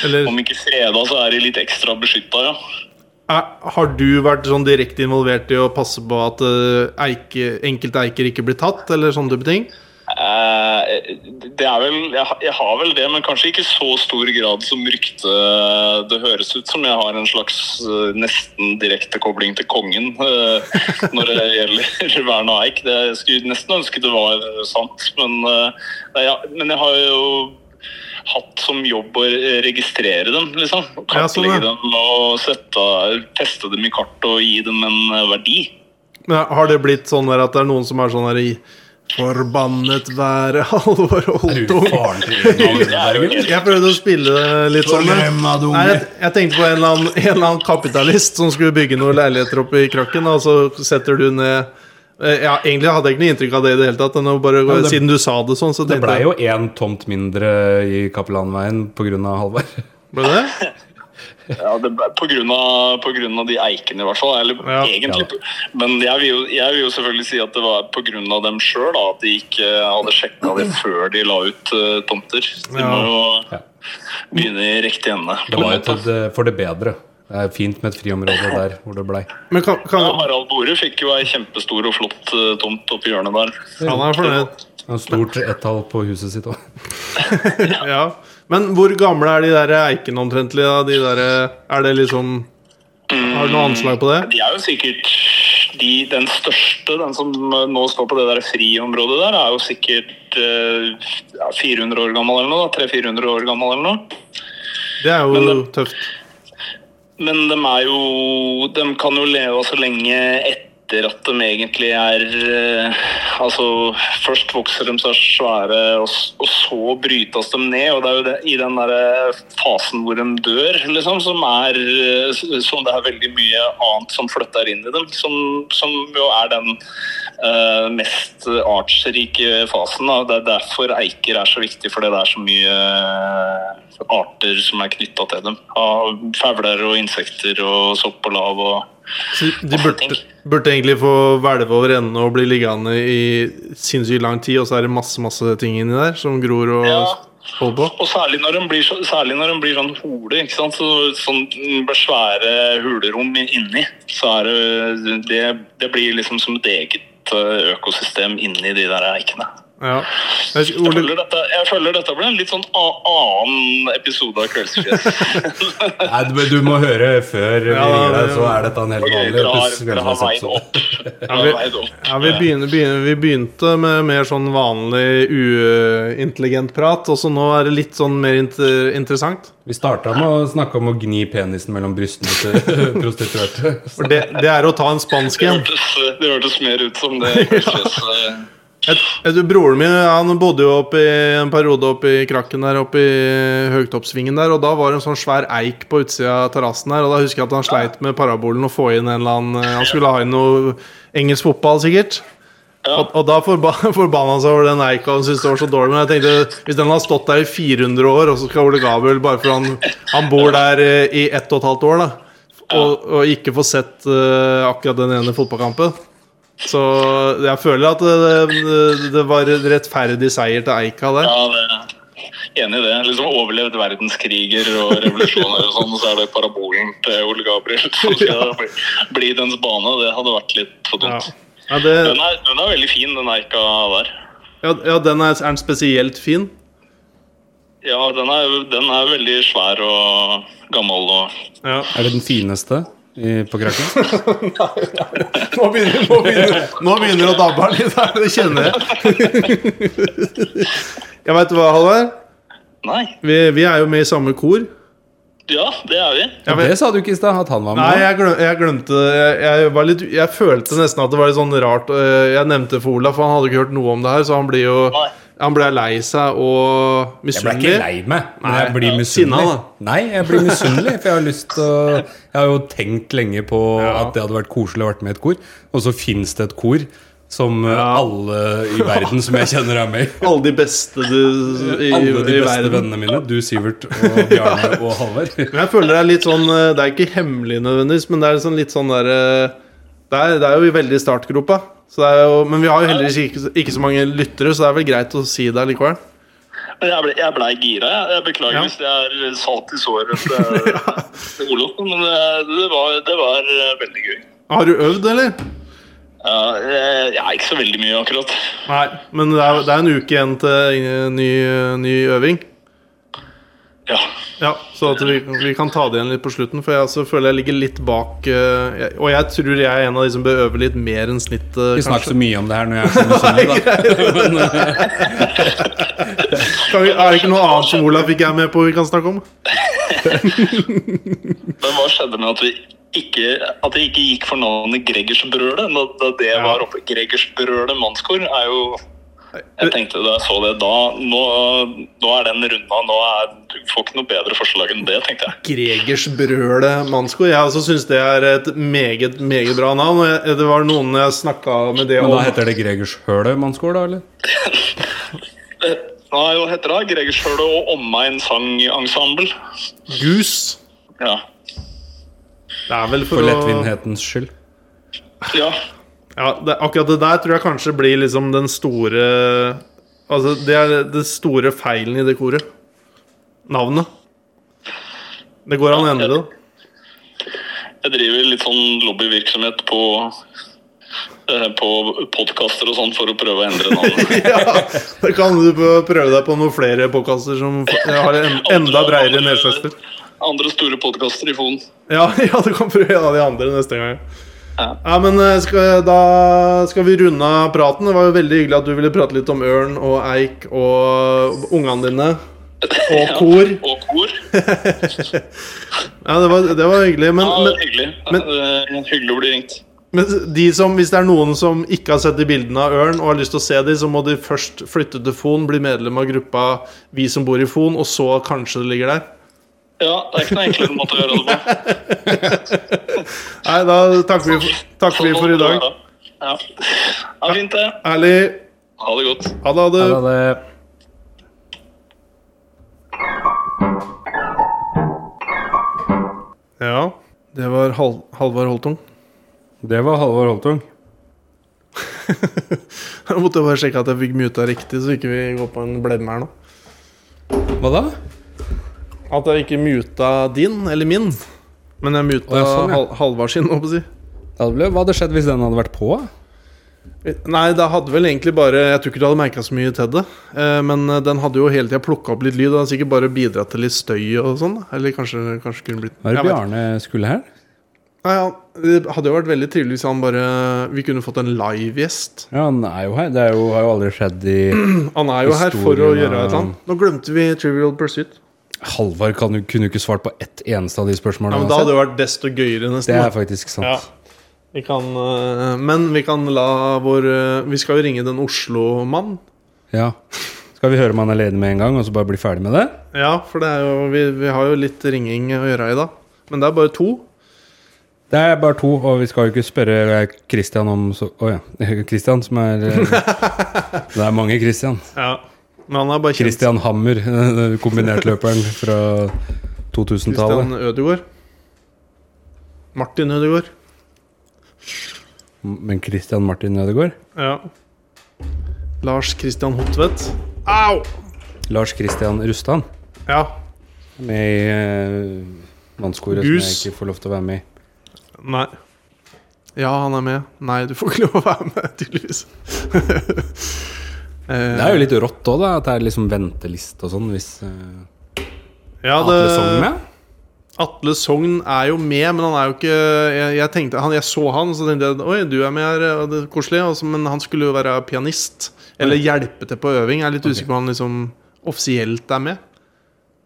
[SPEAKER 1] Eller
[SPEAKER 3] Om ikke freda, så er de litt ekstra beskytta, ja.
[SPEAKER 1] Er, har du vært sånn direkte involvert i å passe på at eh, eike, enkelte eiker ikke blir tatt, eller sånne type ting?
[SPEAKER 3] Eh, det er vel, jeg, ha- jeg har vel det, men kanskje ikke i så stor grad som ryktet det høres ut som. Jeg har en slags eh, nesten direkte kobling til kongen eh, når det gjelder vern av eik. Det, jeg skulle nesten ønske det var sant, men, eh, nei, ja, men jeg har jo hatt som jobb å re- registrere dem, liksom.
[SPEAKER 1] Ja, sånn,
[SPEAKER 3] Kartlegge
[SPEAKER 1] ja.
[SPEAKER 3] dem og sette, teste dem i kart og gi dem en eh, verdi.
[SPEAKER 1] Men har det blitt sånn der at det er noen som er sånn her i Forbannet være Halvor Holtung? Jeg prøvde å spille det litt sånn. men- Nei, jeg, jeg tenkte på en eller, annen, en eller annen kapitalist som skulle bygge noen leiligheter oppe i Krakken, og så setter du ned Eh, Ja, Egentlig hadde jeg ikke noe inntrykk av det i det hele tatt. men nå Bare,
[SPEAKER 2] men det-
[SPEAKER 1] siden du sa det sånn, så
[SPEAKER 2] Det
[SPEAKER 1] tenkte
[SPEAKER 2] blei
[SPEAKER 1] jeg
[SPEAKER 2] jo én tomt mindre i Kapellanveien pga. Halvard.
[SPEAKER 1] Ble det?
[SPEAKER 3] Ja, det, på, grunn av, på grunn av de eikene, i hvert fall. Eller
[SPEAKER 1] Ja.
[SPEAKER 3] egentlig på- Men jeg vil, jo, jeg vil jo selvfølgelig si at det var på grunn av dem sjøl, at de ikke eh, hadde sjekka det før de la ut eh, tomter. Så De
[SPEAKER 1] Ja.
[SPEAKER 3] må jo
[SPEAKER 2] Ja.
[SPEAKER 3] begynne i riktig ende.
[SPEAKER 2] Det var jo til det- for det bedre. Det er fint med et friområde der hvor det blei.
[SPEAKER 1] Men kan,
[SPEAKER 3] Ja,
[SPEAKER 1] kan,
[SPEAKER 3] Harald Bore fikk jo ei kjempestor og flott eh, tomt oppi hjørnet der.
[SPEAKER 1] han er fornøyd.
[SPEAKER 2] Et stort ettall på huset sitt òg.
[SPEAKER 1] Ja. Men hvor gamle er de der eikene omtrentlig? Da? De der, er det liksom Har du noe anslag på det?
[SPEAKER 3] De er jo sikkert de, Den største, den som eh, nå står på det der friområdet der, er jo sikkert eh, ja, 400 år gammel eller noe. da, 300-400 år gammel eller noe.
[SPEAKER 1] Det er
[SPEAKER 3] Men
[SPEAKER 1] jo
[SPEAKER 3] det-
[SPEAKER 1] tøft.
[SPEAKER 3] Men de er jo De kan jo leve så lenge etter at de egentlig er eh, Altså, først vokser de seg svære, og, s- og så brytes de ned. Og det er jo det, i den derre fasen hvor de dør, liksom, som er eh, s- Som det er veldig mye annet som flytter inn i dem, som, som jo er den eh, mest artsrike fasen. Da. Det er derfor eiker er så viktig, fordi det er så mye eh, arter som er knytta til dem. Av fugler og insekter og sopp og lav og
[SPEAKER 1] Så de burde, burde egentlig få hvelve over ende og bli liggende i sinnssykt lang tid, og så er det masse masse ting inni der som gror og
[SPEAKER 3] Ja.
[SPEAKER 1] holder på.
[SPEAKER 3] Og særlig når de blir, så- særlig når de blir sånn hole, ikke sant? Så, sånn de blir svære hulerom i- inni. Så er det, det, det blir liksom som et eget eh, økosystem inni de der eikene.
[SPEAKER 1] Ja. Jeg,
[SPEAKER 3] Jeg
[SPEAKER 1] Ole,
[SPEAKER 3] føler dette, jeg føler dette blir en litt sånn a annen episode av Kveldsfjes.
[SPEAKER 2] Nei, men du må høre før vi
[SPEAKER 1] Ja,
[SPEAKER 2] gir
[SPEAKER 1] ja.
[SPEAKER 2] deg, så er dette en helt
[SPEAKER 3] Ok,
[SPEAKER 2] vanlig
[SPEAKER 3] dere har,
[SPEAKER 2] episode.
[SPEAKER 3] dere har veid opp. Dere har
[SPEAKER 1] vi-
[SPEAKER 3] veid opp.
[SPEAKER 1] sånn ja, vi, begynner, begynner, vi begynte med mer sånn vanlig uintelligent prat, og så nå er det litt sånn mer inter, interessant.
[SPEAKER 2] Vi starta med å snakke om å gni penisen mellom brystene til prostituerte.
[SPEAKER 1] For det, det er å ta en spansk
[SPEAKER 3] Det
[SPEAKER 1] en.
[SPEAKER 3] hørtes, det hørtes mer ut som det Kveldsfjes. eh,
[SPEAKER 1] Jeg, jeg, tror broren min han bodde jo oppe i, en periode oppe i krakken der, oppe i høytoppsvingen der, og da var det en sånn svær eik på utsida av terrassen der, og da husker jeg at han sleit med parabolen å få inn en eller annen eh, Han skulle ha inn noe engelsk fotball, sikkert.
[SPEAKER 3] Ja.
[SPEAKER 1] Og, og da forba, forbanna han seg over den eika og syntes det var så dårlig. Men jeg tenkte, hvis den har stått der i 400 år, og så skal Ole Gabel bare for han, han bor der eh, i ett og et halvt år, da, og, og ikke får sett eh, akkurat den ene fotballkampen så jeg føler at det, det, det var en rettferdig seier til Eika der.
[SPEAKER 3] Ja, det Enig i det. Liksom Overlevd verdenskriger og revolusjoner og sånn, så er det parabolen til Ole Gabriel som skal bli, bli dens bane. Det hadde vært litt for
[SPEAKER 1] Ja.
[SPEAKER 3] dumt.
[SPEAKER 1] Ja, det,
[SPEAKER 3] Den, er, den er veldig fin, den eika der.
[SPEAKER 1] ja, ja, den er, er den spesielt fin.
[SPEAKER 3] Ja, den er, den er veldig svær og gammel og
[SPEAKER 1] Ja.
[SPEAKER 2] Er det den fineste i, på Kraken?
[SPEAKER 1] Nå begynner, nå begynner, nå begynner det å dabbe av litt her, det kjenner jeg. Jeg veit hva, Halvard.
[SPEAKER 3] Nei.
[SPEAKER 1] Vi, vi er jo med i samme kor.
[SPEAKER 3] Ja, det er vi.
[SPEAKER 1] Jeg vet-
[SPEAKER 2] Det sa du ikke i stad, at han var
[SPEAKER 1] Nei,
[SPEAKER 2] med.
[SPEAKER 1] jeg, glem, jeg glemte jeg, jeg, var litt, jeg følte nesten at det var litt sånn rart. øh, Jeg nevnte for Olaf, for han hadde ikke hørt noe om det her, så han blir jo
[SPEAKER 3] Nei.
[SPEAKER 1] Han ble lei seg og
[SPEAKER 2] Jeg ble ikke
[SPEAKER 1] misunnelig.
[SPEAKER 2] lei meg, men jeg blir
[SPEAKER 1] Sinna,
[SPEAKER 2] misunnelig.
[SPEAKER 1] da.
[SPEAKER 2] Nei, jeg blir misunnelig, for jeg har lyst til å Jeg har jo tenkt lenge på at det hadde vært koselig å vært med i et kor, og så fins det et kor som eh, alle i verden som jeg kjenner, er med i.
[SPEAKER 1] Alle de beste du, i,
[SPEAKER 2] Alle de
[SPEAKER 1] i
[SPEAKER 2] beste
[SPEAKER 1] verden.
[SPEAKER 2] vennene mine. Du, Sivert, og Bjarne og Halvard.
[SPEAKER 1] Men jeg føler det er litt sånn eh, Det er ikke hemmelig nødvendigvis, men det er sånn litt sånn der eh, Det er, det er jo i veldig i startgropa. Så det er jo, men vi har jo heldigvis ikke, ikke så mange lyttere, så det er vel greit å si det likevel.
[SPEAKER 3] Men jeg blei ble gira. Jeg, jeg beklager
[SPEAKER 1] Ja.
[SPEAKER 3] hvis det er salt i såret til til Olof, men det, det, var, det var eh, veldig gøy.
[SPEAKER 1] Har du øvd, eller?
[SPEAKER 3] Ja, eh, jeg er ikke så veldig mye, akkurat.
[SPEAKER 1] Nei. Men det er, det er en uke igjen til eh, ny, ny øving.
[SPEAKER 3] Ja.
[SPEAKER 1] Ja, Så at vi, vi kan ta det igjen litt på slutten, for jeg altså føler jeg ligger litt bak eh, jeg- Og jeg tror jeg er en av de som bør øve litt mer enn snittet,
[SPEAKER 2] Vi snakker
[SPEAKER 1] kanskje.
[SPEAKER 2] så mye om det her når jeg er så misunnelig, da. eh,
[SPEAKER 1] Kan vi, er det ikke noe annet som Olav ikke er med på vi kan snakke om?
[SPEAKER 3] Men hva skjedde med at vi ikke At det ikke gikk for navnet Gregersbrølet? Da, da det
[SPEAKER 1] Ja.
[SPEAKER 3] var oppe Gregersbrølet mannskor er jo Jeg tenkte da jeg så det da Nå, nå er den runda. Nå er, du får ikke noe bedre forslag enn det, tenkte jeg.
[SPEAKER 1] Gregers Brøle Mannsko. Jeg også syns det er et meget, meget bra navn. og jeg- Det var noen jeg snakka med det om.
[SPEAKER 2] Men da heter det Gregershølet mannskor, da, eller?
[SPEAKER 3] Nei, hva heter det? Gregershølet og Omegn sangensemble.
[SPEAKER 1] Gus.
[SPEAKER 3] Ja.
[SPEAKER 1] Det er vel for,
[SPEAKER 2] For
[SPEAKER 1] å
[SPEAKER 2] lettvinthetens skyld.
[SPEAKER 3] ja.
[SPEAKER 1] ja, det, Akkurat det der tror jeg kanskje blir liksom den store Altså, det er den store feilen i det koret. Navnet. Det går an å endre det.
[SPEAKER 3] Jeg driver litt sånn lobbyvirksomhet på eh, på podkaster og sånn for å prøve å endre navnet.
[SPEAKER 1] Ja, da kan du få prøve deg på noen flere påkaster som f- har en enda breiere nedslagsfelt.
[SPEAKER 3] Andre store podkaster i Fon.
[SPEAKER 1] Ja, ja, du kan prøve en av de andre neste gang. Ja,
[SPEAKER 3] Ja.
[SPEAKER 1] men eh, skal, Da skal vi runde av praten. Det var jo veldig hyggelig at du ville prate litt om ørn og eik og ungene dine. Og kor.
[SPEAKER 3] Og kor.
[SPEAKER 1] Ja, det var, det var hyggelig. Men,
[SPEAKER 3] Ja,
[SPEAKER 1] men,
[SPEAKER 3] hyggelig.
[SPEAKER 1] men-
[SPEAKER 3] Eh, hyggelig å bli ringt.
[SPEAKER 1] men de som, hvis det er noen som ikke har sett de bildene av ørn og har lyst til å se de, så må de først flytte til Fon, bli medlem av gruppa Vi som bor i Fon, og så kanskje det ligger der.
[SPEAKER 3] Ja, det er ikke noe enklere måte å gjøre det på.
[SPEAKER 1] Nei, da takker vi, for- takker vi for i dag.
[SPEAKER 3] Ja. Ha det fint, det.
[SPEAKER 1] Herlig.
[SPEAKER 3] Ha det godt.
[SPEAKER 1] Ha det, ha det. Ja, det var Hal Halvard Holtung.
[SPEAKER 2] Det var Halvor Holtung.
[SPEAKER 1] Jeg måtte bare sjekke at jeg fikk muta riktig, så ikke vi går på en blemme her nå.
[SPEAKER 2] Hva da?
[SPEAKER 1] At jeg ikke muta din, eller min. Men jeg muta
[SPEAKER 2] Å, ja, sånn, ja.
[SPEAKER 1] Hal Halvard sin, holdt jeg på å si.
[SPEAKER 2] Det hadde blitt- Hva hadde skjedd hvis den hadde vært på?
[SPEAKER 1] Nei, det hadde vel egentlig bare Jeg tror ikke du hadde merka så mye til det. Eh, Men eh, den hadde jo hele tida plukka opp litt lyd. Og hadde sikkert bare bidratt til litt støy og sånn. da. Eller kanskje, kanskje kunne blitt
[SPEAKER 2] Hva er det
[SPEAKER 1] Jeg vet ikke.
[SPEAKER 2] Bjarne skulle her?
[SPEAKER 1] Nei, ja, Det hadde jo vært veldig trivelig hvis han bare Vi kunne fått en livegjest.
[SPEAKER 2] Ja, han er jo her. Det er jo, har jo aldri skjedd i
[SPEAKER 1] Han er jo her for å
[SPEAKER 2] Historien er-
[SPEAKER 1] gjøre et eller annet. Nå glemte vi Trivial Pursuit.
[SPEAKER 2] Halvor kan jo- kunne jo ikke svart på ett eneste av de
[SPEAKER 1] Ja,
[SPEAKER 2] spørsmålene.
[SPEAKER 1] men
[SPEAKER 2] han
[SPEAKER 1] Da
[SPEAKER 2] har
[SPEAKER 1] hadde det vært desto gøyere,
[SPEAKER 2] sett.
[SPEAKER 1] nesten.
[SPEAKER 2] det
[SPEAKER 1] da.
[SPEAKER 2] er faktisk sant.
[SPEAKER 1] Ja. Vi kan, eh, men vi kan la vår eh, Vi skal jo ringe den Oslo-mann.
[SPEAKER 2] Ja. Skal vi høre om han er ledig med en gang, og så bare bli ferdig med det?
[SPEAKER 1] Ja, for det er jo, vi, vi har jo litt ringing å gjøre i dag. Men det er bare to.
[SPEAKER 2] Det er bare to, og vi skal jo ikke spørre eh, Christian om så, Å ja. Christian som er eh, Det er mange Christian.
[SPEAKER 1] Ja. Men han er bare kjent.
[SPEAKER 2] Christian Hammer, eh, kombinertløperen fra 2000-tallet.
[SPEAKER 1] Christian Ødegaard. Martin Ødegaard.
[SPEAKER 2] Men Christian Martin Ødegaard?
[SPEAKER 1] Ja. Lars Christian Hotvedt. Au!
[SPEAKER 2] Lars Christian Rustan?
[SPEAKER 1] Ja.
[SPEAKER 2] Med i eh, mannskoret
[SPEAKER 1] Gus.
[SPEAKER 2] som jeg ikke får lov til å være med i.
[SPEAKER 1] Nei. Ja, han er med. Nei, du får ikke lov å være med, tydeligvis. Eh,
[SPEAKER 2] Det er jo litt rått òg, da. At det er liksom venteliste og sånn hvis eh,
[SPEAKER 1] ja, det,
[SPEAKER 2] Atle Sogn med.
[SPEAKER 1] Atle Sogn er jo med, men han er jo ikke Jeg, jeg tenkte, han, jeg så han, så tenkte jeg Oi, du er med her, og det er koselig. Og så- men han skulle jo være pianist. Eller hjelpe til på øving. Jeg er litt usikker på om han liksom offisielt er med.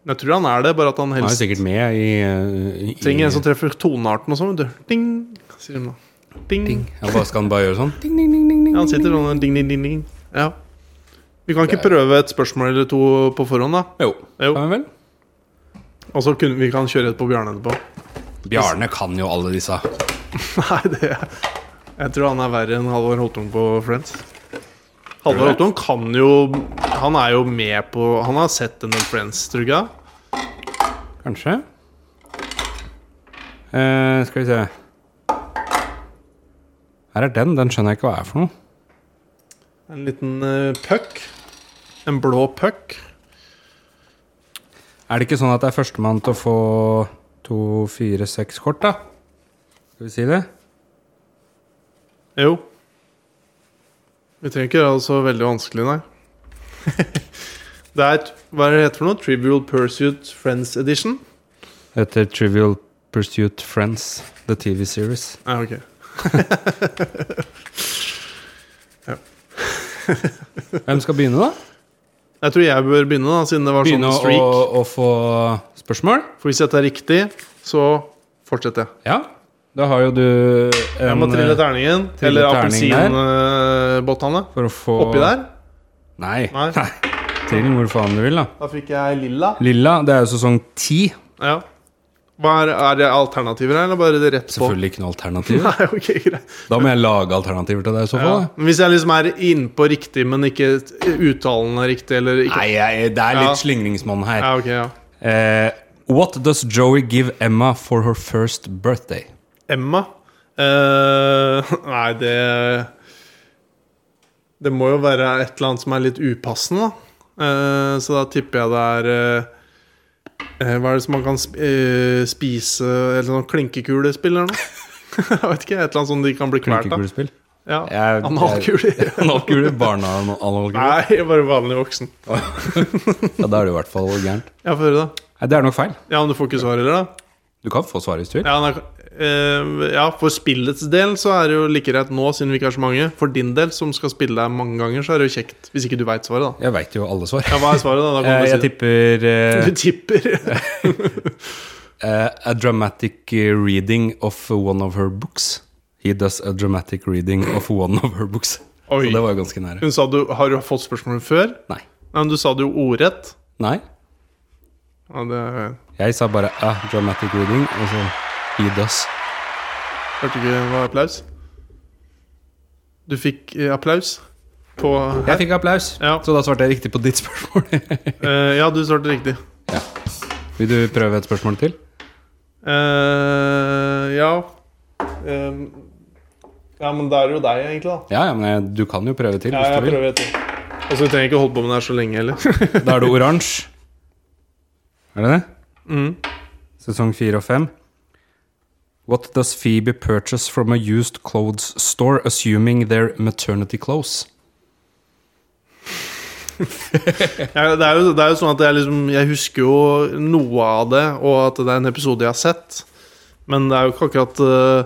[SPEAKER 1] Men jeg tror han er det, bare at han
[SPEAKER 2] Han er jo
[SPEAKER 1] helst
[SPEAKER 2] sikkert med i, eh, i
[SPEAKER 1] trenger en som treffer tonearten og sånn. vet du. Ding, sier de da. Ding.
[SPEAKER 2] ja, bare Skal han bare gjøre sånn? Ding, ding, ding, ding,
[SPEAKER 1] sånn- Ja,
[SPEAKER 2] ding.
[SPEAKER 1] han sitter sånn ding, ding, ding, ding. Ja. Vi kan ikke prøve et spørsmål eller to på forhånd, da.
[SPEAKER 2] Jo.
[SPEAKER 1] Jo.
[SPEAKER 2] Kan vi vel?
[SPEAKER 1] Og så kunne, vi kan kjøre et på Bjarne etterpå.
[SPEAKER 2] Bjarne kan jo alle disse.
[SPEAKER 1] Nei, det Jeg tror han er verre enn Halvor Holtung på Friends. Halvor Holtung kan jo Han er jo med på Han har sett en del Friends, tror du ikke? det?
[SPEAKER 2] Kanskje. Eh, skal vi se Her er den. Den skjønner jeg ikke hva er for noe.
[SPEAKER 1] En liten eh, puck. En blå puck.
[SPEAKER 2] Er det ikke sånn at det er førstemann til å få to, fire, seks kort, da? Skal vi si det?
[SPEAKER 1] Jo. Vi trenger ikke gjøre det så veldig vanskelig, nei. det er et Hva er det heter for noe? Trivial Pursuit Friends Edition?
[SPEAKER 2] Det heter Trivial Pursuit Friends, the TV series.
[SPEAKER 1] Ja, ok.
[SPEAKER 2] Hvem skal begynne, da?
[SPEAKER 1] Jeg tror jeg bør begynne, da, siden det var
[SPEAKER 2] Begynne
[SPEAKER 1] sånn
[SPEAKER 2] å,
[SPEAKER 1] streak.
[SPEAKER 2] å få spørsmål?
[SPEAKER 1] For hvis dette er riktig, så Fortsett, jeg.
[SPEAKER 2] Ja, da har jo du
[SPEAKER 1] Jeg
[SPEAKER 2] en eh,
[SPEAKER 1] må eh, trille terningen.
[SPEAKER 2] trille
[SPEAKER 1] Eller
[SPEAKER 2] terning der.
[SPEAKER 1] appelsinbottene.
[SPEAKER 2] For å få
[SPEAKER 1] Oppi der.
[SPEAKER 2] Nei.
[SPEAKER 1] Nei.
[SPEAKER 2] Nei. Trill hvor faen du vil, da.
[SPEAKER 1] Da fikk jeg lilla.
[SPEAKER 2] Lilla, det er jo sesong ti.
[SPEAKER 1] Ja. Hva er, er det alternativer her, eller bare det rett på?
[SPEAKER 2] Selvfølgelig ikke noe alternativ.
[SPEAKER 1] Nei, ok, greit.
[SPEAKER 2] Da må jeg lage alternativer til deg i så
[SPEAKER 1] Ja.
[SPEAKER 2] fall. da.
[SPEAKER 1] Men Hvis jeg liksom er innpå riktig, men ikke uttalen er riktig, eller ikke
[SPEAKER 2] Nei, jeg, det er
[SPEAKER 1] Ja.
[SPEAKER 2] litt slingringsmonn her.
[SPEAKER 1] Ja, ok, ja.
[SPEAKER 2] Eh, what does Joey give Emma for her first birthday?
[SPEAKER 1] Emma? Eh, nei, det Det må jo være et eller annet som er litt upassende, da. Eh, så da tipper jeg det er eh, eh, Hva er det som man kan sp eh, spise Eller sånn klinkekulespill eller noe? jeg vet ikke. Et eller annet som de kan bli kvalt av.
[SPEAKER 2] Klinkekulespill?
[SPEAKER 1] Ja.
[SPEAKER 2] Jeg-
[SPEAKER 1] Analkuler.
[SPEAKER 2] Analkule? Barneanalkule?
[SPEAKER 1] Nei, bare vanlig voksen.
[SPEAKER 2] Ja, da er det i hvert fall gærent.
[SPEAKER 1] Ja, få høre, da.
[SPEAKER 2] Nei, det er nok feil.
[SPEAKER 1] Ja, men du får ikke svar heller, da?
[SPEAKER 2] Du kan få svaret hvis du vil.
[SPEAKER 1] Ja, nei, eh, ja, for spillets del så er det jo like greit nå, siden vi ikke er så mange. For din del, som skal spille deg mange ganger, så er det jo kjekt hvis ikke du veit svaret, da.
[SPEAKER 2] Jeg veit jo alle svar.
[SPEAKER 1] Ja, Hva er svaret, da? da
[SPEAKER 2] Eh,
[SPEAKER 1] kan
[SPEAKER 2] jeg
[SPEAKER 1] du si det.
[SPEAKER 2] tipper eh,
[SPEAKER 1] Du tipper
[SPEAKER 2] eh, A dramatic eh, reading of one of her books. He does a dramatic reading of one of her books.
[SPEAKER 1] Oi.
[SPEAKER 2] Så det var jo ganske nære.
[SPEAKER 1] Hun sa du Har du fått spørsmålet før?
[SPEAKER 2] Nei.
[SPEAKER 1] Nei, men du sa det jo ordrett.
[SPEAKER 2] Nei.
[SPEAKER 1] Ja, det
[SPEAKER 2] Jeg sa bare a dramatic reading, og så he does.
[SPEAKER 1] hørte ikke hva applaus. Du fikk eh, applaus på her.
[SPEAKER 2] Jeg fikk applaus,
[SPEAKER 1] Ja.
[SPEAKER 2] så da svarte jeg riktig på ditt spørsmål.
[SPEAKER 1] Eh, ja, du svarte riktig.
[SPEAKER 2] ja. Vil du prøve et spørsmål til?
[SPEAKER 1] Eh, ja Eh, Ja, men da er det jo deg, egentlig, da.
[SPEAKER 2] Ja, ja, men jeg, du kan jo prøve til
[SPEAKER 1] Ja,
[SPEAKER 2] hvis
[SPEAKER 1] jeg
[SPEAKER 2] du vil.
[SPEAKER 1] prøver etter. Og så trenger jeg ikke holde på med det her så lenge heller.
[SPEAKER 2] Da er det oransje. Er det det?
[SPEAKER 1] Mm.
[SPEAKER 2] Sesong fire og fem. What does Phoebe purchase from a used clothes store, assuming their maternity clothes?
[SPEAKER 1] Jeg, det, er jo, det er jo sånn at jeg liksom Jeg husker jo noe av det, og at det er en episode jeg har sett. Men det er jo ikke akkurat eh,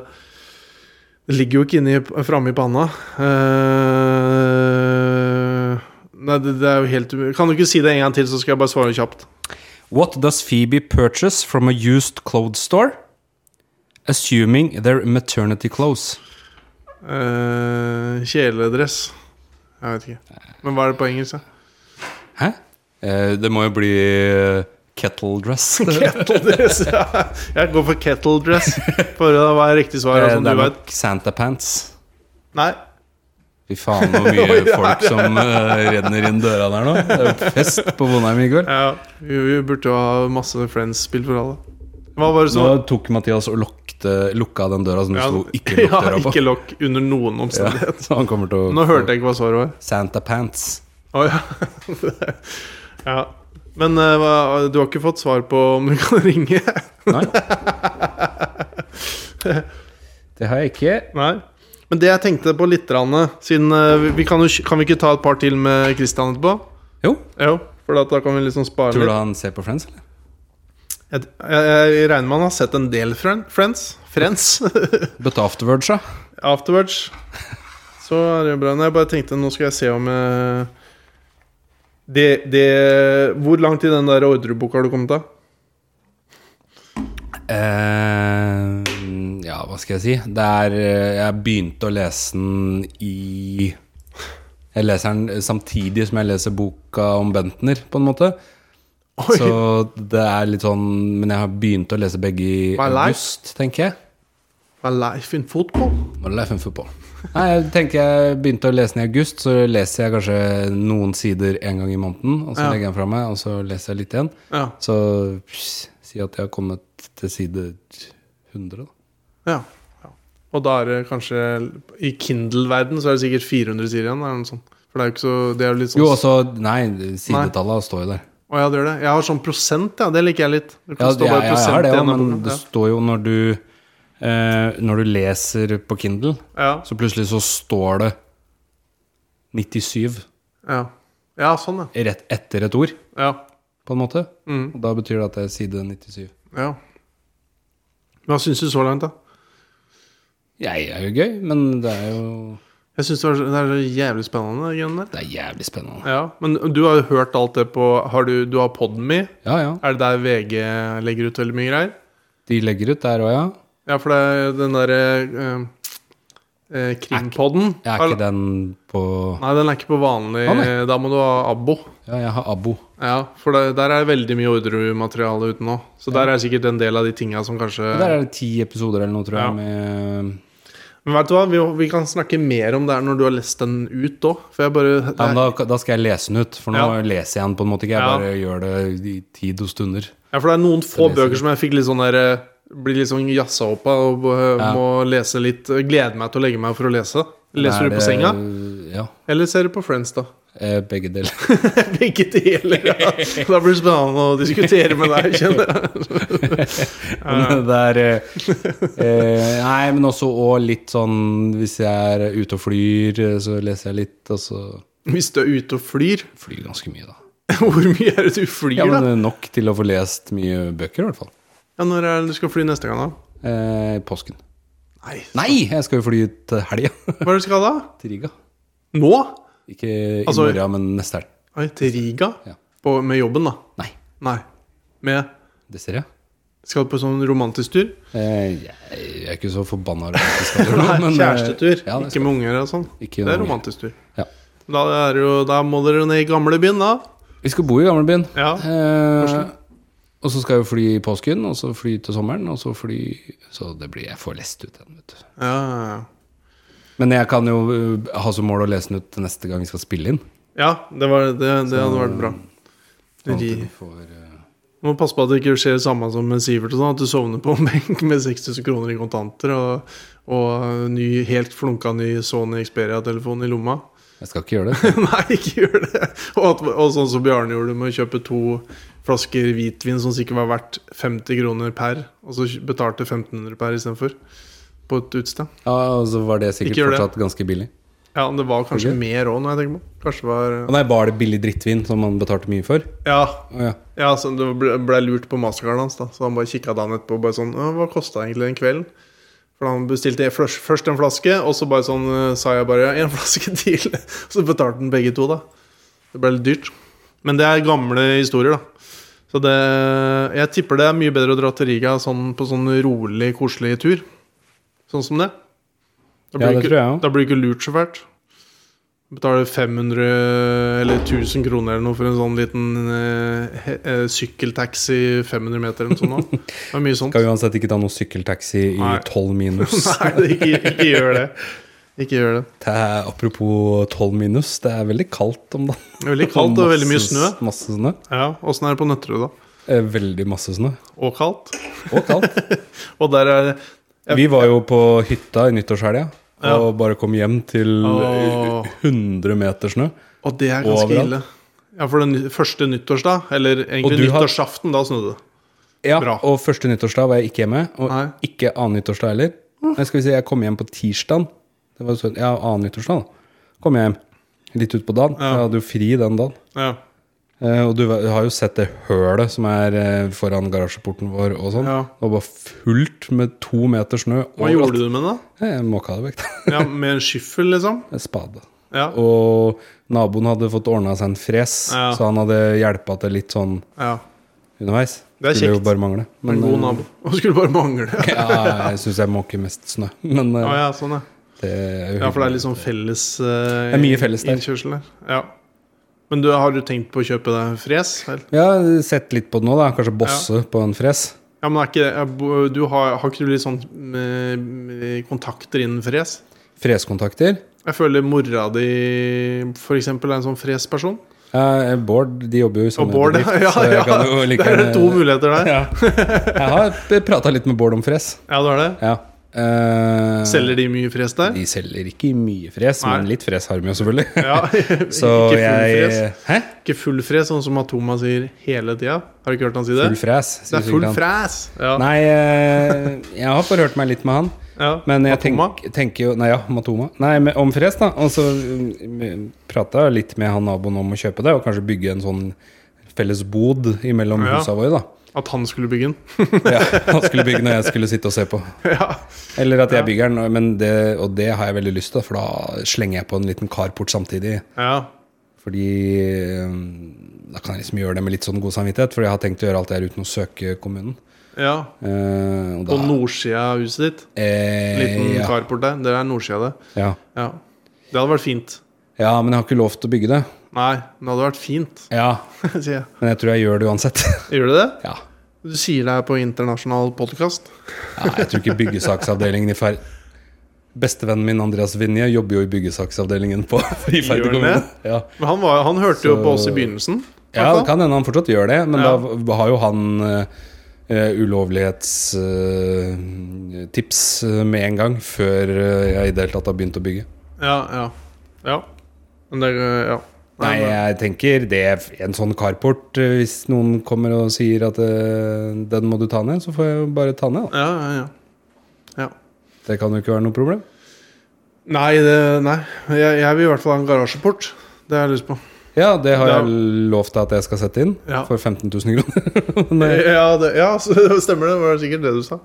[SPEAKER 1] Det ligger jo ikke inni framme i panna. Eh, nei, det, det er jo helt umulig. Kan du ikke si det en gang til, så skal jeg bare svare kjapt?
[SPEAKER 2] What does Phoebe purchase from a used clothes store, assuming their maternity clothes?
[SPEAKER 1] Eh, kjeledress. Jeg vet ikke. Men hva er det på engelsk? da?
[SPEAKER 2] Hæ? Eh, det må jo bli eh, kettle dress. Eh,
[SPEAKER 1] Kettledress. ja. Jeg går for kettledress. For å høre hva er riktig svar?
[SPEAKER 2] Eh, det
[SPEAKER 1] Altså,
[SPEAKER 2] er
[SPEAKER 1] du vet.
[SPEAKER 2] nok sånn Santa pants.
[SPEAKER 1] Nei.
[SPEAKER 2] Fy faen, hvor mye folk som eh, renner inn døra der nå. Det er jo fest på Vonheim i går.
[SPEAKER 1] Ja, vi, vi burde jo ha masse Friends-spill for alle. Hva var det
[SPEAKER 2] Nå
[SPEAKER 1] som
[SPEAKER 2] tok Mathias og lukte, lukka den døra som det
[SPEAKER 1] Ja,
[SPEAKER 2] sto 'ikke lukk døra'
[SPEAKER 1] Ja,
[SPEAKER 2] på.
[SPEAKER 1] ikke lokk under noen
[SPEAKER 2] Ja,
[SPEAKER 1] omstendighet.
[SPEAKER 2] så han kommer til å
[SPEAKER 1] Nå hørte jeg ikke hva svaret var.
[SPEAKER 2] Santa Pants.
[SPEAKER 1] Å ja. ja. Men eh, hva, du har ikke fått svar på om du kan ringe?
[SPEAKER 2] Nei. Det har jeg ikke.
[SPEAKER 1] Nei. Men det jeg tenkte på litt, grann, siden eh, vi- vi kan, jo, kan vi ikke ta et par til med Christian etterpå?
[SPEAKER 2] Jo.
[SPEAKER 1] Jo, for da, da kan vi liksom spare
[SPEAKER 2] Tror du
[SPEAKER 1] litt.
[SPEAKER 2] han ser på Friends, eller?
[SPEAKER 1] Jeg, jeg, jeg regner med han har sett en del Fren- Friends. Friends.
[SPEAKER 2] But afterwards, ja.
[SPEAKER 1] Afterwards Så er det jo bra Nei, jeg bare tenkte Nå skal jeg se om eh, det, det Hvor langt i den der ordreboka har du kommet da?
[SPEAKER 2] Eh, ja, hva skal jeg si? Det er eh, Jeg begynte å lese den i Jeg leser den samtidig som jeg leser boka om Bentner, på en måte.
[SPEAKER 1] Oi.
[SPEAKER 2] Så det er litt sånn Men jeg har begynt å lese begge i
[SPEAKER 1] My life.
[SPEAKER 2] august, tenker jeg.
[SPEAKER 1] Hva er life in football?
[SPEAKER 2] Hva er det for en fotball? Nei, jeg tenker jeg begynte å lese den i august, så leser jeg kanskje noen sider en gang i måneden, og så
[SPEAKER 1] Ja.
[SPEAKER 2] legger jeg den fra meg, og så leser jeg litt igjen.
[SPEAKER 1] Ja,
[SPEAKER 2] Så pss, si at jeg har kommet til side 100, da.
[SPEAKER 1] ja, ja. Og da er det kanskje I Kindle-verden så er det sikkert 400 sider igjen eller noe sånt. For det er jo ikke så Det er jo litt sånn
[SPEAKER 2] Jo, altså. også, nei, sidetallet står jo der.
[SPEAKER 1] Å ja, det gjør det Jeg har sånn prosent, ja, det liker jeg litt Det kan
[SPEAKER 2] Ja,
[SPEAKER 1] stå
[SPEAKER 2] jeg,
[SPEAKER 1] bare
[SPEAKER 2] jeg har
[SPEAKER 1] prosent
[SPEAKER 2] det
[SPEAKER 1] igjen
[SPEAKER 2] òg,
[SPEAKER 1] av
[SPEAKER 2] men
[SPEAKER 1] boka.
[SPEAKER 2] det står jo når du eh, Når du leser på Kindle,
[SPEAKER 1] ja. Ja.
[SPEAKER 2] så plutselig så står det 97
[SPEAKER 1] ja, ja, sånn ja
[SPEAKER 2] rett etter et ord,
[SPEAKER 1] Ja,
[SPEAKER 2] på en måte.
[SPEAKER 1] mm,
[SPEAKER 2] Og da betyr det at det er side 97.
[SPEAKER 1] ja Hva synes du så langt da?
[SPEAKER 2] Jeg er jo gøy, men det er jo
[SPEAKER 1] Jeg synes det, var så- det er så jævlig spennende det greiene der.
[SPEAKER 2] Det er jævlig spennende.
[SPEAKER 1] Ja, men du har jo hørt alt det på Har du, du har Podme?
[SPEAKER 2] Ja, ja.
[SPEAKER 1] Er det der VG legger ut veldig mye greier?
[SPEAKER 2] De legger ut der òg, ja?
[SPEAKER 1] Ja, for det er den derre eh, eh, Kringpodden
[SPEAKER 2] Jeg er ikke den på
[SPEAKER 1] Nei, den er ikke på vanlig.
[SPEAKER 2] Å, nei.
[SPEAKER 1] da må du ha abbo.
[SPEAKER 2] Ja, jeg har abo.
[SPEAKER 1] Ja, for det, der er veldig mye ordremateriale ute nå. Så der er sikkert en del av de tinga som kanskje
[SPEAKER 2] Der er det ti episoder eller noe, tror jeg.
[SPEAKER 1] Ja.
[SPEAKER 2] Med,
[SPEAKER 1] Men vet du hva, vi, vi kan snakke mer om det her når du har lest den ut òg. For jeg bare
[SPEAKER 2] ja, men da, da skal jeg lese den ut, for nå
[SPEAKER 1] Ja.
[SPEAKER 2] leser jeg den på en måte ikke. Jeg
[SPEAKER 1] Ja.
[SPEAKER 2] bare gjør det i tid og stunder.
[SPEAKER 1] Ja, for det er noen få
[SPEAKER 2] leser
[SPEAKER 1] bøker som jeg fikk litt sånn der eh, Blir litt sånn jazza opp av og eh,
[SPEAKER 2] Ja.
[SPEAKER 1] må lese litt. Gleder meg til å legge meg for å lese. Leser
[SPEAKER 2] Er
[SPEAKER 1] du
[SPEAKER 2] det-
[SPEAKER 1] på senga,
[SPEAKER 2] Ja.
[SPEAKER 1] eller ser du på Friends, da?
[SPEAKER 2] eh, Begge deler.
[SPEAKER 1] Begge deler. Ja. Da blir det spennende å diskutere med deg, kjenner jeg.
[SPEAKER 2] Men det er eh, eh, Nei, men også og litt sånn Hvis jeg er ute og flyr, eh, så leser jeg litt, og så
[SPEAKER 1] Hvis du er ute og flyr,
[SPEAKER 2] flyr jeg ganske mye, da.
[SPEAKER 1] hvor mye er det du flyr,
[SPEAKER 2] Ja, men
[SPEAKER 1] da?
[SPEAKER 2] eh, Nok til å få lest mye bøker, i hvert fall.
[SPEAKER 1] Ja, når er det du skal fly neste gang, da?
[SPEAKER 2] Eh, påsken.
[SPEAKER 1] Nei.
[SPEAKER 2] Nei, jeg skal jo fly til helga.
[SPEAKER 1] Hva er det du skal da?
[SPEAKER 2] til Riga.
[SPEAKER 1] Nå?
[SPEAKER 2] Ikke i
[SPEAKER 1] Altså-
[SPEAKER 2] morgen, men neste helg.
[SPEAKER 1] Oi, til Riga?
[SPEAKER 2] Ja.
[SPEAKER 1] På, med jobben, da?
[SPEAKER 2] Nei,
[SPEAKER 1] Nei. Med
[SPEAKER 2] det ser jeg.
[SPEAKER 1] Skal du på sånn romantisk tur?
[SPEAKER 2] Eh, jeg jeg er ikke så forbanna romantisk. eller noe,
[SPEAKER 1] Nei,
[SPEAKER 2] men, eh,
[SPEAKER 1] kjærestetur.
[SPEAKER 2] Ja, det
[SPEAKER 1] ikke
[SPEAKER 2] skal.
[SPEAKER 1] med unger og sånn.
[SPEAKER 2] Ikke
[SPEAKER 1] Det er
[SPEAKER 2] med unger.
[SPEAKER 1] romantisk tur.
[SPEAKER 2] Ja.
[SPEAKER 1] Da, er det jo, da må dere ned i gamlebyen, da.
[SPEAKER 2] Vi skal bo i gamlebyen.
[SPEAKER 1] Ja,
[SPEAKER 2] eh, og så skal jeg jo fly i påsken, og så fly til sommeren, og så fly Så det blir Jeg får lest ut den, vet du.
[SPEAKER 1] Ja, ja, ja.
[SPEAKER 2] Men jeg kan jo eh, ha som mål å lese den ut til neste gang vi skal spille inn.
[SPEAKER 1] ja det, var, det, det hadde vært bra.
[SPEAKER 2] Sånn at
[SPEAKER 1] Ri-
[SPEAKER 2] vi får, eh,
[SPEAKER 1] Må passe på at det ikke skjer det samme som med Sivert, og sånn, at du sovner på en benk med 6000 kroner i kontanter og, og ny, helt flunka ny Sony Xperia-telefon i lomma.
[SPEAKER 2] jeg skal ikke gjøre det.
[SPEAKER 1] Nei, ikke gjør det! Og, at, og sånn som Bjarne gjorde med å kjøpe to flasker hvitvin som sikkert var verdt 50 kroner per, og så betalte 1500 per istedenfor. På et utested.
[SPEAKER 2] Ja, Og så var det sikkert
[SPEAKER 1] Ikke gjør det.
[SPEAKER 2] fortsatt ganske billig.
[SPEAKER 1] Ja, men det var kanskje
[SPEAKER 2] Ok.
[SPEAKER 1] mer òg, når jeg tenker på det. Kanskje det var
[SPEAKER 2] Og nei, var det billig drittvin som man betalte mye for?
[SPEAKER 1] Ja,
[SPEAKER 2] Å, ja.
[SPEAKER 1] ja så det ble, ble lurt på mastercarden hans, da. Så han bare kikka dagen etterpå og bare sånn «Å, Hva kosta egentlig den kvelden? For han bestilte en flørs- først en flaske, og så bare sånn eh, sa jeg bare én flaske til. Så betalte han begge to, da. Det ble litt dyrt. Men det er gamle historier, da. Så det Jeg tipper det er mye bedre å dra til Riga sånn, på sånn rolig, koselig tur. Sånn som det. Da blir
[SPEAKER 2] Ja, det
[SPEAKER 1] ikke-
[SPEAKER 2] tror jeg også.
[SPEAKER 1] Da blir du ikke lurt så fælt. Betaler 500 eller 1000 kroner eller noe for en sånn liten eh, he- eh, sykkeltaxi 500 meter eller noe sånt. nå. Det er mye sånt.
[SPEAKER 2] Skal uansett ikke ta noen sykkeltaxi i
[SPEAKER 1] Nei.
[SPEAKER 2] 12 minus.
[SPEAKER 1] Nei, ikke, ikke gjør det. Ikke gjør det.
[SPEAKER 2] Det er, apropos 12 minus, det er veldig kaldt om dagen.
[SPEAKER 1] Det er veldig kaldt og veldig mye snø.
[SPEAKER 2] Masse- Masse snø.
[SPEAKER 1] Ja, Åssen er det på Nøtterøy, da?
[SPEAKER 2] Eh, Veldig masse snø.
[SPEAKER 1] Og kaldt.
[SPEAKER 2] Og kaldt.
[SPEAKER 1] Og der er det
[SPEAKER 2] Vi var jo på hytta i nyttårshelga og
[SPEAKER 1] Ja.
[SPEAKER 2] bare kom hjem til
[SPEAKER 1] Åh.
[SPEAKER 2] 100 meter snø.
[SPEAKER 1] Og det er
[SPEAKER 2] Og
[SPEAKER 1] ganske
[SPEAKER 2] overalt.
[SPEAKER 1] ille. Ja, for den første nyttårsdag, eller
[SPEAKER 2] Og
[SPEAKER 1] egentlig
[SPEAKER 2] du har-
[SPEAKER 1] nyttårsaften, da snudde det.
[SPEAKER 2] Ja,
[SPEAKER 1] Bra.
[SPEAKER 2] Og første nyttårsdag var jeg ikke hjemme, og
[SPEAKER 1] Nei.
[SPEAKER 2] ikke annen nyttårsdag heller. Nei, skal vi si, jeg kom hjem på tirsdagen. Det var jo sånn, ja, annen nyttårsdag da. Kom jeg hjem litt utpå dagen.
[SPEAKER 1] Ja.
[SPEAKER 2] Jeg hadde jo fri den dagen.
[SPEAKER 1] Ja.
[SPEAKER 2] Eh, og du har jo sett det hølet som er eh, foran garasjeporten vår og sånn.
[SPEAKER 1] Ja.
[SPEAKER 2] Det var bare fullt med to meter snø.
[SPEAKER 1] Hva gjorde du med det? da?
[SPEAKER 2] Jeg måka det vekk. da.
[SPEAKER 1] Ja, Med en skyffel, liksom?
[SPEAKER 2] En spade.
[SPEAKER 1] Ja.
[SPEAKER 2] Og naboen hadde fått ordna seg en fres,
[SPEAKER 1] Ja.
[SPEAKER 2] så han hadde hjelpa til litt sånn
[SPEAKER 1] ja.
[SPEAKER 2] underveis.
[SPEAKER 1] Det er kjekt.
[SPEAKER 2] Skulle jo bare mangle.
[SPEAKER 1] En god nabo. Og skulle bare mangle.
[SPEAKER 2] eh, ja, jeg syns jeg måker mest snø, men eh,
[SPEAKER 1] Ja, ja, sånn, ja.
[SPEAKER 2] det er jo
[SPEAKER 1] ja, for det er
[SPEAKER 2] hyggelig.
[SPEAKER 1] litt sånn felles uh,
[SPEAKER 2] er mye felles der.
[SPEAKER 1] innkjørsel der. Ja. Men du, har du tenkt på å kjøpe deg en fres? eller?
[SPEAKER 2] Jeg har sett litt på det nå, da. Kanskje bosse på en fres.
[SPEAKER 1] Ja, men er ikke det er bo- du har, har ikke du litt sånn eh, med kontakter innen fres?
[SPEAKER 2] Freskontakter.
[SPEAKER 1] Jeg føler mora di for eksempel er en sånn fresperson.
[SPEAKER 2] Eh, Bård, de jobber jo i
[SPEAKER 1] Og
[SPEAKER 2] samme
[SPEAKER 1] Bård,
[SPEAKER 2] bedrift,
[SPEAKER 1] ja,
[SPEAKER 2] så jeg
[SPEAKER 1] ja.
[SPEAKER 2] kan jo like
[SPEAKER 1] Det er
[SPEAKER 2] gjerne-
[SPEAKER 1] to muligheter der.
[SPEAKER 2] Ja. Jeg har prata litt med Bård om fres.
[SPEAKER 1] Ja, du har det.
[SPEAKER 2] Ja. Eh,
[SPEAKER 1] Selger de mye fres der?
[SPEAKER 2] De selger ikke mye fres, men
[SPEAKER 1] Nei.
[SPEAKER 2] litt fres har de jo selvfølgelig.
[SPEAKER 1] Ja,
[SPEAKER 2] Så
[SPEAKER 1] ikke full
[SPEAKER 2] jeg
[SPEAKER 1] fres.
[SPEAKER 2] Hæ?
[SPEAKER 1] Ikke full fres, sånn som Atoma sier hele tida. Har du ikke hørt han si det?
[SPEAKER 2] Full fres.
[SPEAKER 1] det
[SPEAKER 2] sier
[SPEAKER 1] er full
[SPEAKER 2] sikkert han.
[SPEAKER 1] fres! Ja.
[SPEAKER 2] Nei, eh, jeg har forhørt meg litt med han.
[SPEAKER 1] Ja.
[SPEAKER 2] Men jeg
[SPEAKER 1] Atoma?
[SPEAKER 2] tenk, tenker jo Nei, ja, Matoma. Nei, men om fres, da. Og så prata jeg litt med han naboen om å kjøpe det, og kanskje bygge en sånn felles bod imellom
[SPEAKER 1] Ja.
[SPEAKER 2] husa våre, da.
[SPEAKER 1] At han skulle bygge den?
[SPEAKER 2] Ja, han skulle bygge når jeg skulle sitte og se på.
[SPEAKER 1] ja.
[SPEAKER 2] Eller at jeg bygger den, men det, og det har jeg veldig lyst til, for da slenger jeg på en liten carport samtidig.
[SPEAKER 1] ja.
[SPEAKER 2] Fordi eh, da kan jeg liksom gjøre det med litt sånn god samvittighet, for jeg har tenkt å gjøre alt det her uten å søke kommunen.
[SPEAKER 1] Ja.
[SPEAKER 2] Eh, og da,
[SPEAKER 1] På nordsida av huset ditt.
[SPEAKER 2] eh,
[SPEAKER 1] Liten
[SPEAKER 2] ja,
[SPEAKER 1] carport der. Det er nordsida, det.
[SPEAKER 2] ja.
[SPEAKER 1] Ja. Det hadde vært fint.
[SPEAKER 2] ja, men jeg har ikke lov til å bygge det.
[SPEAKER 1] Nei, men det hadde vært fint,
[SPEAKER 2] Ja,
[SPEAKER 1] sier jeg.
[SPEAKER 2] men jeg tror jeg gjør det uansett.
[SPEAKER 1] Gjør du det?
[SPEAKER 2] ja.
[SPEAKER 1] Du sier det her på internasjonal podkast.
[SPEAKER 2] Nei, jeg tror ikke byggesaksavdelingen i Ferd... Bestevennen min Andreas Vinje jobber jo i byggesaksavdelingen på i
[SPEAKER 1] Gjør han
[SPEAKER 2] Færder kommune. Ja.
[SPEAKER 1] Men han, var, han hørte jo
[SPEAKER 2] Så-
[SPEAKER 1] på oss i begynnelsen. i
[SPEAKER 2] ja,
[SPEAKER 1] hvert
[SPEAKER 2] det
[SPEAKER 1] fall.
[SPEAKER 2] kan hende han fortsatt gjør det, men
[SPEAKER 1] Ja.
[SPEAKER 2] da har jo han eh, ulovlighetstips eh, med en gang, før eh, jeg i det hele tatt har begynt å bygge.
[SPEAKER 1] Ja, ja. ja. Men det Ja.
[SPEAKER 2] Nei,
[SPEAKER 1] men-
[SPEAKER 2] jeg tenker det er en sånn carport. eh, Hvis noen kommer og sier at eh, den må du ta ned, så får jeg jo bare ta ned. Da.
[SPEAKER 1] ja, ja, ja.
[SPEAKER 2] Det kan jo ikke være noe problem.
[SPEAKER 1] Nei, det, nei. Jeg, jeg vil i hvert fall ha en garasjeport. Det har jeg lyst på.
[SPEAKER 2] Ja, det har
[SPEAKER 1] Ja.
[SPEAKER 2] jeg lovt deg at jeg skal sette inn
[SPEAKER 1] Ja.
[SPEAKER 2] for 15 000 kroner. Men eh,
[SPEAKER 1] Ja, det, ja så det stemmer det. Det var sikkert det du sa.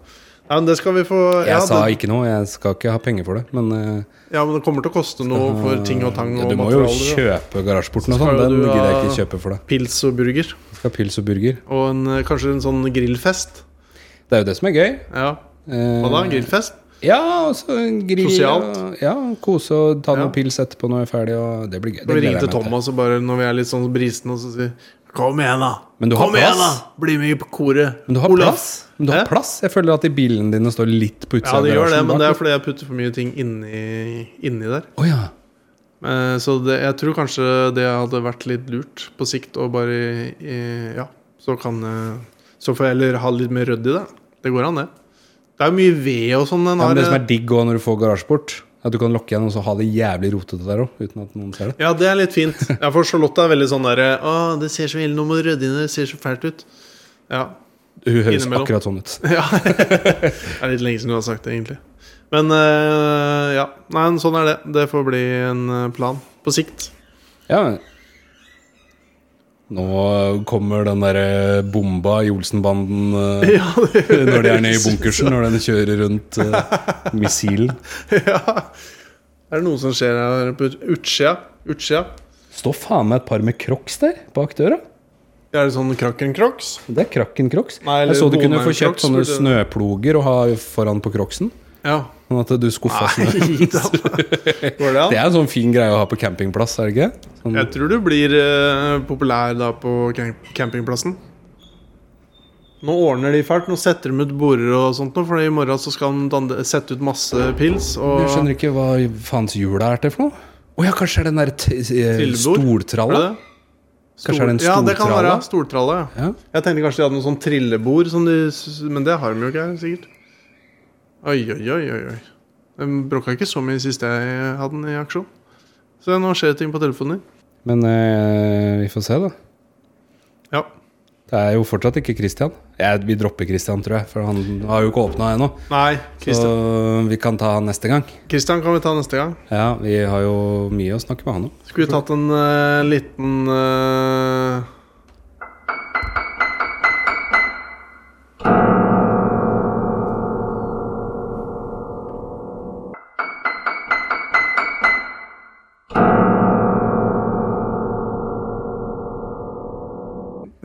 [SPEAKER 1] Nei, men det skal vi få
[SPEAKER 2] jeg
[SPEAKER 1] ja,
[SPEAKER 2] sa
[SPEAKER 1] det,
[SPEAKER 2] ikke noe, jeg skal ikke ha penger for det. Men eh,
[SPEAKER 1] ja, men det kommer til å koste noe for ting og tang
[SPEAKER 2] Ah, ja,
[SPEAKER 1] og
[SPEAKER 2] du må jo
[SPEAKER 1] materialer.
[SPEAKER 2] kjøpe garasjeporten og
[SPEAKER 1] Så skal
[SPEAKER 2] sånn.
[SPEAKER 1] jo
[SPEAKER 2] Den
[SPEAKER 1] du
[SPEAKER 2] gidder jeg
[SPEAKER 1] ha-
[SPEAKER 2] ikke kjøpe for deg.
[SPEAKER 1] og Pils og burger.
[SPEAKER 2] Jeg skal ha pils og burger.
[SPEAKER 1] Og en, eh, kanskje en sånn grillfest.
[SPEAKER 2] Det er jo det som er gøy.
[SPEAKER 1] Ja,
[SPEAKER 2] Eh,
[SPEAKER 1] hva da? En grillfest?
[SPEAKER 2] Ja, altså en grill
[SPEAKER 1] Sosialt.
[SPEAKER 2] og- Ja, kose og ta
[SPEAKER 1] Ja.
[SPEAKER 2] noen pils etterpå når jeg er ferdig. Og det blir gøy. Det
[SPEAKER 1] Skal vi
[SPEAKER 2] gleder
[SPEAKER 1] ringe
[SPEAKER 2] jeg
[SPEAKER 1] til
[SPEAKER 2] meg
[SPEAKER 1] Thomas og bare når vi er litt sånn brisne, og så sier Kom igjen, da!
[SPEAKER 2] Men du har
[SPEAKER 1] Kom igjen, da!
[SPEAKER 2] plass.
[SPEAKER 1] Bli med i koret.
[SPEAKER 2] Men du har
[SPEAKER 1] Olav.
[SPEAKER 2] plass. Men du har
[SPEAKER 1] Hæ?
[SPEAKER 2] plass. Jeg føler at de bilene dine står litt på
[SPEAKER 1] Ja,
[SPEAKER 2] utsida. av
[SPEAKER 1] det gjør det,
[SPEAKER 2] garasjen
[SPEAKER 1] men
[SPEAKER 2] bak.
[SPEAKER 1] det er fordi jeg putter for mye ting inni, inni der.
[SPEAKER 2] Å ja.
[SPEAKER 1] Eh, Så det, jeg tror kanskje det hadde vært litt lurt på sikt å bare eh, Ja, så kan eh, Så får jeg heller ha litt mer rødd i det. Det går an, det. Det er jo mye ved og sånn den
[SPEAKER 2] ja, men
[SPEAKER 1] har
[SPEAKER 2] Det som er digg også når du får garasjeport, er at du kan lokke igjen og så ha det jævlig rotete der òg. Uten at noen ser det.
[SPEAKER 1] Ja, det er litt fint. Ja, for Charlotte er veldig sånn derre Å, det ser så ille nå må du rydde inn, det ser så fælt ut. Ja.
[SPEAKER 2] Hun høres
[SPEAKER 1] Innimellom.
[SPEAKER 2] akkurat sånn ut.
[SPEAKER 1] ja. det er litt lenge siden du har sagt det, egentlig. Men eh, ja. Nei, sånn er det. Det får bli en eh, plan på sikt.
[SPEAKER 2] Ja. Nå kommer den derre bomba i Olsenbanden eh,
[SPEAKER 1] Ja, det
[SPEAKER 2] når de er nede i
[SPEAKER 1] høres ut
[SPEAKER 2] bunkersen, når den kjører rundt eh, missilen.
[SPEAKER 1] Ja. Er det noe som skjer her på ut- utsida? Utsida?
[SPEAKER 2] Står faen meg et par med crocs der bak døra.
[SPEAKER 1] Er det sånn krakken crocs?
[SPEAKER 2] Det er krakken crocs.
[SPEAKER 1] Nei, eller
[SPEAKER 2] Jeg så du kunne
[SPEAKER 1] Bonheim
[SPEAKER 2] få kjøpt
[SPEAKER 1] Crocs,
[SPEAKER 2] sånne
[SPEAKER 1] burde-
[SPEAKER 2] snøploger å ha foran på crocsen.
[SPEAKER 1] Ja.
[SPEAKER 2] Sånn at du skuffa snø.
[SPEAKER 1] Nei, da. Går det
[SPEAKER 2] Det
[SPEAKER 1] an?
[SPEAKER 2] er en sånn fin greie å ha på campingplass, er det ikke? Sånn,
[SPEAKER 1] Jeg tror du blir eh, populær da på cam- campingplassen. Nå ordner de fælt. Nå setter de ut border og sånt, nå, for i morgen så skal de dande- sette ut masse pils. Og
[SPEAKER 2] jeg skjønner ikke hva faens hjula er til for noe. Å ja, kanskje det er den der t- eh,
[SPEAKER 1] Trillebord? Er
[SPEAKER 2] stortralla?
[SPEAKER 1] det det?
[SPEAKER 2] Kanskje er det en
[SPEAKER 1] Stor- Ja, det kan
[SPEAKER 2] stortralle?
[SPEAKER 1] være stortralle. Ja.
[SPEAKER 2] Ja.
[SPEAKER 1] Jeg tenkte kanskje de hadde noe sånn trillebord, som de, s- men det har de jo ikke her, sikkert. Oi, oi, oi, oi. oi. De bråka ikke så mye sist jeg hadde den i aksjon. Så nå skjer det ting på telefonen din.
[SPEAKER 2] Men eh, vi får se, da.
[SPEAKER 1] Ja.
[SPEAKER 2] Det er jo fortsatt ikke Christian. Jeg, vi dropper Christian, tror jeg, for han har jo ikke åpna ennå.
[SPEAKER 1] Nei, Christian.
[SPEAKER 2] Så vi kan ta han neste gang.
[SPEAKER 1] Christian kan vi ta neste gang.
[SPEAKER 2] Ja, vi har jo mye å snakke med han om.
[SPEAKER 1] Skulle vi tatt en eh, liten eh,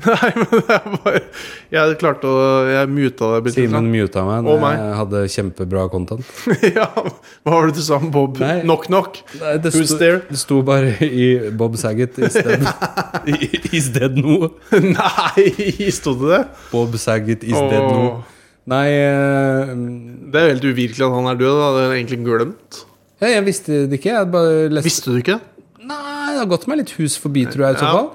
[SPEAKER 1] Nei, men det er bare Jeg klarte å Jeg muta deg bitte
[SPEAKER 2] Simen muta meg.
[SPEAKER 1] Og meg.
[SPEAKER 2] Jeg hadde kjempebra content.
[SPEAKER 1] litt. ja, hva var det du sa om Bob?
[SPEAKER 2] Nei.
[SPEAKER 1] Knock, knock?
[SPEAKER 2] Det
[SPEAKER 1] Who's
[SPEAKER 2] sto,
[SPEAKER 1] there?
[SPEAKER 2] det sto bare i Bob Saget i stedet I stedet noe.
[SPEAKER 1] Nei, sto det det?
[SPEAKER 2] Bob Saget i stedet
[SPEAKER 1] Åh.
[SPEAKER 2] noe. Nei eh,
[SPEAKER 1] Det er jo helt uvirkelig at han er død. Da. Det er egentlig glemt.
[SPEAKER 2] ja, Jeg visste det ikke. Jeg bare leste
[SPEAKER 1] Visste du ikke?
[SPEAKER 2] Nei, det har gått meg litt hus forbi, tror jeg. i så
[SPEAKER 1] Ja.
[SPEAKER 2] fall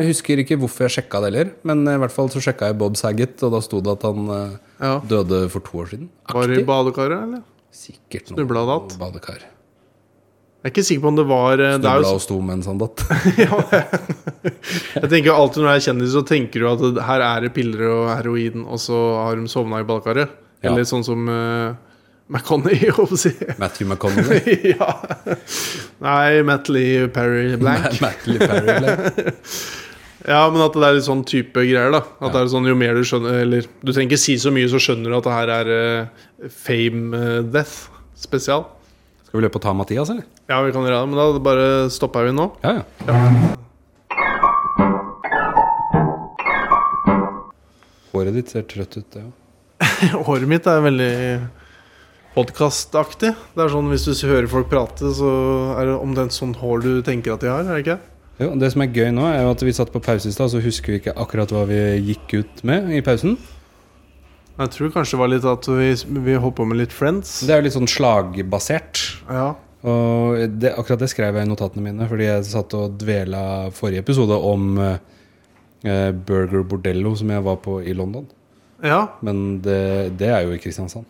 [SPEAKER 2] Jeg husker ikke hvorfor jeg sjekka det heller, men i hvert fall så sjekka jeg Bob Saget, og da sto det at han eh,
[SPEAKER 1] Ja.
[SPEAKER 2] døde for to år siden.
[SPEAKER 1] Var det i
[SPEAKER 2] Aktig.
[SPEAKER 1] badekaret, eller?
[SPEAKER 2] Sikkert noe
[SPEAKER 1] Snubla og datt.
[SPEAKER 2] badekar.
[SPEAKER 1] Jeg er ikke sikker på om det var eh, det er
[SPEAKER 2] Snubla
[SPEAKER 1] jo,
[SPEAKER 2] og sto sånn mens han datt.
[SPEAKER 1] Jeg tenker jo alltid når jeg er kjendis, så tenker du at det- her er det piller og heroin, og så har de sovna i badekaret.
[SPEAKER 2] Ja.
[SPEAKER 1] Eller sånn som uh, McConney, holdt jeg
[SPEAKER 2] Matthew McConnell.
[SPEAKER 1] på å si. ja. Nei, Matt Lee, Perry Blank.
[SPEAKER 2] Matthew Perry. eller?
[SPEAKER 1] Ja, men at det er litt sånn type greier, da. At det er sånn, jo mer du skjønner Eller du trenger ikke si så mye, så skjønner du at det her er eh, fame eh, death spesial.
[SPEAKER 2] Skal vi løpe og ta Mathias, eller?
[SPEAKER 1] Ja, vi kan gjøre det, men da bare stopper vi nå.
[SPEAKER 2] Ja, ja. Håret ditt ser trøtt ut, det òg.
[SPEAKER 1] Håret mitt er veldig podkastaktig. Det er sånn hvis du hører folk prate, så er det omtrent sånn hår du tenker at de har, er det ikke?
[SPEAKER 2] Jo, Det som er gøy nå, er jo at vi satt på pause i stad, så husker vi ikke akkurat hva vi gikk ut med i pausen.
[SPEAKER 1] Jeg tror kanskje det var litt at vi, vi holdt på med litt Friends.
[SPEAKER 2] Det er jo litt sånn slagbasert.
[SPEAKER 1] Ja.
[SPEAKER 2] Og det, akkurat det skrev jeg i notatene mine, fordi jeg satt og dvela forrige episode om eh, Burger Bordello, som jeg var på i London.
[SPEAKER 1] ja.
[SPEAKER 2] Men det, det er jo i Kristiansand.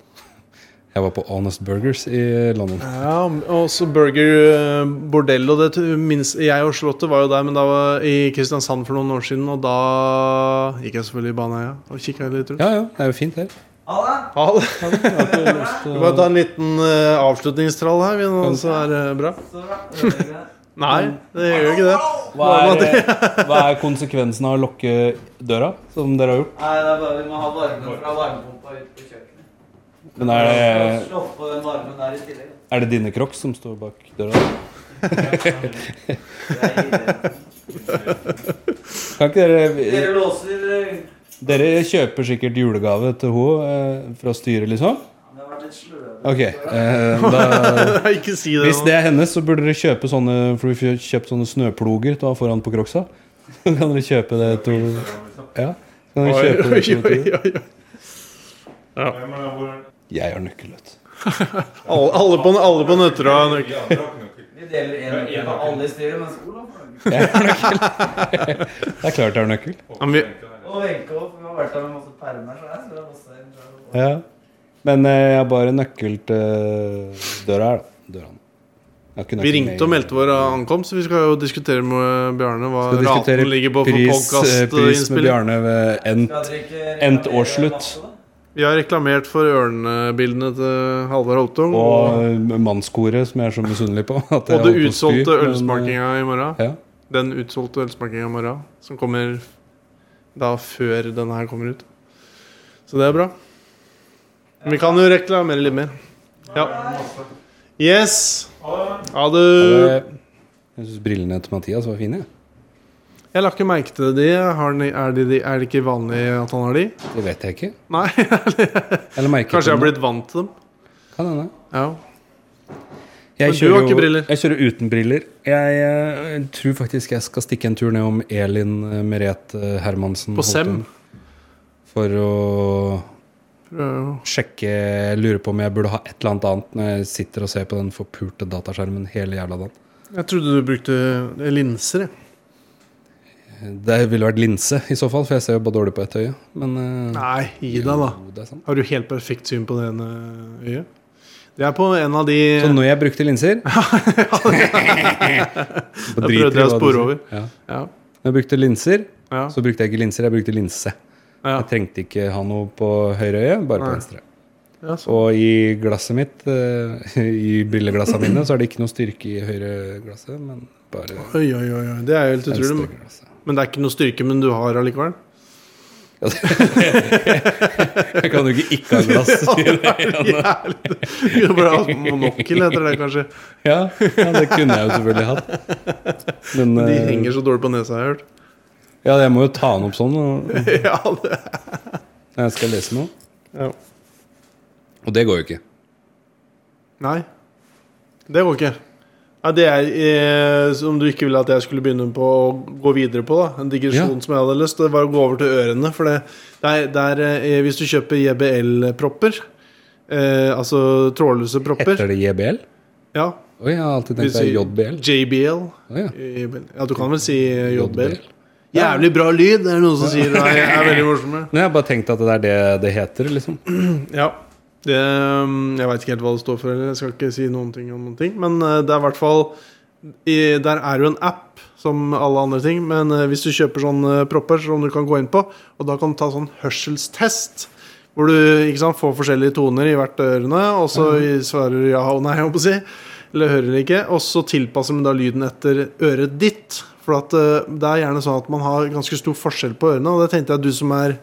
[SPEAKER 2] Jeg var på Honest Burgers i London.
[SPEAKER 1] Ja, og så Burger eh, Bordello det t- minst, Jeg og Slottet var jo der, men da var i Kristiansand for noen år siden. Og da gikk jeg selvfølgelig i Baneheia og kikka litt rundt.
[SPEAKER 2] Ja, ja, det er jo fint her.
[SPEAKER 4] Ha det!
[SPEAKER 1] Ja, det- Vi bare ta en liten eh, avslutningstrall her, vi, nå, så er det bra.
[SPEAKER 4] Så bra. Ødelegger det.
[SPEAKER 1] Nei, det gjør jo ikke det.
[SPEAKER 2] Hva er, konsekvensen av å lukke døra, som dere har gjort?
[SPEAKER 4] Nei, det er bare vi må ha varmen fra varmepumpa ut på kjøkkenet.
[SPEAKER 2] Men
[SPEAKER 4] Vi
[SPEAKER 2] er
[SPEAKER 4] skal
[SPEAKER 2] det,
[SPEAKER 4] Slå på den varmen der i tillegg.
[SPEAKER 2] er det dine crocs som står bak døra?
[SPEAKER 4] Det er ille.
[SPEAKER 2] Kan ikke dere
[SPEAKER 4] Dere låser eh,
[SPEAKER 2] Dere kjøper sikkert julegave til henne fra styret, liksom?
[SPEAKER 4] Det har vært litt sløve.
[SPEAKER 2] Ok. eh, da,
[SPEAKER 1] Ikke si det.
[SPEAKER 2] hvis
[SPEAKER 1] nå.
[SPEAKER 2] det er hennes, så burde dere kjøpe sånne For du får kjøpt sånne snøploger til å ha foran på Crocsa. Så kan dere kjøpe det to Ja. så Kan dere
[SPEAKER 1] Oi,
[SPEAKER 2] kjøpe det to,
[SPEAKER 1] oi,
[SPEAKER 2] to.
[SPEAKER 1] oi, oi.
[SPEAKER 2] Jeg har nøkkel, vet du.
[SPEAKER 1] Alle, alle på, alle på Nøtterøy har nøkkel.
[SPEAKER 4] Vi deler en nøkkel med alle i styret, mens Olav får nøkkel.
[SPEAKER 2] Det er klart jeg har nøkkel.
[SPEAKER 1] Ja, men vi,
[SPEAKER 4] Og Wenche òg, for vi har vært der med masse permer. Så her, så vi har også en der.
[SPEAKER 2] Ja. Men eh, jeg har bare nøkkel til eh, døra her, da. Døra. Jeg har
[SPEAKER 1] vi
[SPEAKER 2] ikke nøkkel med
[SPEAKER 1] ringte og
[SPEAKER 2] i-
[SPEAKER 1] meldte vår eh, ankomst, så vi skal jo diskutere med Bjarne hva
[SPEAKER 2] Skal diskutere
[SPEAKER 1] raten ligger på for
[SPEAKER 2] pris, eh, pris med
[SPEAKER 1] podkastinnspilling.
[SPEAKER 2] Bjarne ved
[SPEAKER 4] Skal
[SPEAKER 2] endt
[SPEAKER 4] dere ikke
[SPEAKER 2] Endt
[SPEAKER 4] reklamere
[SPEAKER 2] årsslutt.
[SPEAKER 4] masse, da?
[SPEAKER 1] Vi har reklamert for ørnebildene til Halvard Holtung.
[SPEAKER 2] og eh, mannskoret, som jeg er så misunnelig på. at jeg
[SPEAKER 1] Og det
[SPEAKER 2] holdt på å spy,
[SPEAKER 1] utsolgte
[SPEAKER 2] men, eh,
[SPEAKER 1] ølsmakinga i morgen.
[SPEAKER 2] Ja.
[SPEAKER 1] Den utsolgte ølsmakinga i morgen, som kommer da før denne her kommer ut. Så det er bra. Men vi kan jo reklamere litt mer. Ja. Yes. Ha det.
[SPEAKER 2] eh, Jeg syns brillene til Mathias var fine. jeg.
[SPEAKER 1] Jeg la ikke merke til de. Har den- Er det de- er det ikke vanlig at han har de?
[SPEAKER 2] Det vet jeg ikke.
[SPEAKER 1] Nei.
[SPEAKER 2] Eller merket
[SPEAKER 1] Kanskje jeg har
[SPEAKER 2] dem.
[SPEAKER 1] blitt vant til dem.
[SPEAKER 2] Kan hende.
[SPEAKER 1] Ja. Men
[SPEAKER 2] Jeg
[SPEAKER 1] du
[SPEAKER 2] kjører
[SPEAKER 1] har ikke
[SPEAKER 2] jo-
[SPEAKER 1] briller.
[SPEAKER 2] Jeg kjører uten briller. Jeg, eh, tror faktisk jeg skal stikke en tur ned om Elin eh, Merete Hermansen.
[SPEAKER 1] På
[SPEAKER 2] holdt
[SPEAKER 1] Sem?
[SPEAKER 2] hun, For å
[SPEAKER 1] Prøver å-
[SPEAKER 2] sjekke Jeg lurer på om jeg burde ha et eller annet annet når jeg sitter og ser på den forpulte dataskjermen hele jævla dagen.
[SPEAKER 1] Jeg trodde du brukte linser, jeg.
[SPEAKER 2] Det ville vært linse i så fall, for jeg ser jo bare dårlig på ett øye. Men eh,
[SPEAKER 1] Nei, gi deg, da.
[SPEAKER 2] jo, det er sant.
[SPEAKER 1] Har du helt perfekt syn på det ene øyet? Det er på en av de
[SPEAKER 2] Så når jeg brukte linser Da
[SPEAKER 1] prøvde jeg å spore over.
[SPEAKER 2] Ja.
[SPEAKER 1] ja.
[SPEAKER 2] Når jeg brukte linser,
[SPEAKER 1] Ja.
[SPEAKER 2] så brukte jeg ikke linser, jeg brukte linse.
[SPEAKER 1] Ja.
[SPEAKER 2] Jeg trengte ikke ha noe på høyre øye, bare på
[SPEAKER 1] Nei.
[SPEAKER 2] venstre.
[SPEAKER 1] Ja, sånn. så.
[SPEAKER 2] Og i glasset mitt, eh, i brilleglassene mine, så er det ikke noe styrke i høyre glasset, men bare
[SPEAKER 1] Oi, oi, oi, oi. Det er jo helt utrolig.
[SPEAKER 2] venstre glasset.
[SPEAKER 1] Men det er ikke noe styrke, men du har allikevel.
[SPEAKER 2] Ja, det- Jeg kan jo ikke ikke ha glass.
[SPEAKER 1] Jævlig. Du burde hatt monokkel, heter det kanskje.
[SPEAKER 2] Ja, ja, det kunne jeg jo selvfølgelig hatt. Men
[SPEAKER 1] De
[SPEAKER 2] eh,
[SPEAKER 1] henger så dårlig på nesa, har jeg hørt.
[SPEAKER 2] ja, jeg må jo ta den opp sånn når
[SPEAKER 1] Ja, det.
[SPEAKER 2] jeg skal lese noe.
[SPEAKER 1] Ja.
[SPEAKER 2] Og det går jo ikke.
[SPEAKER 1] Nei. Det går ikke. Nei, det er eh, som du ikke ville at jeg skulle begynne på å gå videre på. da En digresjon
[SPEAKER 2] Ja.
[SPEAKER 1] som jeg hadde lyst til. Det var å gå over til ørene. For det, det er, det er, eh, hvis du kjøper JBL-propper, eh, altså trådløse propper
[SPEAKER 2] Heter det JBL?
[SPEAKER 1] Ja,
[SPEAKER 2] Oi, jeg har alltid tenkt
[SPEAKER 1] Hvis
[SPEAKER 2] det er
[SPEAKER 1] vi-
[SPEAKER 2] JBL.
[SPEAKER 1] JBL.
[SPEAKER 2] Å, ja.
[SPEAKER 1] JBL. Ja, du kan vel si eh,
[SPEAKER 2] JBL.
[SPEAKER 1] JBL. Jævlig bra lyd, det er noen som sier. Nei, jeg er veldig morsomme.
[SPEAKER 2] Nei, jeg har bare tenkt at det er det det heter, liksom.
[SPEAKER 1] Ja. Det, um, jeg veit ikke helt hva det står for, eller jeg skal ikke si noen ting om noen ting. Men eh, det er i hvert fall i- Der er jo en app som alle andre ting. Men eh, hvis du kjøper sånne propper som du kan gå inn på, og da kan du ta sånn hørselstest. Hvor du ikke sant, får forskjellige toner i hvert ørene, og så svarer du ja og nei. Jeg håper å si, eller hører det ikke. Og så tilpasser man da lyden etter øret ditt. For at, eh, det er gjerne sånn at man har ganske stor forskjell på ørene. Og det tenkte jeg at du som er,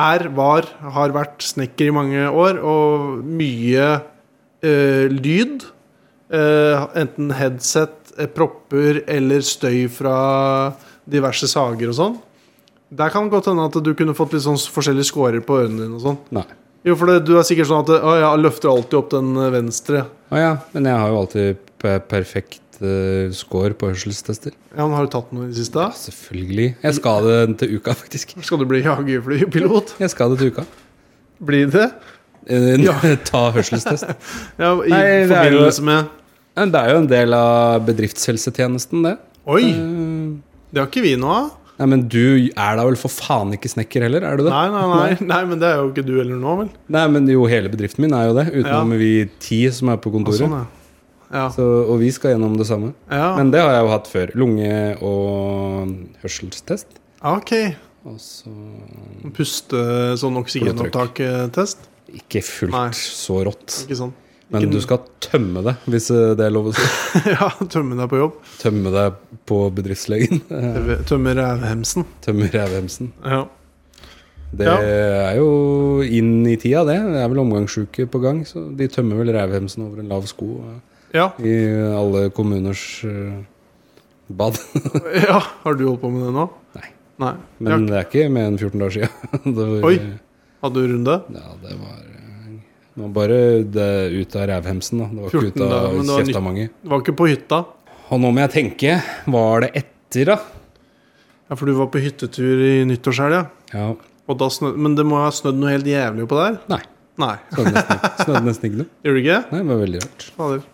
[SPEAKER 1] er var, har vært snekker i mange år, og mye eh, lyd eh, Enten headset, eh, propper eller støy fra diverse sager og sånn Der kan det godt hende at du kunne fått litt sånn forskjellige scorer på ørene dine og sånn.
[SPEAKER 2] Nei.
[SPEAKER 1] Jo, for det, du er sikkert sånn at Å, jeg løfter alltid opp den eh, venstre.
[SPEAKER 2] Å ja, men jeg har jo alltid pe- perfekt eh, score på hørselstester.
[SPEAKER 1] Ja, men Har du tatt noe i det siste?
[SPEAKER 2] Ja, selvfølgelig. Jeg skal det til uka, faktisk.
[SPEAKER 1] Skal du bli jagerflypilot?
[SPEAKER 2] Jeg skal det til uka.
[SPEAKER 1] Blir det?
[SPEAKER 2] Eh, Ta hørselstest.
[SPEAKER 1] Ja, I
[SPEAKER 2] Nei, det er
[SPEAKER 1] forbindelse med
[SPEAKER 2] Ja, Det er jo en del av bedriftshelsetjenesten, det.
[SPEAKER 1] Oi!
[SPEAKER 2] Eh,
[SPEAKER 1] Det har ikke vi noe av.
[SPEAKER 2] Nei, men du er da vel for faen ikke snekker heller, er du det?
[SPEAKER 1] Nei, nei, nei, nei, men det er jo ikke du heller nå, vel?
[SPEAKER 2] Nei, men jo, hele bedriften min er jo det, utenom vi ti som er på
[SPEAKER 1] Og
[SPEAKER 2] kontoret.
[SPEAKER 1] sånn, ja.
[SPEAKER 2] Så, og vi skal gjennom det samme.
[SPEAKER 1] Ja. ja.
[SPEAKER 2] Men det har jeg jo hatt før. Lunge- og hørselstest.
[SPEAKER 1] Ok.
[SPEAKER 2] Og så
[SPEAKER 1] Puste sånn oksygenopptak-test.
[SPEAKER 2] ikke fullt
[SPEAKER 1] Nei.
[SPEAKER 2] så rått.
[SPEAKER 1] Ikke sånn.
[SPEAKER 2] Men
[SPEAKER 1] Ikke-
[SPEAKER 2] du skal tømme det, hvis eh, det er lov å si.
[SPEAKER 1] Ja, tømme deg på jobb.
[SPEAKER 2] Tømme deg på bedriftslegen.
[SPEAKER 1] Tømme rævhemsen.
[SPEAKER 2] Tømme rævhemsen.
[SPEAKER 1] Ja.
[SPEAKER 2] Det
[SPEAKER 1] Ja.
[SPEAKER 2] er jo inn i tida, det. Det er vel omgangssjuke på gang, så de tømmer vel rævhemsen over en lav sko. eh.
[SPEAKER 1] ja.
[SPEAKER 2] I alle kommuners eh, bad.
[SPEAKER 1] Ja, har du holdt på med det nå?
[SPEAKER 2] Nei.
[SPEAKER 1] Nei.
[SPEAKER 2] Men det er ikke mer enn 14 dager siden. Det var,
[SPEAKER 1] Oi. Hadde du runde?
[SPEAKER 2] Ja, det var eh, det var bare det ut av rævhemsen, da. Det var
[SPEAKER 1] 14
[SPEAKER 2] ikke ut
[SPEAKER 1] dager, men
[SPEAKER 2] av
[SPEAKER 1] det var
[SPEAKER 2] kjefta mange.
[SPEAKER 1] Det var ikke på hytta.
[SPEAKER 2] Og nå må jeg tenke. Var det etter, da?
[SPEAKER 1] Ja, For du var på hyttetur i nyttårshelga.
[SPEAKER 2] Ja.
[SPEAKER 1] Og da snø- Men det må ha snødd noe helt jævlig oppå der?
[SPEAKER 2] Nei.
[SPEAKER 1] Nei.
[SPEAKER 2] Snødde nesten, snødde nesten ikke noe.
[SPEAKER 1] Gjorde det ikke?
[SPEAKER 2] Nei, det var veldig rart.
[SPEAKER 1] Fader.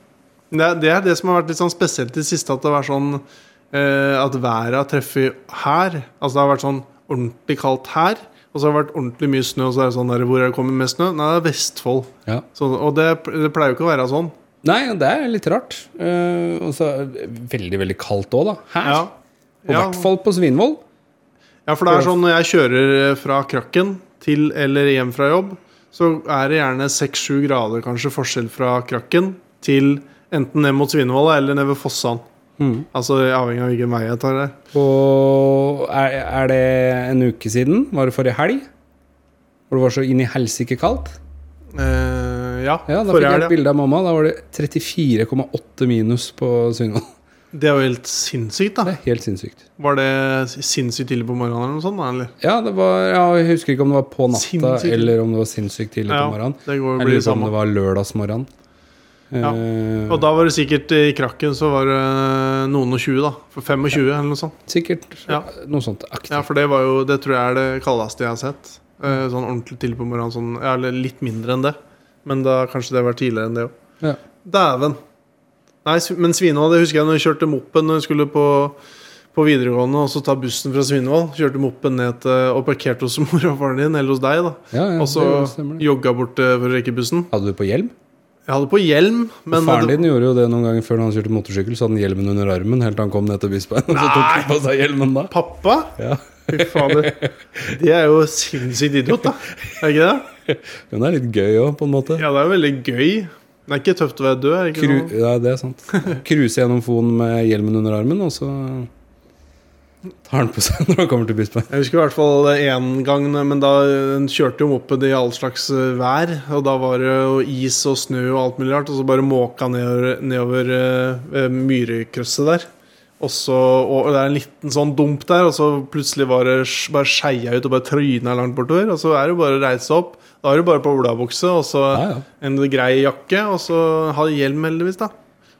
[SPEAKER 1] Det, er- det er det som har vært litt sånn spesielt i det siste, at det har vært sånn eh, At været har treffet her. Altså det har vært sånn ordentlig kaldt her, og så har det vært ordentlig mye snø, og så er det sånn der Hvor er det kommet mest snø? Nei, det er Vestfold.
[SPEAKER 2] Ja.
[SPEAKER 1] Så, og det, det pleier jo ikke å være sånn.
[SPEAKER 2] Nei, det er litt rart. Eh, og så er det veldig, veldig kaldt òg, da. Her.
[SPEAKER 1] Ja.
[SPEAKER 2] Og i
[SPEAKER 1] Ja.
[SPEAKER 2] hvert fall på Svinvoll.
[SPEAKER 1] Ja, for det er sånn når jeg kjører fra krakken til eller hjem fra jobb, så er det gjerne 6-7 grader kanskje forskjell fra krakken til enten ned mot Svinevolla eller ned ved Fossan.
[SPEAKER 2] Mhm.
[SPEAKER 1] Altså avhengig av hvilken vei jeg tar der.
[SPEAKER 2] Og er, er det en uke siden? Var det forrige helg? Hvor det var så inn i helsike kaldt?
[SPEAKER 1] Eh, ja,
[SPEAKER 2] Ja, da fikk
[SPEAKER 1] forrige
[SPEAKER 2] jeg et
[SPEAKER 1] helg.
[SPEAKER 2] bilde av mamma. Da var det 34,8 minus på Svinvoll.
[SPEAKER 1] ja. Det er jo helt sinnssykt,
[SPEAKER 2] Det
[SPEAKER 1] da.
[SPEAKER 2] er helt sinnssykt.
[SPEAKER 1] Var det sinnssykt tidlig på morgenen eller noe sånt? da, Eller?
[SPEAKER 2] Ja, det var, ja, jeg husker ikke om det var på natta
[SPEAKER 1] Sinnssykt.
[SPEAKER 2] eller om det var sinnssykt tidlig på
[SPEAKER 1] Ja,
[SPEAKER 2] morgenen.
[SPEAKER 1] det går
[SPEAKER 2] Jeg
[SPEAKER 1] blir
[SPEAKER 2] lurer
[SPEAKER 1] det
[SPEAKER 2] på om
[SPEAKER 1] samme.
[SPEAKER 2] det var lørdagsmorgen.
[SPEAKER 1] Ja.
[SPEAKER 2] Eh,
[SPEAKER 1] Og da var det sikkert eh, i krakken så var det noen og 20, da. For 25 eller noe sånt.
[SPEAKER 2] sikkert
[SPEAKER 1] Ja.
[SPEAKER 2] noe sånt aktig.
[SPEAKER 1] Ja, for det var jo Det tror jeg er det kaldeste jeg har sett. Eh, Sånn ordentlig tidlig på morgenen. Sånn, ja, eller litt mindre enn det. Men da kanskje det var tidligere enn det òg.
[SPEAKER 2] Ja.
[SPEAKER 1] Dæven. Nei, sv- men Svinvoll, det husker jeg når jeg kjørte moppen når jeg skulle på, på videregående, og så ta bussen fra Svinvoll. Kjørte moppen ned til og parkerte hos mor og faren din, eller hos deg, da.
[SPEAKER 2] Ja, ja,
[SPEAKER 1] Og så
[SPEAKER 2] det stemmer det.
[SPEAKER 1] jogga bort eh, for å rekke bussen.
[SPEAKER 2] Hadde du på hjelm?
[SPEAKER 1] Jeg hadde på hjelm, men
[SPEAKER 2] Faren din gjorde jo det noen ganger før når han kjørte motorsykkel, så hadde han hjelmen under armen helt til han kom ned til Bispein, og så tok han på seg hjelmen da.
[SPEAKER 1] Pappa?
[SPEAKER 2] Ja.
[SPEAKER 1] Fy fader. Det er jo sinnssykt idiot, da. Er det ikke det?
[SPEAKER 2] Men det er litt gøy òg, på en måte.
[SPEAKER 1] Ja, det er jo veldig gøy. Det er ikke tøft å være død. Er det ikke
[SPEAKER 2] Kru
[SPEAKER 1] noe?
[SPEAKER 2] ja, det er sant. Kruse gjennom Fon med hjelmen under armen, og så tar han på seg når han kommer til Bispein.
[SPEAKER 1] Jeg husker i hvert fall én gang, men da den kjørte jo moped i all slags eh, vær. Og da var det jo is og snø og alt mulig rart, og så bare måka nedover, nedover eh, eh, myrkrøsset der. Og så, og det er en liten sånn dump der, og så plutselig var det sj- bare skeia ut og bare tryna langt bortover. Og så er det jo bare å reise opp. Da er det bare på olabukse og så
[SPEAKER 2] Ja, ja.
[SPEAKER 1] en grei jakke, og så ha hjelm, heldigvis, da.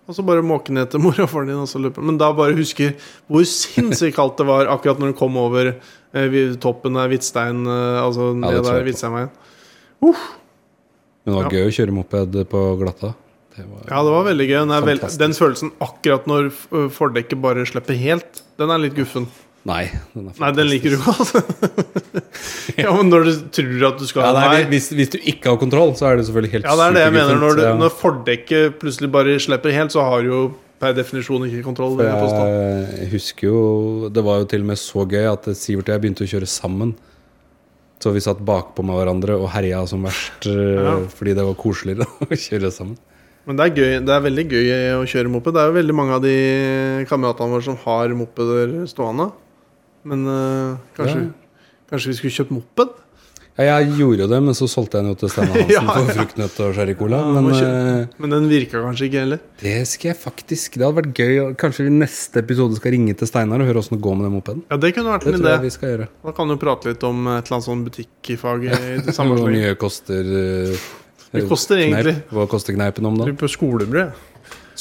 [SPEAKER 1] Og så bare måke ned til mor og faren din, og så løpe. Men da bare huske hvor sinnssykt kaldt det var akkurat når du kom over eh, vi- toppen der Hvitstein eh, Altså
[SPEAKER 2] Ja, det
[SPEAKER 1] ned
[SPEAKER 2] tror jeg
[SPEAKER 1] der
[SPEAKER 2] på.
[SPEAKER 1] Hvitsteinveien.
[SPEAKER 2] Men det var
[SPEAKER 1] Ja.
[SPEAKER 2] gøy å kjøre moped på glatta. Det var,
[SPEAKER 1] Ja, det var veldig gøy. Den, er vel,
[SPEAKER 2] Fantastisk.
[SPEAKER 1] den følelsen akkurat når f- øh, fordekket bare slipper helt, den er litt guffen.
[SPEAKER 2] Nei, den er
[SPEAKER 1] Nei, den liker du godt. ja, men når du tror at du skal
[SPEAKER 2] Ja,
[SPEAKER 1] ha
[SPEAKER 2] nei,
[SPEAKER 1] den her.
[SPEAKER 2] hvis, hvis du ikke har kontroll, så er det selvfølgelig helt
[SPEAKER 1] Ja, det er det jeg mener. Når, du,
[SPEAKER 2] superguffent,
[SPEAKER 1] når fordekket plutselig bare slipper helt, så har du jo per definisjon ikke kontroll. vil jeg påstå.
[SPEAKER 2] Jeg, husker jo Det var jo til og med så gøy at Sivert og jeg begynte å kjøre sammen. Så vi satt bakpå med hverandre og herja som verst eh,
[SPEAKER 1] Ja.
[SPEAKER 2] fordi det var koseligere å kjøre sammen.
[SPEAKER 1] Men det er, gøy, det er veldig gøy å kjøre moped. Det er jo veldig mange av de kameratene våre som har eh, mopeder stående. Men øh, kanskje, kanskje vi skulle kjøpt moped?
[SPEAKER 2] Ja, jeg gjorde jo det, men så solgte jeg den jo til Steinar Hansen
[SPEAKER 1] Ja,
[SPEAKER 2] for fruktnøtt og sherrycola.
[SPEAKER 1] Ja,
[SPEAKER 2] Men
[SPEAKER 1] må
[SPEAKER 2] eh,
[SPEAKER 1] kjø- Men den virka kanskje ikke heller.
[SPEAKER 2] det skal jeg faktisk Det hadde vært gøy. å- Kanskje vi i neste episode skal ringe til Steinar og høre åssen det går med den mopeden.
[SPEAKER 1] Ja, det kunne vært
[SPEAKER 2] Det
[SPEAKER 1] en
[SPEAKER 2] tror jeg
[SPEAKER 1] idé.
[SPEAKER 2] vi skal gjøre.
[SPEAKER 1] Da kan du prate litt om et eller annet sånn butikkfag i det samme
[SPEAKER 2] Hvor
[SPEAKER 1] slaget.
[SPEAKER 2] mye koster eh,
[SPEAKER 1] Det koster
[SPEAKER 2] kneip?
[SPEAKER 1] egentlig-
[SPEAKER 2] Hva koster kneipen om da?
[SPEAKER 1] På skolebrød.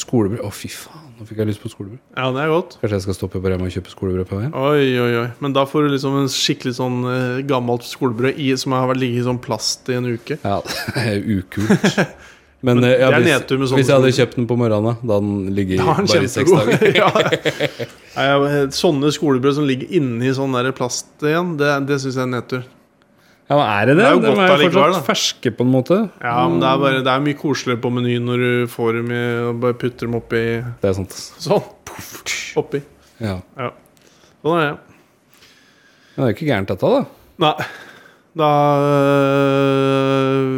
[SPEAKER 2] Skolebrød? Å, fy faen, nå fikk jeg lyst på skolebrød.
[SPEAKER 1] Ja, det er godt.
[SPEAKER 2] Kanskje jeg skal stoppe på Rema og kjøpe skolebrød på veien?
[SPEAKER 1] Oi, oi, oi. Men da får du liksom en skikkelig sånn eh, gammelt skolebrød i, som har vært ligget i sånn plast i en uke.
[SPEAKER 2] Ja, det er ukult. Men, eh, ja,
[SPEAKER 1] det er
[SPEAKER 2] hvis,
[SPEAKER 1] nedtur med sånne
[SPEAKER 2] hvis jeg hadde kjøpt den på morgenen, da hadde den ligget i
[SPEAKER 1] Da er den
[SPEAKER 2] bare i seks dager.
[SPEAKER 1] kjempegod. ja. Nei, jeg- Sånne skolebrød som ligger inni sånn der plast igjen, det, det syns jeg er nedtur.
[SPEAKER 2] Ja, men er det det?
[SPEAKER 1] Det er jo
[SPEAKER 2] de
[SPEAKER 1] godt
[SPEAKER 2] er jo
[SPEAKER 1] allikevel,
[SPEAKER 2] fortsatt ferske, på en måte.
[SPEAKER 1] Ja, men det er, bare, det er mye koseligere på menyen når du får dem i, og bare putter dem oppi
[SPEAKER 2] Det er sant. ass.
[SPEAKER 1] sånn. Oppi.
[SPEAKER 2] Ja.
[SPEAKER 1] Sånn er det.
[SPEAKER 2] Men det er jo ikke gærent, dette, da.
[SPEAKER 1] Nei, da øh,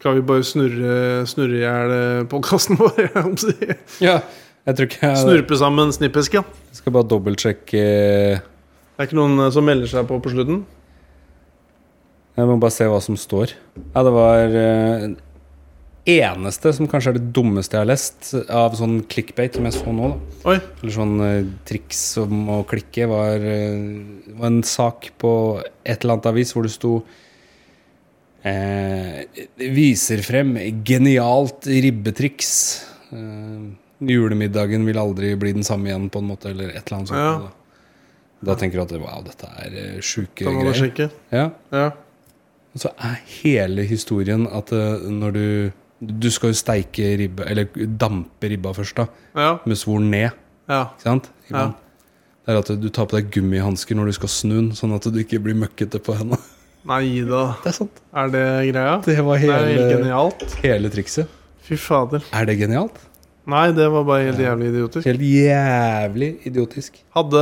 [SPEAKER 1] skal vi bare snurre Snurre i hjel podkasten vår, jeg holdt på å si.
[SPEAKER 2] Ja, jeg tror ikke jeg
[SPEAKER 1] Snurpe sammen snippesken.
[SPEAKER 2] Jeg skal bare dobbeltsjekke Jeg
[SPEAKER 1] Det er ikke noen eh, som melder seg på på slutten?
[SPEAKER 2] må bare se hva som står. Ja, det var eh, eneste som kanskje er det dummeste jeg har lest, av sånn clickbait som jeg så nå, da.
[SPEAKER 1] Oi.
[SPEAKER 2] Eller sånn eh, triks om å klikke var, eh, var en sak på et eller annet avis hvor det sto eh, Viser frem genialt ribbetriks. Eh, julemiddagen vil aldri bli den samme igjen, på en måte, eller et eller annet sånt.
[SPEAKER 1] Ja.
[SPEAKER 2] Da. da tenker du at wow, dette er eh, sjuke
[SPEAKER 1] Da må du
[SPEAKER 2] greier.
[SPEAKER 1] sjekke.
[SPEAKER 2] Ja.
[SPEAKER 1] Ja.
[SPEAKER 2] Og så er hele historien at eh, når du Du skal jo steike ribbe, eller dampe ribba først, da,
[SPEAKER 1] Ja.
[SPEAKER 2] med svor ned.
[SPEAKER 1] ja.
[SPEAKER 2] Ikke sant? I
[SPEAKER 1] Ja.
[SPEAKER 2] vann. Det er at du tar på deg gummihansker når du skal snu den, sånn at du ikke blir møkkete på henda.
[SPEAKER 1] Nei da.
[SPEAKER 2] Det er sant.
[SPEAKER 1] Er det greia?
[SPEAKER 2] Det var
[SPEAKER 1] Det er jo helt
[SPEAKER 2] hele,
[SPEAKER 1] genialt.
[SPEAKER 2] hele trikset.
[SPEAKER 1] Fy fader.
[SPEAKER 2] Er det genialt?
[SPEAKER 1] Nei, det var bare helt jævlig idiotisk.
[SPEAKER 2] Helt jævlig idiotisk.
[SPEAKER 1] Hadde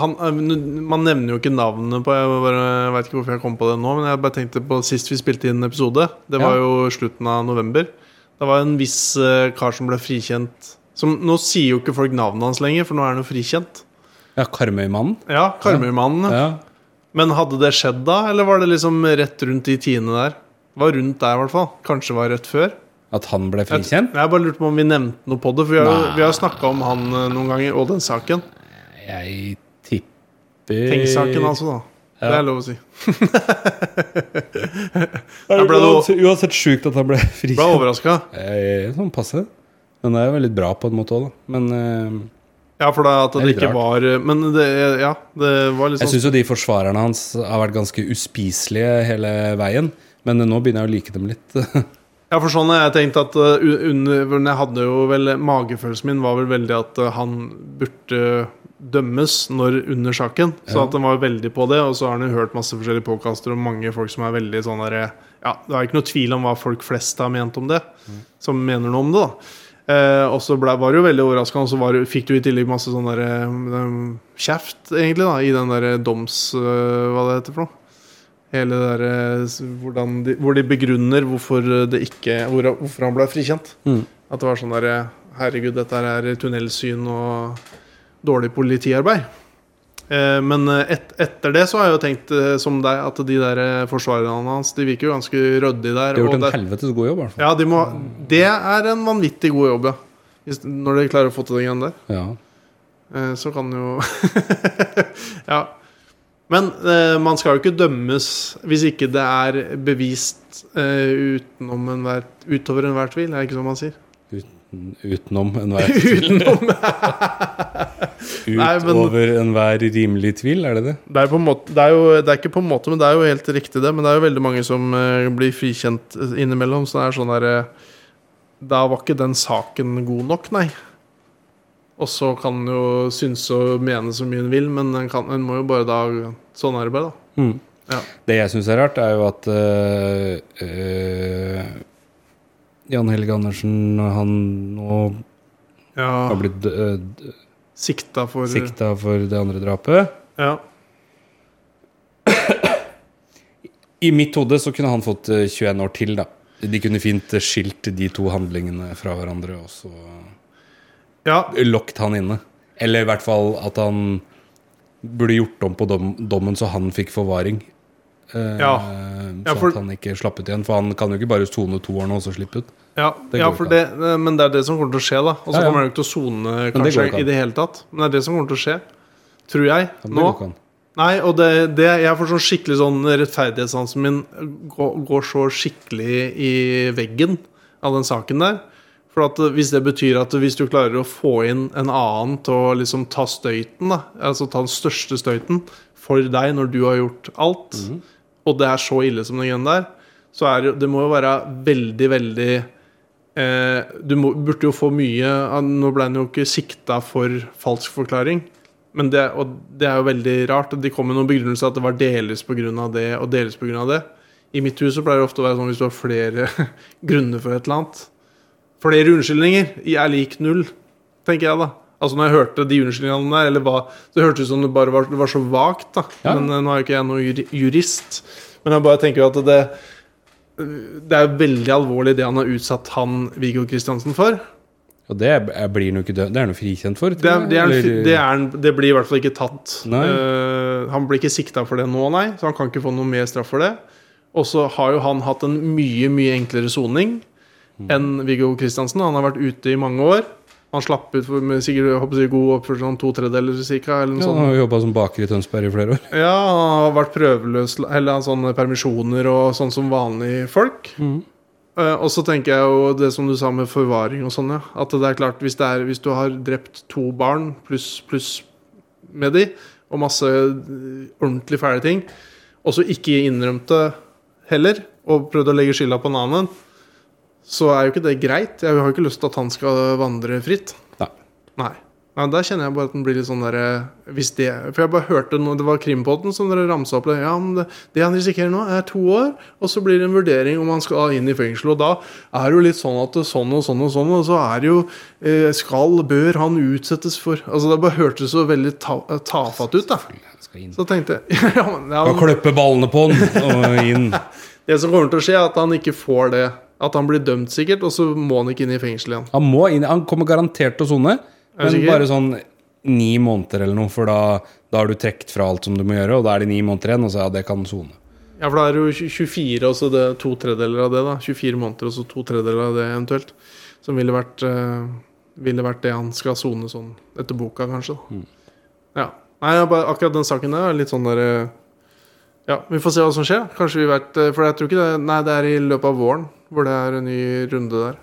[SPEAKER 1] han eh, Man nevner jo ikke navnene på Jeg bare jeg vet ikke hvorfor jeg kom på det nå, men jeg bare tenkte på sist vi spilte inn en episode. Det var
[SPEAKER 2] Ja.
[SPEAKER 1] jo slutten av november. Det var en viss eh, kar som ble frikjent. Som, nå sier jo ikke folk navnet hans lenger, for nå er han jo frikjent.
[SPEAKER 2] Ja, Karmøymannen.
[SPEAKER 1] Ja, Karmøymannen.
[SPEAKER 2] Ja.
[SPEAKER 1] Men hadde det skjedd da, eller var det liksom rett rundt de tiende der? Det Var rundt der, i hvert fall. Kanskje var rett før.
[SPEAKER 2] At han ble
[SPEAKER 1] Jeg,
[SPEAKER 2] frikjent?
[SPEAKER 1] jeg bare lurte på om vi nevnte noe på det, for vi har jo
[SPEAKER 2] Nei.
[SPEAKER 1] vi har jo snakka om han eh, noen ganger, og den saken.
[SPEAKER 2] Jeg tipper
[SPEAKER 1] Tenk-saken, altså, da.
[SPEAKER 2] Ja.
[SPEAKER 1] Det er lov å si.
[SPEAKER 2] Er
[SPEAKER 1] Jeg
[SPEAKER 2] det
[SPEAKER 1] ble
[SPEAKER 2] uansett- uansett sjukt at han ble
[SPEAKER 1] Ble
[SPEAKER 2] frikjent.
[SPEAKER 1] overraska.
[SPEAKER 2] Eh, Sånn passe. Men det er jo veldig bra på en måte òg, da. Men eh,
[SPEAKER 1] Ja, for da at
[SPEAKER 2] Det er
[SPEAKER 1] det
[SPEAKER 2] litt
[SPEAKER 1] ikke var eh, Men det, ja, det var litt
[SPEAKER 2] Jeg
[SPEAKER 1] sånn
[SPEAKER 2] syns jo de forsvarerne hans har vært ganske uspiselige hele veien. Men eh, nå begynner jeg å like dem litt.
[SPEAKER 1] Ja, for sånn har jeg tenkt at uh, u- under, men jeg hadde jo vel Magefølelsen min var vel veldig at uh, han burde dømmes når under saken. Så
[SPEAKER 2] Ja.
[SPEAKER 1] at han var veldig på det. Og så har han jo hørt masse forskjellige påkaster om mange folk som er veldig sånn derre Ja, det er ikke noe tvil om hva folk flest har ment om det. Som mener noe om det, da. Eh, og så ble, var det jo veldig overraskende, og så var det- fikk du i tillegg masse sånn derre um, kjeft, egentlig, da, i den derre doms... Uh, hva det heter for noe? Hele det der, eh, s- hvordan de, Hvor de begrunner hvorfor eh, det ikke hvor, Hvorfor han ble frikjent.
[SPEAKER 2] Mm.
[SPEAKER 1] At det var sånn der eh, Herregud, dette her er tunnelsyn og dårlig politiarbeid. Eh, men eh, et, etter det så har jeg jo tenkt eh, som deg at de der eh, forsvarerne hans De virker jo ganske ryddige der.
[SPEAKER 2] De har gjort
[SPEAKER 1] og
[SPEAKER 2] en
[SPEAKER 1] der-
[SPEAKER 2] helvetes god jobb, i hvert fall.
[SPEAKER 1] ja, de må, det er en vanvittig god jobb, ja. Hvis, når de klarer å få til den greia der.
[SPEAKER 2] Ja.
[SPEAKER 1] Eh, så kan det jo Ja. Men eh, man skal jo ikke dømmes hvis ikke det er bevist eh, utenom enhver, utover enhver tvil. Er det ikke sånn man sier?
[SPEAKER 2] Utenom enhver
[SPEAKER 1] Utenom! Nei, men-
[SPEAKER 2] Utover enhver rimelig tvil, er det det?
[SPEAKER 1] Det er, på en måte, det, er jo, det er ikke på en måte, men det er jo helt riktig, det. Men det er jo veldig mange som eh, blir frikjent innimellom. Så det er sånn der eh, Da var ikke den saken god nok, nei. Og så kan en jo synse og mene så mye en vil, men en, kan, en må jo bare da Sånn er det bare, da. Ja.
[SPEAKER 2] Det jeg syns er rart, er jo at øh, øh, Jan Helge Andersen, han nå har
[SPEAKER 1] Ja,
[SPEAKER 2] blitt øh,
[SPEAKER 1] sikta for
[SPEAKER 2] sikta for det andre drapet.
[SPEAKER 1] Ja.
[SPEAKER 2] I mitt hode så kunne han fått eh, 21 år til, da. De kunne fint eh, skilt de to handlingene fra hverandre og så eh,
[SPEAKER 1] ja.
[SPEAKER 2] lokket han inne. Eller i hvert fall at han burde gjort om på dom, dommen så han fikk forvaring. Eh,
[SPEAKER 1] Ja. Ja,
[SPEAKER 2] sånn
[SPEAKER 1] for-
[SPEAKER 2] at han ikke slapp ut igjen. For han kan jo ikke bare sone to år nå og så slippe ut.
[SPEAKER 1] Ja,
[SPEAKER 2] Det
[SPEAKER 1] ja
[SPEAKER 2] går
[SPEAKER 1] for
[SPEAKER 2] ikke
[SPEAKER 1] det, eh, men det er det som kommer til å skje, da. Og så
[SPEAKER 2] Ja, ja.
[SPEAKER 1] kommer han jo ikke til å sone
[SPEAKER 2] går
[SPEAKER 1] kanskje
[SPEAKER 2] ikke an.
[SPEAKER 1] i det hele tatt. Men det er det som kommer til å skje. Tror jeg.
[SPEAKER 2] Det går
[SPEAKER 1] Nå.
[SPEAKER 2] ikke an.
[SPEAKER 1] Nei, og det, det Jeg får sånn skikkelig sånn rettferdighetssansen min går, går så skikkelig i veggen av den saken der. For at eh, hvis det betyr at hvis du klarer å få inn en annen til å liksom ta støyten, da, altså ta den største støyten for deg når du har gjort alt,
[SPEAKER 2] Mhm.
[SPEAKER 1] og det er så ille som den greien der, så er det- det må jo være veldig, veldig eh, Du må, burde jo få mye ah, Nå ble han jo ikke sikta for falsk forklaring. Men det, og det er jo veldig rart. De kom med noen begrunnelser at det var delvis pga. det og delvis på grunn av det. I mitt hus så pleier det ofte å være sånn hvis du har flere grunner for et eller annet. Flere unnskyldninger er lik null, tenker jeg da. Altså når jeg hørte de unnskyldningene der, eller hva, det hørtes ut som det bare var, det var så vagt, da.
[SPEAKER 2] Ja.
[SPEAKER 1] Men eh, nå er jo ikke jeg noen juri- jurist. Men jeg bare tenker jo at det Det er veldig alvorlig det han har utsatt han Viggo Kristiansen for.
[SPEAKER 2] Og det er- er- blir han jo ikke død. Det er han jo frikjent for. tror
[SPEAKER 1] Det, er,
[SPEAKER 2] jeg,
[SPEAKER 1] det, er, en
[SPEAKER 2] eller-
[SPEAKER 1] fi- det, er, en- det blir i hvert fall ikke tatt.
[SPEAKER 2] Nei.
[SPEAKER 1] Eh, han blir ikke sikta for det nå, nei. Så han kan ikke få noe mer straff for det. Og så har jo han hatt en mye, mye enklere soning
[SPEAKER 2] Mm.
[SPEAKER 1] enn Viggo Kristiansen. Han har vært ute i mange år. Han slapp ut for, med sikkert jeg håper å si, god oppførsel, sånn to tredjedeler cirka, eller noe
[SPEAKER 2] ja,
[SPEAKER 1] sånt.
[SPEAKER 2] han har jo jobba som baker i Tønsberg i flere år.
[SPEAKER 1] Ja, han har vært prøveløs Eller sånne permisjoner og sånn som vanlige folk Eh, Og så tenker jeg jo det som du sa med forvaring og sånn ja. At det er klart hvis, det er, hvis du har drept to barn Pluss pluss med de Og masse eh, ordentlig fæle ting Og så ikke innrømte heller Og prøvde å legge skylda på en annen Så er jo ikke det greit Jeg har jo ikke lyst til at han skal vandre fritt
[SPEAKER 2] Nei.
[SPEAKER 1] Nei. Nei, Der kjenner jeg bare at den blir litt sånn derre Hvis det For jeg bare hørte noe Det var Krimpodden som dere ramsa opp det. Ja, men det, det han risikerer nå, er to år, og så blir det en vurdering om han skal inn i fengsel. Og da er det jo litt sånn at det, sånn og sånn og sånn, og så er det jo eh, Skal, bør han utsettes for Altså, det bare hørtes så veldig ta, eh, tafatt ut, da. Så tenkte jeg ja, men, ja,
[SPEAKER 2] Han
[SPEAKER 1] men,
[SPEAKER 2] kløpper ballene på den og inn.
[SPEAKER 1] Det som kommer til å skje, er at han ikke får det. At han blir dømt, sikkert, og så må han ikke inn i fengsel igjen.
[SPEAKER 2] Han må inn, han kommer garantert til å sone,
[SPEAKER 1] Er du
[SPEAKER 2] men
[SPEAKER 1] sikker?
[SPEAKER 2] bare sånn ni måneder eller noe, for da, da har du trukket fra alt som du må gjøre, og da er det ni måneder igjen, og så ja, det kan sone.
[SPEAKER 1] Ja, for da er det jo tj- 24, og så det, to tredjedeler av det, da. 24 måneder, og så to tredjedeler av det eventuelt. Som ville vært, eh, ville vært det han skal sone sånn etter boka, kanskje. Da. Ja. Nei, jeg bare, akkurat den saken der er litt sånn der eh, Ja, vi får se hva som skjer. Kanskje vi vet eh, For jeg tror ikke det Nei, det er i løpet av våren hvor det er en ny runde der.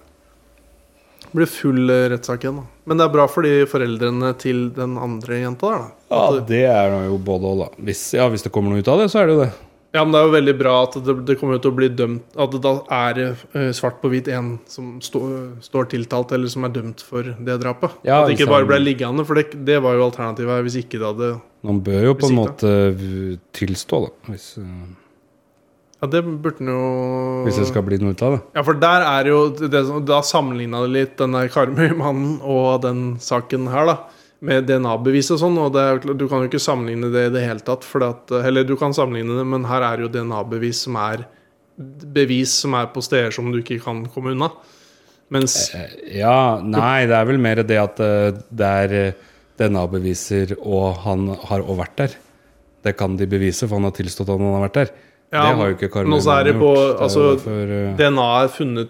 [SPEAKER 1] Det blir full eh, rettssak igjen, da. Men det er bra for de foreldrene til den andre jenta der, da.
[SPEAKER 2] Ja, det er jo både og, da. Hvis, ja, hvis det kommer noe ut av det, så er det jo det.
[SPEAKER 1] Ja, men det er jo veldig bra at det, det kommer til å bli dømt At det da er eh, svart på hvit en som stå, står tiltalt, eller som er dømt for det drapet.
[SPEAKER 2] Ja,
[SPEAKER 1] at det ikke
[SPEAKER 2] hvis
[SPEAKER 1] bare
[SPEAKER 2] han-
[SPEAKER 1] ble liggende, for det, det var jo alternativet her hvis ikke det hadde
[SPEAKER 2] Man bør jo på en
[SPEAKER 1] Hvis
[SPEAKER 2] måte v- tilstå, da, hvis, eh,
[SPEAKER 1] Ja, det burde han jo
[SPEAKER 2] hvis det skal bli noe ut av det.
[SPEAKER 1] Ja, for der er jo det, som- Da sammenligna det litt den der Karmøy-mannen og den saken her, da. Med DNA-bevis og sånn. Og det er, jo klart- du kan jo ikke sammenligne det i det hele tatt. fordi at, eller du kan sammenligne det, men her er jo DNA-bevis som er bevis som er på steder som du ikke kan komme unna. Mens
[SPEAKER 2] Ja, nei, det er vel mer det at eh, det er eh, DNA-beviser, og han har også vært der. Det kan de bevise, for han har tilstått at han har vært der.
[SPEAKER 1] Ja,
[SPEAKER 2] det har jo ikke Karmøy
[SPEAKER 1] men også er det på- altså,
[SPEAKER 2] derfor, eh,
[SPEAKER 1] DNA er funnet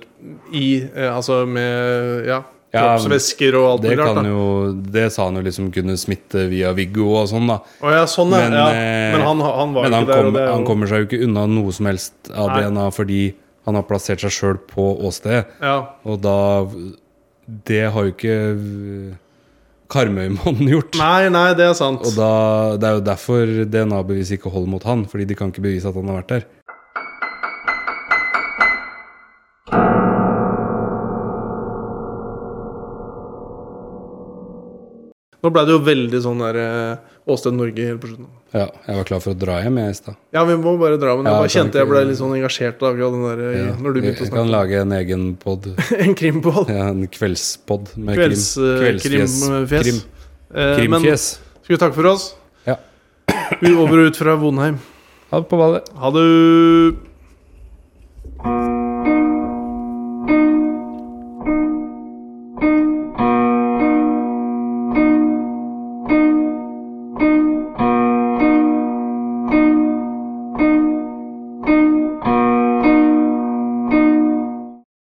[SPEAKER 1] i eh, Altså med ja,
[SPEAKER 2] Ja,
[SPEAKER 1] kroppsvæsker og alt
[SPEAKER 2] Det
[SPEAKER 1] mulig rart. da.
[SPEAKER 2] kan jo Det sa han jo liksom kunne smitte via Viggo og sånn, da.
[SPEAKER 1] Å ja, sånn, ja.
[SPEAKER 2] Men,
[SPEAKER 1] ja.
[SPEAKER 2] eh,
[SPEAKER 1] Men han, han var
[SPEAKER 2] Men
[SPEAKER 1] jo
[SPEAKER 2] han,
[SPEAKER 1] ikke der.
[SPEAKER 2] kom,
[SPEAKER 1] og det er
[SPEAKER 2] han
[SPEAKER 1] jo-
[SPEAKER 2] kommer seg jo ikke unna noe som helst av
[SPEAKER 1] Nei.
[SPEAKER 2] DNA fordi han har plassert seg sjøl på åstedet.
[SPEAKER 1] ja.
[SPEAKER 2] Og da Det har jo ikke eh, Karmøymannen gjort.
[SPEAKER 1] Nei, nei, det er sant.
[SPEAKER 2] Og da, Det er jo derfor DNA-bevis ikke holder mot han, fordi de kan ikke bevise at han har vært der.
[SPEAKER 1] Nå ble det jo veldig sånn der eh, Åsted Norge helt på slutten.
[SPEAKER 2] Ja, Jeg var klar for å dra hjem jeg i stad.
[SPEAKER 1] Ja, vi må bare dra, men jeg
[SPEAKER 2] Ja,
[SPEAKER 1] bare
[SPEAKER 2] kan
[SPEAKER 1] kjente jeg
[SPEAKER 2] ikke-
[SPEAKER 1] ble litt sånn engasjert av akkurat den der eh,
[SPEAKER 2] Ja.
[SPEAKER 1] når du
[SPEAKER 2] Jeg,
[SPEAKER 1] begynte å
[SPEAKER 2] jeg
[SPEAKER 1] snakke.
[SPEAKER 2] kan lage en egen pod.
[SPEAKER 1] en krimpål.
[SPEAKER 2] Ja, en kveldspod med
[SPEAKER 1] Kvelds,
[SPEAKER 2] krim.
[SPEAKER 1] eh, krimfjes.
[SPEAKER 2] Krim,
[SPEAKER 1] Eh, men
[SPEAKER 2] krimfjes.
[SPEAKER 1] skal vi takke for oss?
[SPEAKER 2] Ja.
[SPEAKER 1] Vi over og ut fra Vonheim.
[SPEAKER 2] Ha det på ballet.
[SPEAKER 1] Ha det!